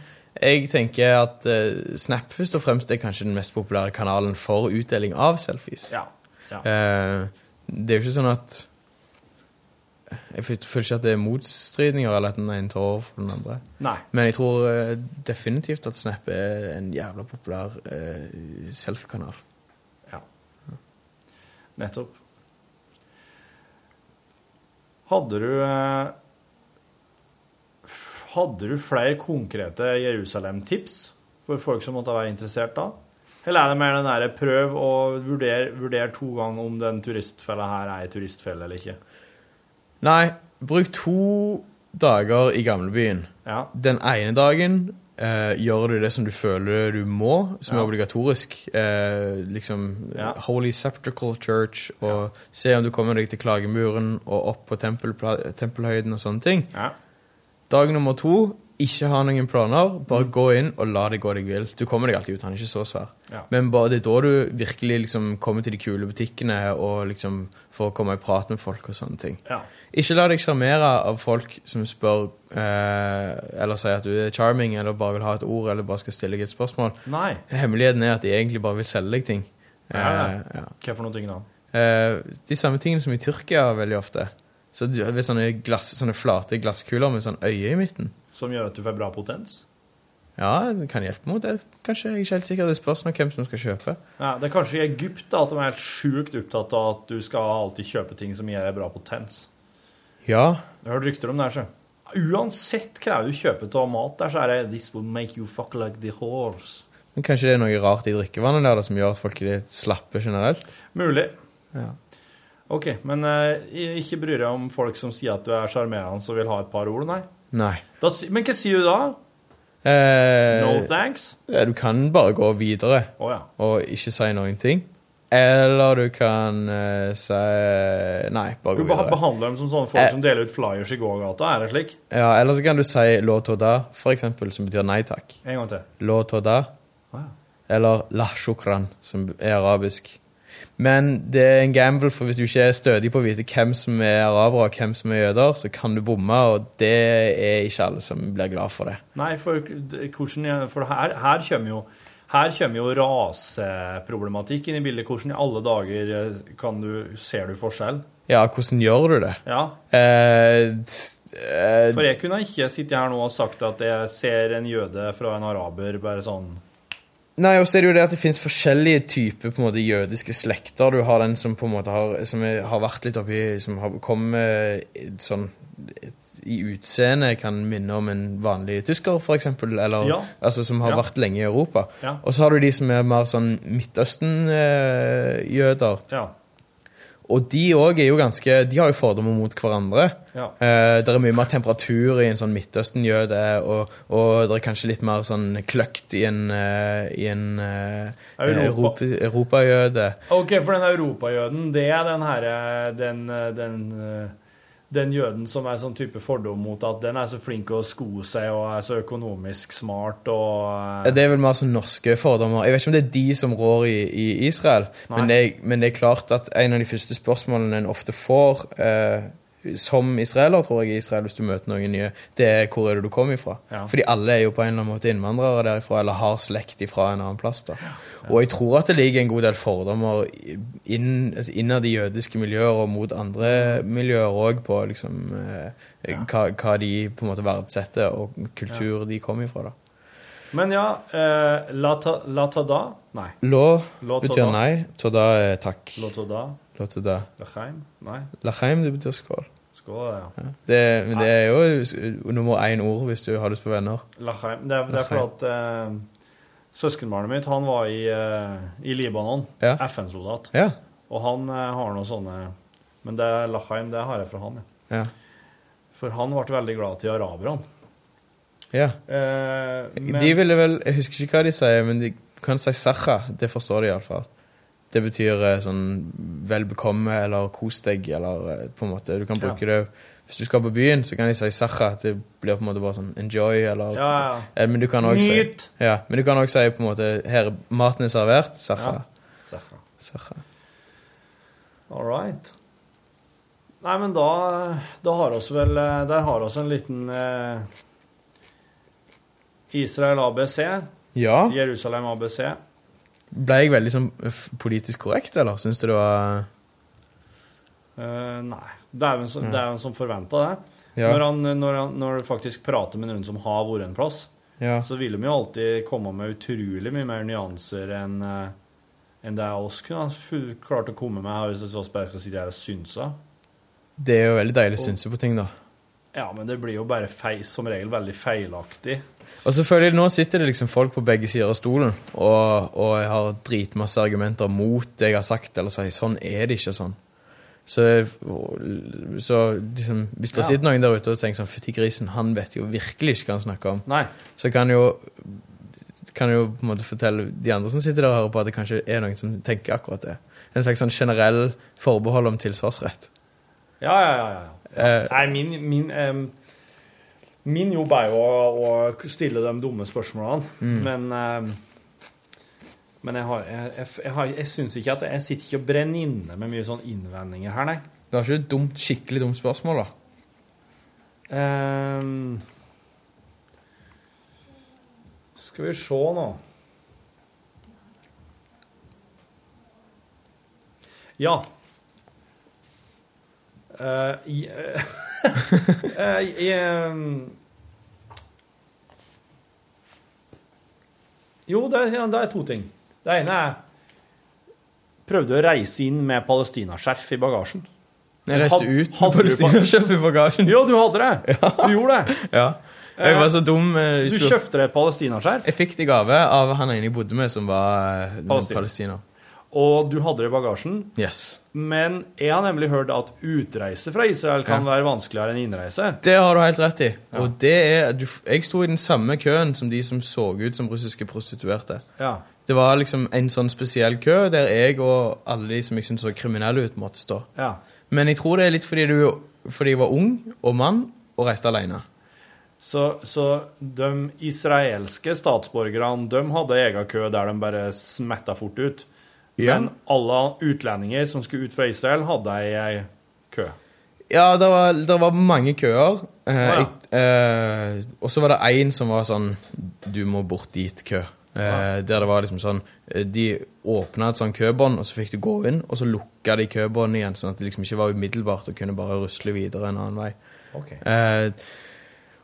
Speaker 9: jeg tenker at eh, Snap først og fremst er kanskje den mest populære kanalen for utdeling av selfies.
Speaker 6: Ja. ja.
Speaker 9: Eh, det er jo ikke sånn at Jeg føl- føler ikke at det er motstridninger, eller at den ene tar over for den andre.
Speaker 6: Nei.
Speaker 9: Men jeg tror eh, definitivt at Snap er en jævla populær eh, selfie-kanal.
Speaker 6: Nettopp. Hadde du eh, f- Hadde du flere konkrete Jerusalem-tips for folk som måtte være interessert da? Eller er det mer den derre prøv å vurdere vurder to ganger om den turistfella her er ei turistfelle eller ikke?
Speaker 9: Nei, bruk to dager i gamlebyen.
Speaker 6: Ja.
Speaker 9: Den ene dagen eh, gjør du det som du føler du må, som
Speaker 6: Ja.
Speaker 9: er obligatorisk. Eh, liksom
Speaker 6: Ja.
Speaker 9: Holy Septical Church, og se om du kommer deg til klagemuren og opp på tempelpla- tempelhøyden og sånne ting.
Speaker 6: Ja.
Speaker 9: Dag nummer to ikke ha noen planer. Bare
Speaker 6: Mm.
Speaker 9: gå inn og la det gå deg vill. Du kommer deg alltid ut. Han er ikke så svær.
Speaker 6: Ja.
Speaker 9: Men bare det er da du virkelig liksom kommer til de kule butikkene og liksom får komme i prat med folk og sånne ting.
Speaker 6: Ja.
Speaker 9: Ikke la deg sjarmere av folk som spør eh, eller sier at du er charming eller bare vil ha et ord eller bare skal stille deg et spørsmål.
Speaker 6: Nei.
Speaker 9: Hemmeligheten er at de egentlig bare vil selge deg ting.
Speaker 6: Ja, ja.
Speaker 9: Eh, ja.
Speaker 6: Hva for noen ting da?
Speaker 9: Eh, de samme tingene som i Tyrkia veldig ofte. Så du, ved sånne, glass, sånne flate glasskuler med sånn øye i midten.
Speaker 6: Som gjør at du får bra potens?
Speaker 9: Ja, det kan hjelpe mot det. Kanskje jeg er ikke helt sikker. Det er spørsmål om hvem som skal kjøpe.
Speaker 6: Ja, det er kanskje i Egypt da, at de er helt sjukt opptatt av at du skal alltid kjøpe ting som gir deg bra potens.
Speaker 9: Ja,
Speaker 6: Jeg har hørt rykter om det her, så. Uansett hva du kjøper av mat der, så er det This will make you fuck like the horse.
Speaker 9: men kanskje det er noe rart i drikkevannet der da, som gjør at folk er litt slappe generelt.
Speaker 6: Mulig.
Speaker 9: Ja.
Speaker 6: Ok, men eh, ikke bry deg om folk som sier at du er sjarmerende og vil ha et par ord, nei.
Speaker 9: Nei.
Speaker 6: Da, si- men hva sier du da?
Speaker 9: Eh,
Speaker 6: No thanks?
Speaker 9: ja, du kan bare gå videre
Speaker 6: Å ja.
Speaker 9: og ikke si noen ting. Eller du kan eh, si Nei, bare
Speaker 6: Du
Speaker 9: gå
Speaker 6: beha-
Speaker 9: videre.
Speaker 6: behandler dem som sånne folk
Speaker 9: Eh.
Speaker 6: som deler ut flyers i gågata, er det slik?
Speaker 9: Ja, Eller så kan du si 'låt og da', for eksempel, som betyr nei takk.
Speaker 6: En gang til.
Speaker 9: La toda,
Speaker 6: Wow.
Speaker 9: eller la shukran, som er arabisk. Men det er en gamble, for hvis du ikke er stødig på å vite hvem som er arabere og hvem som er jøder, så kan du bomme, og det er ikke alle som blir glad for det.
Speaker 6: Nei, for, d- hvordan, jeg- for her, her kommer jo her kommer jo raseproblematikk inn i bildet. Hvordan i alle dager eh, kan du, ser du forskjell?
Speaker 9: Ja, hvordan gjør du det?
Speaker 6: Ja,
Speaker 9: Eh, s- eh,
Speaker 6: For jeg kunne ikke sitte her nå og sagt at jeg ser en jøde fra en araber, bare sånn
Speaker 9: Nei, og så er det jo det at det finnes forskjellige typer på en måte, jødiske slekter. Du har den som på en måte har, som er, har vært litt oppi Som har kommet eh, sånn i utseende kan minne om en vanlig tysker, for eksempel. Eller,
Speaker 6: Ja.
Speaker 9: Altså som har
Speaker 6: Ja.
Speaker 9: vært lenge i Europa.
Speaker 6: Ja.
Speaker 9: Og så har du de som er mer sånn Midtøsten-jøder.
Speaker 6: Ja.
Speaker 9: Og de òg er jo ganske De har jo fordommer mot hverandre.
Speaker 6: Ja.
Speaker 9: Eh, det er mye mer temperatur i en sånn Midtøsten-jøde, og, og det er kanskje litt mer sånn kløkt i en, eh, i en eh,
Speaker 6: Europa.
Speaker 9: Europa- europajøde.
Speaker 6: OK, for den europajøden, det er den herre den, eh, den, eh, den jøden som er sånn type fordom mot at den er så flink å sko seg og er så økonomisk smart og eh,
Speaker 9: Det er vel mer sånn norske fordommer. Jeg vet ikke om det er de som rår i, i Israel,
Speaker 6: Nei.
Speaker 9: men det, er, men det er klart at en av de første spørsmålene en ofte får eh, som israeler, tror jeg, i Israel, hvis du møter noen nye, det er 'hvor er det du kom ifra'?
Speaker 6: Ja.
Speaker 9: Fordi alle er jo på en eller annen måte innvandrere derifra, eller har slekt ifra en annen plass. da. Og jeg tror at det ligger en god del fordommer i- inn, altså innad i jødiske miljøer og mot
Speaker 6: Mm.
Speaker 9: andre miljøer òg, på liksom eh, hva, hva de på en måte verdsetter, og kultur de kom ifra. da.
Speaker 6: Men ja, eh, la ta- la ta da Nei.
Speaker 9: Lå
Speaker 6: Lå
Speaker 9: betyr
Speaker 6: toda.
Speaker 9: nei, toda er takk.
Speaker 6: La ta da
Speaker 9: Lå toda.
Speaker 6: Lachaim? Nei.
Speaker 9: Lachaim, det betyr skål.
Speaker 6: Skål, ja.
Speaker 9: Det, men det er jo s- nummer én ord hvis du har lyst på venner.
Speaker 6: Lachaim. Det er, det er fordi at eh, søskenbarnet mitt, han var i, eh, i Libanon.
Speaker 9: Ja.
Speaker 6: FN-soldat.
Speaker 9: Ja.
Speaker 6: Og han eh, har noen sånne Men det er Lachaim, det har jeg fra han. Ja.
Speaker 9: Ja.
Speaker 6: For han ble veldig glad til araberne.
Speaker 9: ja.
Speaker 6: Eh, men,
Speaker 9: De ville vel Jeg husker ikke hva de sier, men de kan si sacha. Det forstår de iallfall. Det betyr eh, sånn vel bekomme eller kos deg eller eh, på en måte Du kan bruke det Hvis du skal på byen, så kan de si sacha. Det blir på en måte bare sånn enjoy eller
Speaker 6: ja, ja.
Speaker 9: Eh, Men du kan òg si
Speaker 6: Nyt!
Speaker 9: Ja, men du kan også si på en måte Her, maten er servert. Sacha.
Speaker 6: Ja. Sacha.
Speaker 9: Sacha.
Speaker 6: All right. Nei, men da, da har oss vel eh, Der har oss en liten eh, Israel ABC.
Speaker 9: Ja.
Speaker 6: Jerusalem ABC.
Speaker 9: Ble jeg veldig sånn f- politisk korrekt, eller? Syns du det var
Speaker 6: Eh, nei. Det er jo en som, det er jo en som forventa det.
Speaker 9: Ja.
Speaker 6: Når, han, når, han, når du faktisk prater med noen som har vært en plass,
Speaker 9: Ja.
Speaker 6: så vil de jo alltid komme med utrolig mye mer nyanser enn eh, enn det oss kunne ha fu- klart å komme med her hvis vi så bare skal sitte her og synse.
Speaker 9: Det er jo veldig deilig å synse på ting, da.
Speaker 2: Ja, men det blir jo bare feil, som regel veldig feilaktig.
Speaker 9: Og selvfølgelig, nå sitter det liksom folk på begge sider av stolen og, og jeg har dritmasse argumenter mot det jeg har sagt, eller sier sånn er det ikke sånn. Så, så liksom, hvis det
Speaker 2: Ja.
Speaker 9: sitter noen der ute og tenker sånn Fytti grisen, han vet jo virkelig ikke hva han snakker om.
Speaker 2: Nei.
Speaker 9: Så kan jo kan jo på en måte fortelle de andre som sitter der og hører på, at det kanskje er noen som tenker akkurat det. En slags sånn generell forbehold om tilsvarsrett.
Speaker 2: Ja, ja, ja. ja.
Speaker 9: Eh,
Speaker 2: Nei, min, min, em, min jobb er jo å, å stille de dumme spørsmålene, men, em, men jeg, har, jeg, jeg, jeg, har, jeg synes ikke at jeg, sitter ikke og brenner inne med mye sånn innvendinger her, nei.
Speaker 9: det var ikke et dumt, skikkelig dumt spørsmål, da.
Speaker 2: Em, skal vi se nå. Ja. Eh, i- eh, eh, i, ehm, em, jo, det, ja, det er to ting. Det ene er Prøvde å reise inn med palestinaskjerf i bagasjen.
Speaker 9: Jeg reiste
Speaker 2: Hadde-
Speaker 9: ut
Speaker 2: hadde
Speaker 9: med
Speaker 2: du-
Speaker 9: palestinakjøp i bagasjen.
Speaker 2: Jo, du hadde det! Du gjorde det.
Speaker 9: Ja. Jeg var så dum. eh, hvis
Speaker 2: Du
Speaker 9: du-
Speaker 2: kjøpte deg et palestinaskjerf,
Speaker 9: Jeg fikk det i gave av han ene jeg bodde med, som var eh,
Speaker 2: Palestiner.
Speaker 9: palestiner.
Speaker 2: og du hadde det i bagasjen.
Speaker 9: Yes.
Speaker 2: Men jeg har nemlig hørt at utreise fra Israel kan være vanskeligere enn innreise.
Speaker 9: Det har du helt rett i. Og det er, du, f- jeg sto i den samme køen som de som så ut som russiske prostituerte.
Speaker 2: Ja.
Speaker 9: Det var liksom en sånn spesiell kø der jeg og alle de som jeg syntes så kriminelle ut, måtte stå.
Speaker 2: ja.
Speaker 9: Men jeg tror det er litt fordi, du, fordi jeg var ung og mann og reiste alene.
Speaker 2: Så, så de israelske statsborgerne de hadde egen kø der de bare smetta fort ut.
Speaker 9: Ja.
Speaker 2: Men alle utlendinger som skulle ut fra Israel, hadde ei kø.
Speaker 9: Ja, det var, det var mange køer. Eh,
Speaker 2: ja.
Speaker 9: jeg- eh, og så var det én som var sånn Du må bort dit-kø. Eh, Der det var liksom sånn eh, De åpna et sånn købånd, og så fikk du gå inn, og så lukka de købåndet igjen, sånn at det liksom ikke var umiddelbart og kunne bare rusle videre en annen vei. Eh,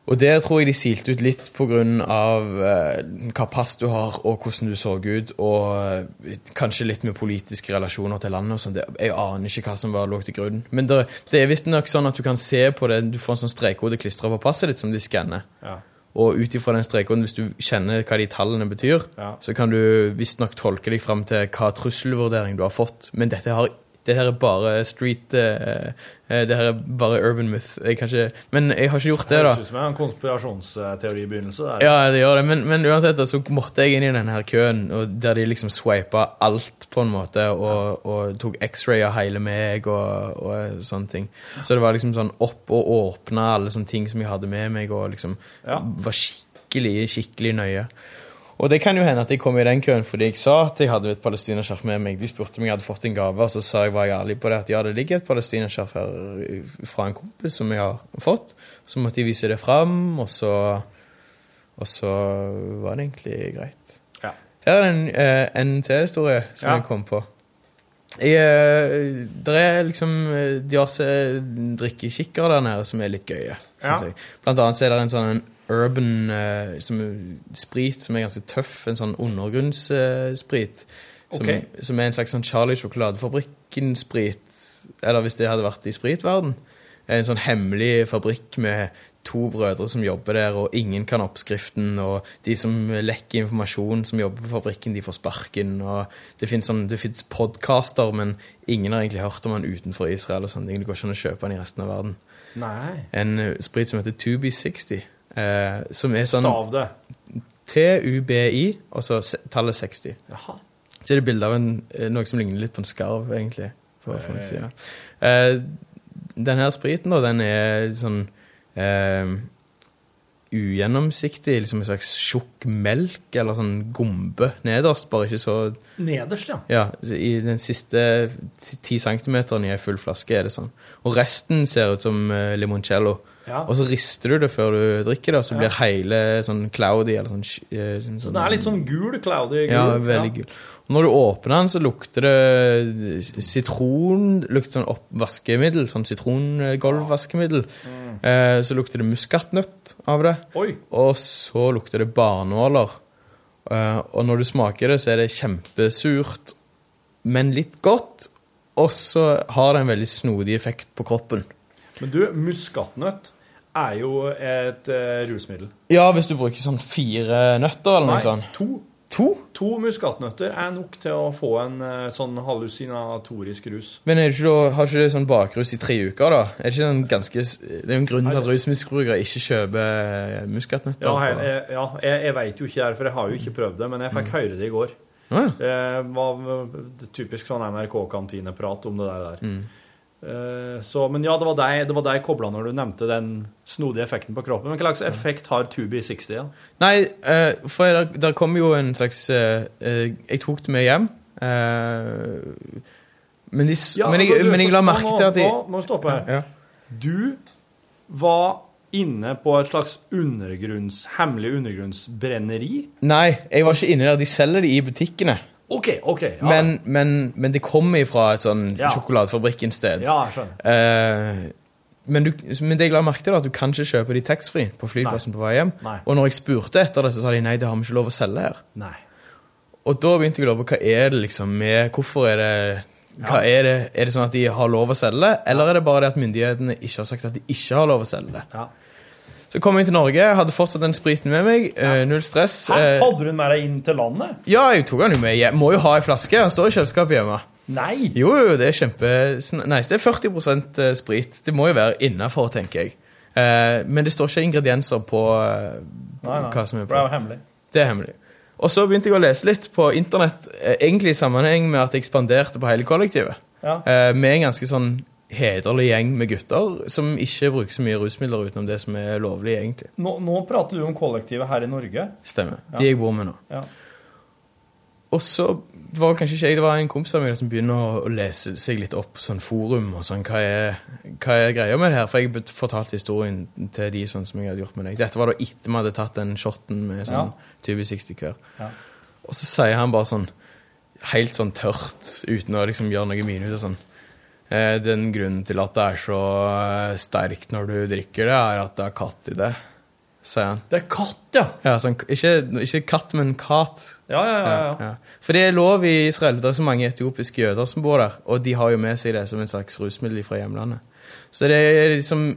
Speaker 9: og der tror jeg de silte ut litt pga. Eh, hva pass du har, og hvordan du så ut, og eh, kanskje litt med politiske relasjoner til landet. og sånn. Det- Jeg aner ikke hva som var lå til grunn. Men det, det er visstnok sånn at du kan se på det, du får en sånn strekkode klistra på passet ditt som de skanner.
Speaker 2: Ja.
Speaker 9: Og ut ifra den strekkoden, hvis du kjenner hva de tallene betyr,
Speaker 2: Ja.
Speaker 9: så kan du visstnok tolke deg fram til hva trusselvurdering du har fått. Men dette har det her er bare street eh, eh, Det her er bare urban myth. Jeg kan ikke, men jeg har ikke gjort det, da.
Speaker 2: Høres ut som en konspirasjonsteori i begynnelsen. der.
Speaker 9: Ja, det gjør det, men, men uansett da, så måtte jeg inn i denne her køen og der de liksom swipa alt på en måte og, og tok x-ray av hele meg og, og sånne ting. Så det var liksom sånn opp og åpna alle sånne ting som jeg hadde med meg og liksom
Speaker 2: Ja.
Speaker 9: var skikkelig, skikkelig nøye. Og det kan jo hende at jeg kom i den køen fordi jeg sa at jeg hadde et palestinaskjerf med meg. De spurte om jeg hadde fått en gave, og så sa jeg var jeg ærlig på det at ja, det ligger et palestinaskjerf her fra en kompis som jeg har fått. Så måtte jeg vise det fram, og så og så var det egentlig greit.
Speaker 2: Ja.
Speaker 9: Her er en eh, NT-historie som
Speaker 2: Ja.
Speaker 9: jeg kom på. Jeg, eh, der er liksom eh, diverse drikkekikker der nede som er litt gøye,
Speaker 2: Ja.
Speaker 9: synes jeg. Blant annet så er det en sånn urban eh, som, sprit som er ganske tøff, en sånn undergrunnssprit. som,
Speaker 2: Ok.
Speaker 9: som er en slags sånn Charlie Sjokoladefabrikken-sprit, eller hvis det hadde vært i spritverden. En sånn hemmelig fabrikk med to brødre som jobber der, og ingen kan oppskriften, og de som lekker informasjon som jobber på fabrikken, de får sparken, og det finnes, sånn, det finnes podcaster, men ingen har egentlig hørt om han utenfor Israel og sånne ting. Det går ikke an å kjøpe han i resten av verden.
Speaker 2: Nei.
Speaker 9: En eh, sprit som heter 2B60, eh, som er sånn
Speaker 2: Stav det.
Speaker 9: T-U-B-I, og så se- tallet 60.
Speaker 2: Jaha.
Speaker 9: Så er det bilde av en, eh, noe som ligner litt på en skarv, egentlig. På frontsida. Eh, den her spriten, da, den er sånn eh, ugjennomsiktig, liksom en slags tjukk melk, eller sånn gombe nederst, bare ikke så
Speaker 2: Nederst, ja.
Speaker 9: ja, i den siste ti- ti centimeteren i ei full flaske er det sånn. Og resten ser ut som eh, limoncello.
Speaker 2: Ja.
Speaker 9: Og så rister du det før du drikker det, og så blir hele sånn cloudy eller sånn, sk- eh, sånn
Speaker 2: Så den er litt sånn gul, cloudy gul.
Speaker 9: ja, veldig gul. Og når du åpner den, så lukter det eh, sitron Lukter sånn opp vaskemiddel, sånn sitrongolvvaskemiddel. Eh, så lukter det muskatnøtt av det.
Speaker 2: Oi.
Speaker 9: Og så lukter det barnåler. Eh, og når du smaker det, så er det kjempesurt, men litt godt. Og så har det en veldig snodig effekt på kroppen.
Speaker 6: Men du, muskatnøtt er jo et eh, rusmiddel.
Speaker 9: Ja, hvis du bruker sånn fire nøtter eller
Speaker 6: Nei,
Speaker 9: noe sånt.
Speaker 6: to.
Speaker 9: To?
Speaker 6: To muskatnøtter er nok til å få en eh, sånn hallusinatorisk rus.
Speaker 9: Men er det ikke, da- har ikke det sånn bakrus i tre uker, da? Er det ikke sånn ganske s- Det er jo en grunn til at rusmisbrukere ikke kjøper eh, muskatnøtter.
Speaker 6: Ja, jeg, jeg- ja, jeg, jeg veit jo ikke det her, for jeg har jo ikke prøvd det, men jeg
Speaker 9: Mm.
Speaker 6: fikk høre det i går.
Speaker 9: Å, ja.
Speaker 6: Det var eh, typisk sånn NRK-kantineprat om det der. der.
Speaker 9: Mm.
Speaker 6: Eh, Så, men ja, det var deg, det var deg kobla når du nevnte den snodige effekten på kroppen. Men hva slags effekt har 2B60? Ja?
Speaker 9: Nei, eh, for der, der kom jo en slags eh, eh, Jeg tok det med hjem. eh, men, de, s-
Speaker 6: Ja,
Speaker 9: men, jeg,
Speaker 6: altså, du,
Speaker 9: men jeg
Speaker 6: for-
Speaker 9: la
Speaker 6: nå-
Speaker 9: merke til at de
Speaker 6: Nå må du stoppe her.
Speaker 9: ja.
Speaker 6: Du var inne på et slags undergrunns, hemmelig undergrunnsbrenneri.
Speaker 9: Nei, jeg var ikke inne der. De selger de i butikkene.
Speaker 6: OK, OK. Ja,
Speaker 9: Men, men, men det kommer ifra et sånn
Speaker 6: Ja.
Speaker 9: sjokoladefabrikkinnsted.
Speaker 6: ja jeg skjønner.
Speaker 9: Eh, men, du, men det jeg la merke til, da, at du kan ikke kjøpe de taxfree på flyplassen på vei hjem.
Speaker 6: Nei.
Speaker 9: Og når jeg spurte etter det, så sa de nei, det har vi ikke lov å selge her.
Speaker 6: Nei.
Speaker 9: Og da begynte jeg å lure på hva er det liksom med Hvorfor er det hva er, det, er det sånn at de har lov å selge, eller er det bare det at myndighetene ikke har sagt at de ikke har lov å selge det?
Speaker 6: Ja.
Speaker 9: Så kom jeg til Norge, hadde fortsatt den spriten med meg, eh, null stress.
Speaker 6: Hæ?
Speaker 9: eh,
Speaker 6: Hadde du den med deg inn til landet?
Speaker 9: Ja, jeg tok den jo med hjem. Må jo ha ei flaske, den står i kjøleskapet hjemme.
Speaker 6: Nei!
Speaker 9: Jo, jo, det er kjempe... Nei, det er 40 sprit. Det må jo være innafor, tenker jeg. Eh, Men det står ikke ingredienser på eh,
Speaker 6: Nei, nei.
Speaker 9: hva som er
Speaker 6: Det er
Speaker 9: på.
Speaker 6: jo hemmelig.
Speaker 9: Det er hemmelig. Og så begynte jeg å lese litt på internett, eh, egentlig i sammenheng med at jeg spanderte på hele kollektivet.
Speaker 6: Ja.
Speaker 9: Eh, Med en ganske sånn hederlig gjeng med gutter som ikke bruker så mye rusmidler utenom det som er lovlig, egentlig.
Speaker 6: Nå, nå prater du om kollektivet her i Norge.
Speaker 9: Stemmer. De jeg bor med nå.
Speaker 6: Ja.
Speaker 9: Og så var det kanskje ikke jeg, det var en kompis av meg som begynner å- å lese seg litt opp på sånn forum og sånn, hva er, hva er greia med det her? For jeg bet- fortalte historien til de sånn som jeg hadde gjort med deg. Dette var da etter vi hadde tatt den shotten med
Speaker 6: Ja.
Speaker 9: sånn 20-60 hver.
Speaker 6: Ja.
Speaker 9: Og så sier han bare sånn, helt sånn tørt, uten å liksom gjøre noe mine ut og sånn. «Eh, Den grunnen til at det er så eh, sterkt når du drikker det, er at det er katt i det, sier han.
Speaker 6: Det er katt, ja!
Speaker 9: Ja, sånn, ikke, ikke katt, men kat.
Speaker 6: Ja, ja, ja.
Speaker 9: Ja,
Speaker 6: ja.
Speaker 9: ja. For det er lov i Israel. Det er så mange etiopiske jøder som bor der, og de har jo med seg det som en slags rusmiddel fra hjemlandet. Så det er liksom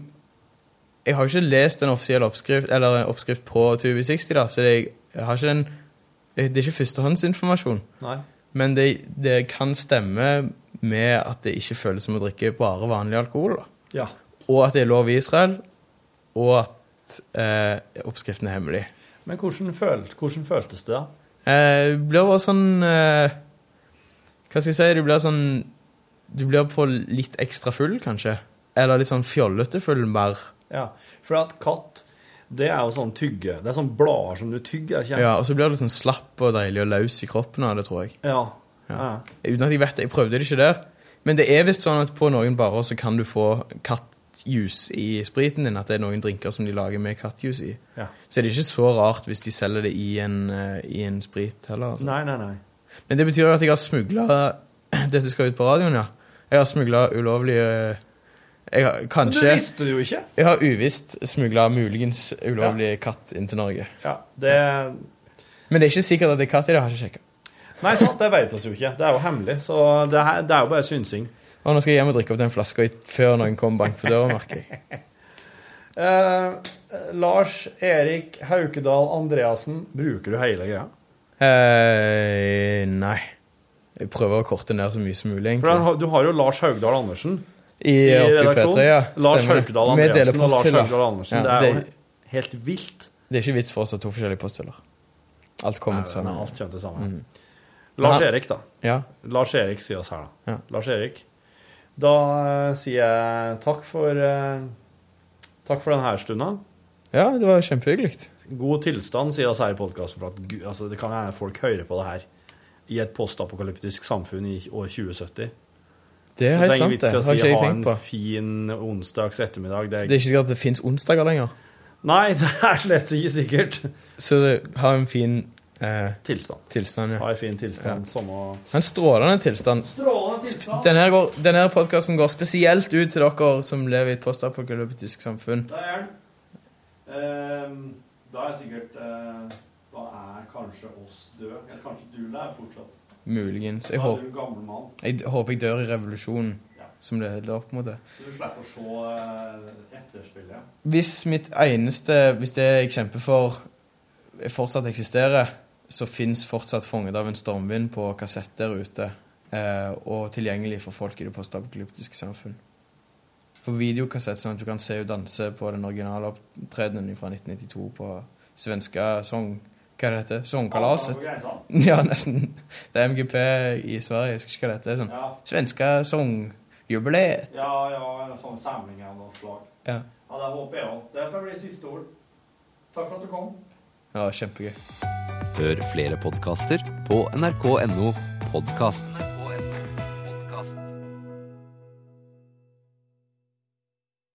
Speaker 9: Jeg har jo ikke lest en offisiell oppskrift eller en oppskrift på 2060, da, så det, jeg har ikke den Det er ikke førstehåndsinformasjon,
Speaker 6: Nei.
Speaker 9: men det, det kan stemme med at det ikke føles som å drikke bare vanlig alkohol, da.
Speaker 6: Ja.
Speaker 9: Og at det er lov i Israel, og at eh, oppskriften er hemmelig.
Speaker 6: Men hvordan, følt, hvordan føltes det, da?
Speaker 9: Eh, Det blir bare sånn eh, Hva skal jeg si? Du blir sånn Du blir på litt ekstra full, kanskje. Eller litt sånn fjollete full mer.
Speaker 6: Ja, for at katt, det er jo sånn tygge. Det er sånn blader som du tygger, ikke
Speaker 9: Ja, og så blir du litt sånn slapp og deilig og løs i kroppen av det, tror jeg.
Speaker 6: Ja. ja.
Speaker 9: Ja. Uten at jeg vet det. Jeg prøvde det ikke der. Men det er visst sånn at på noen barer så kan du få kattjuice i spriten din. At det er noen drinker som de lager med kattjuice i.
Speaker 6: Ja.
Speaker 9: Så det er ikke så rart hvis de selger det i en, eh, i en sprit heller. Altså.
Speaker 6: Nei, nei, nei.
Speaker 9: Men det betyr jo at jeg har smugla Dette skal ut på radioen, ja. Jeg har smugla ulovlige jeg har,
Speaker 6: Men du
Speaker 9: Kanskje
Speaker 6: visste det jo ikke.
Speaker 9: Jeg har uvisst smugla muligens ulovlig katt inn til Norge.
Speaker 6: Ja, det...
Speaker 9: Men det er ikke sikkert at det er katt i det. Jeg har ikke sjekket.
Speaker 6: Nei, sant, det vet oss jo ikke. Det er jo hemmelig, så det, her, det er jo bare synsing.
Speaker 9: Og nå skal jeg hjem og drikke opp den flaska i- før noen kommer og banker på døra, merker jeg.
Speaker 6: Eh, Lars Erik Haukedal Andreassen, bruker du hele greia?
Speaker 9: Eh, nei. Jeg prøver å korte ned så mye som mulig,
Speaker 6: For den
Speaker 9: egentlig.
Speaker 6: har- du har jo Lars Haugdal Andersen
Speaker 9: I,
Speaker 6: i
Speaker 9: oppe i
Speaker 6: redaksjon.
Speaker 9: P3, ja.
Speaker 6: Lars
Speaker 9: Stemmer det.
Speaker 6: Haukedal
Speaker 9: Med
Speaker 6: Andreassen og Lars
Speaker 9: deleposthylla.
Speaker 6: Haugdal Andersen.
Speaker 9: Ja,
Speaker 6: det er
Speaker 9: det,
Speaker 6: jo helt vilt.
Speaker 9: det er ikke vits for oss å ha to forskjellige posthyller. Alt kommer
Speaker 6: Nei,
Speaker 9: til sammen.
Speaker 6: alt kommer til sammen. Lars
Speaker 9: Mm. Men-
Speaker 6: Erik, da.
Speaker 9: Ja.
Speaker 6: Lars Erik sier oss her, da.
Speaker 9: Ja.
Speaker 6: Lars Erik. Da eh, sier jeg takk for eh, Takk for denne stunda.
Speaker 9: ja, det var kjempehyggelig.
Speaker 6: God tilstand, sier oss her i podkasten, for at gu- altså, det kan hende folk hører på det her i et postapokalyptisk samfunn i år 2070.
Speaker 9: Det er
Speaker 6: Så det
Speaker 9: helt
Speaker 6: er ingen
Speaker 9: sant,
Speaker 6: vits
Speaker 9: det.
Speaker 6: i å
Speaker 9: Har
Speaker 6: si
Speaker 9: ikke jeg
Speaker 6: ha
Speaker 9: tenkt
Speaker 6: en
Speaker 9: på.
Speaker 6: fin onsdags ettermiddag. Det er...
Speaker 9: Det er ikke sikkert at det fins onsdager lenger.
Speaker 6: Nei, det er slett ikke sikkert.
Speaker 9: Så det- ha en fin eh,
Speaker 6: Tilstand.
Speaker 9: tilstand, ja.
Speaker 6: Ha en fin tilstand. Samme
Speaker 9: En strålende tilstand. Denne, går- denne podkasten går spesielt ut til dere som lever i et postapokalyptisk samfunn.
Speaker 6: Da er den. Ehm, da er sikkert eh, Da er kanskje oss død. Eller kanskje du lever fortsatt.
Speaker 9: Muligens. Jeg
Speaker 6: Da er
Speaker 9: håper
Speaker 6: du gammel mann.
Speaker 9: jeg, håper jeg dør i revolusjonen.
Speaker 6: Ja.
Speaker 9: som det heter, på en måte.
Speaker 2: Du slipper å se eh, etterspillet.
Speaker 9: Hvis mitt eneste Hvis det jeg kjemper for, eh, fortsatt eksisterer, så fins fortsatt 'Fanget av en stormvind' på kassett der ute. Eh, og tilgjengelig for folk i det postapokalyptiske samfunn. På videokassett, sånn at du kan se henne danse på den originale opptredenen fra 1992 på svenska Song... Hva er det heter? Songkalaset? Ja, nesten. Det er MGP i Sverige, jeg husker ikke hva det heter. det er Sånn.
Speaker 2: Ja.
Speaker 9: Svenska songjubileet.
Speaker 2: Ja, ja, en sånn samling av noe slag.
Speaker 9: Ja.
Speaker 2: Ja, det håper jeg òg. Det får bli siste ord. Takk for at du kom.
Speaker 9: ja, kjempegøy.
Speaker 10: Hør flere podkaster på nrk.no podkast.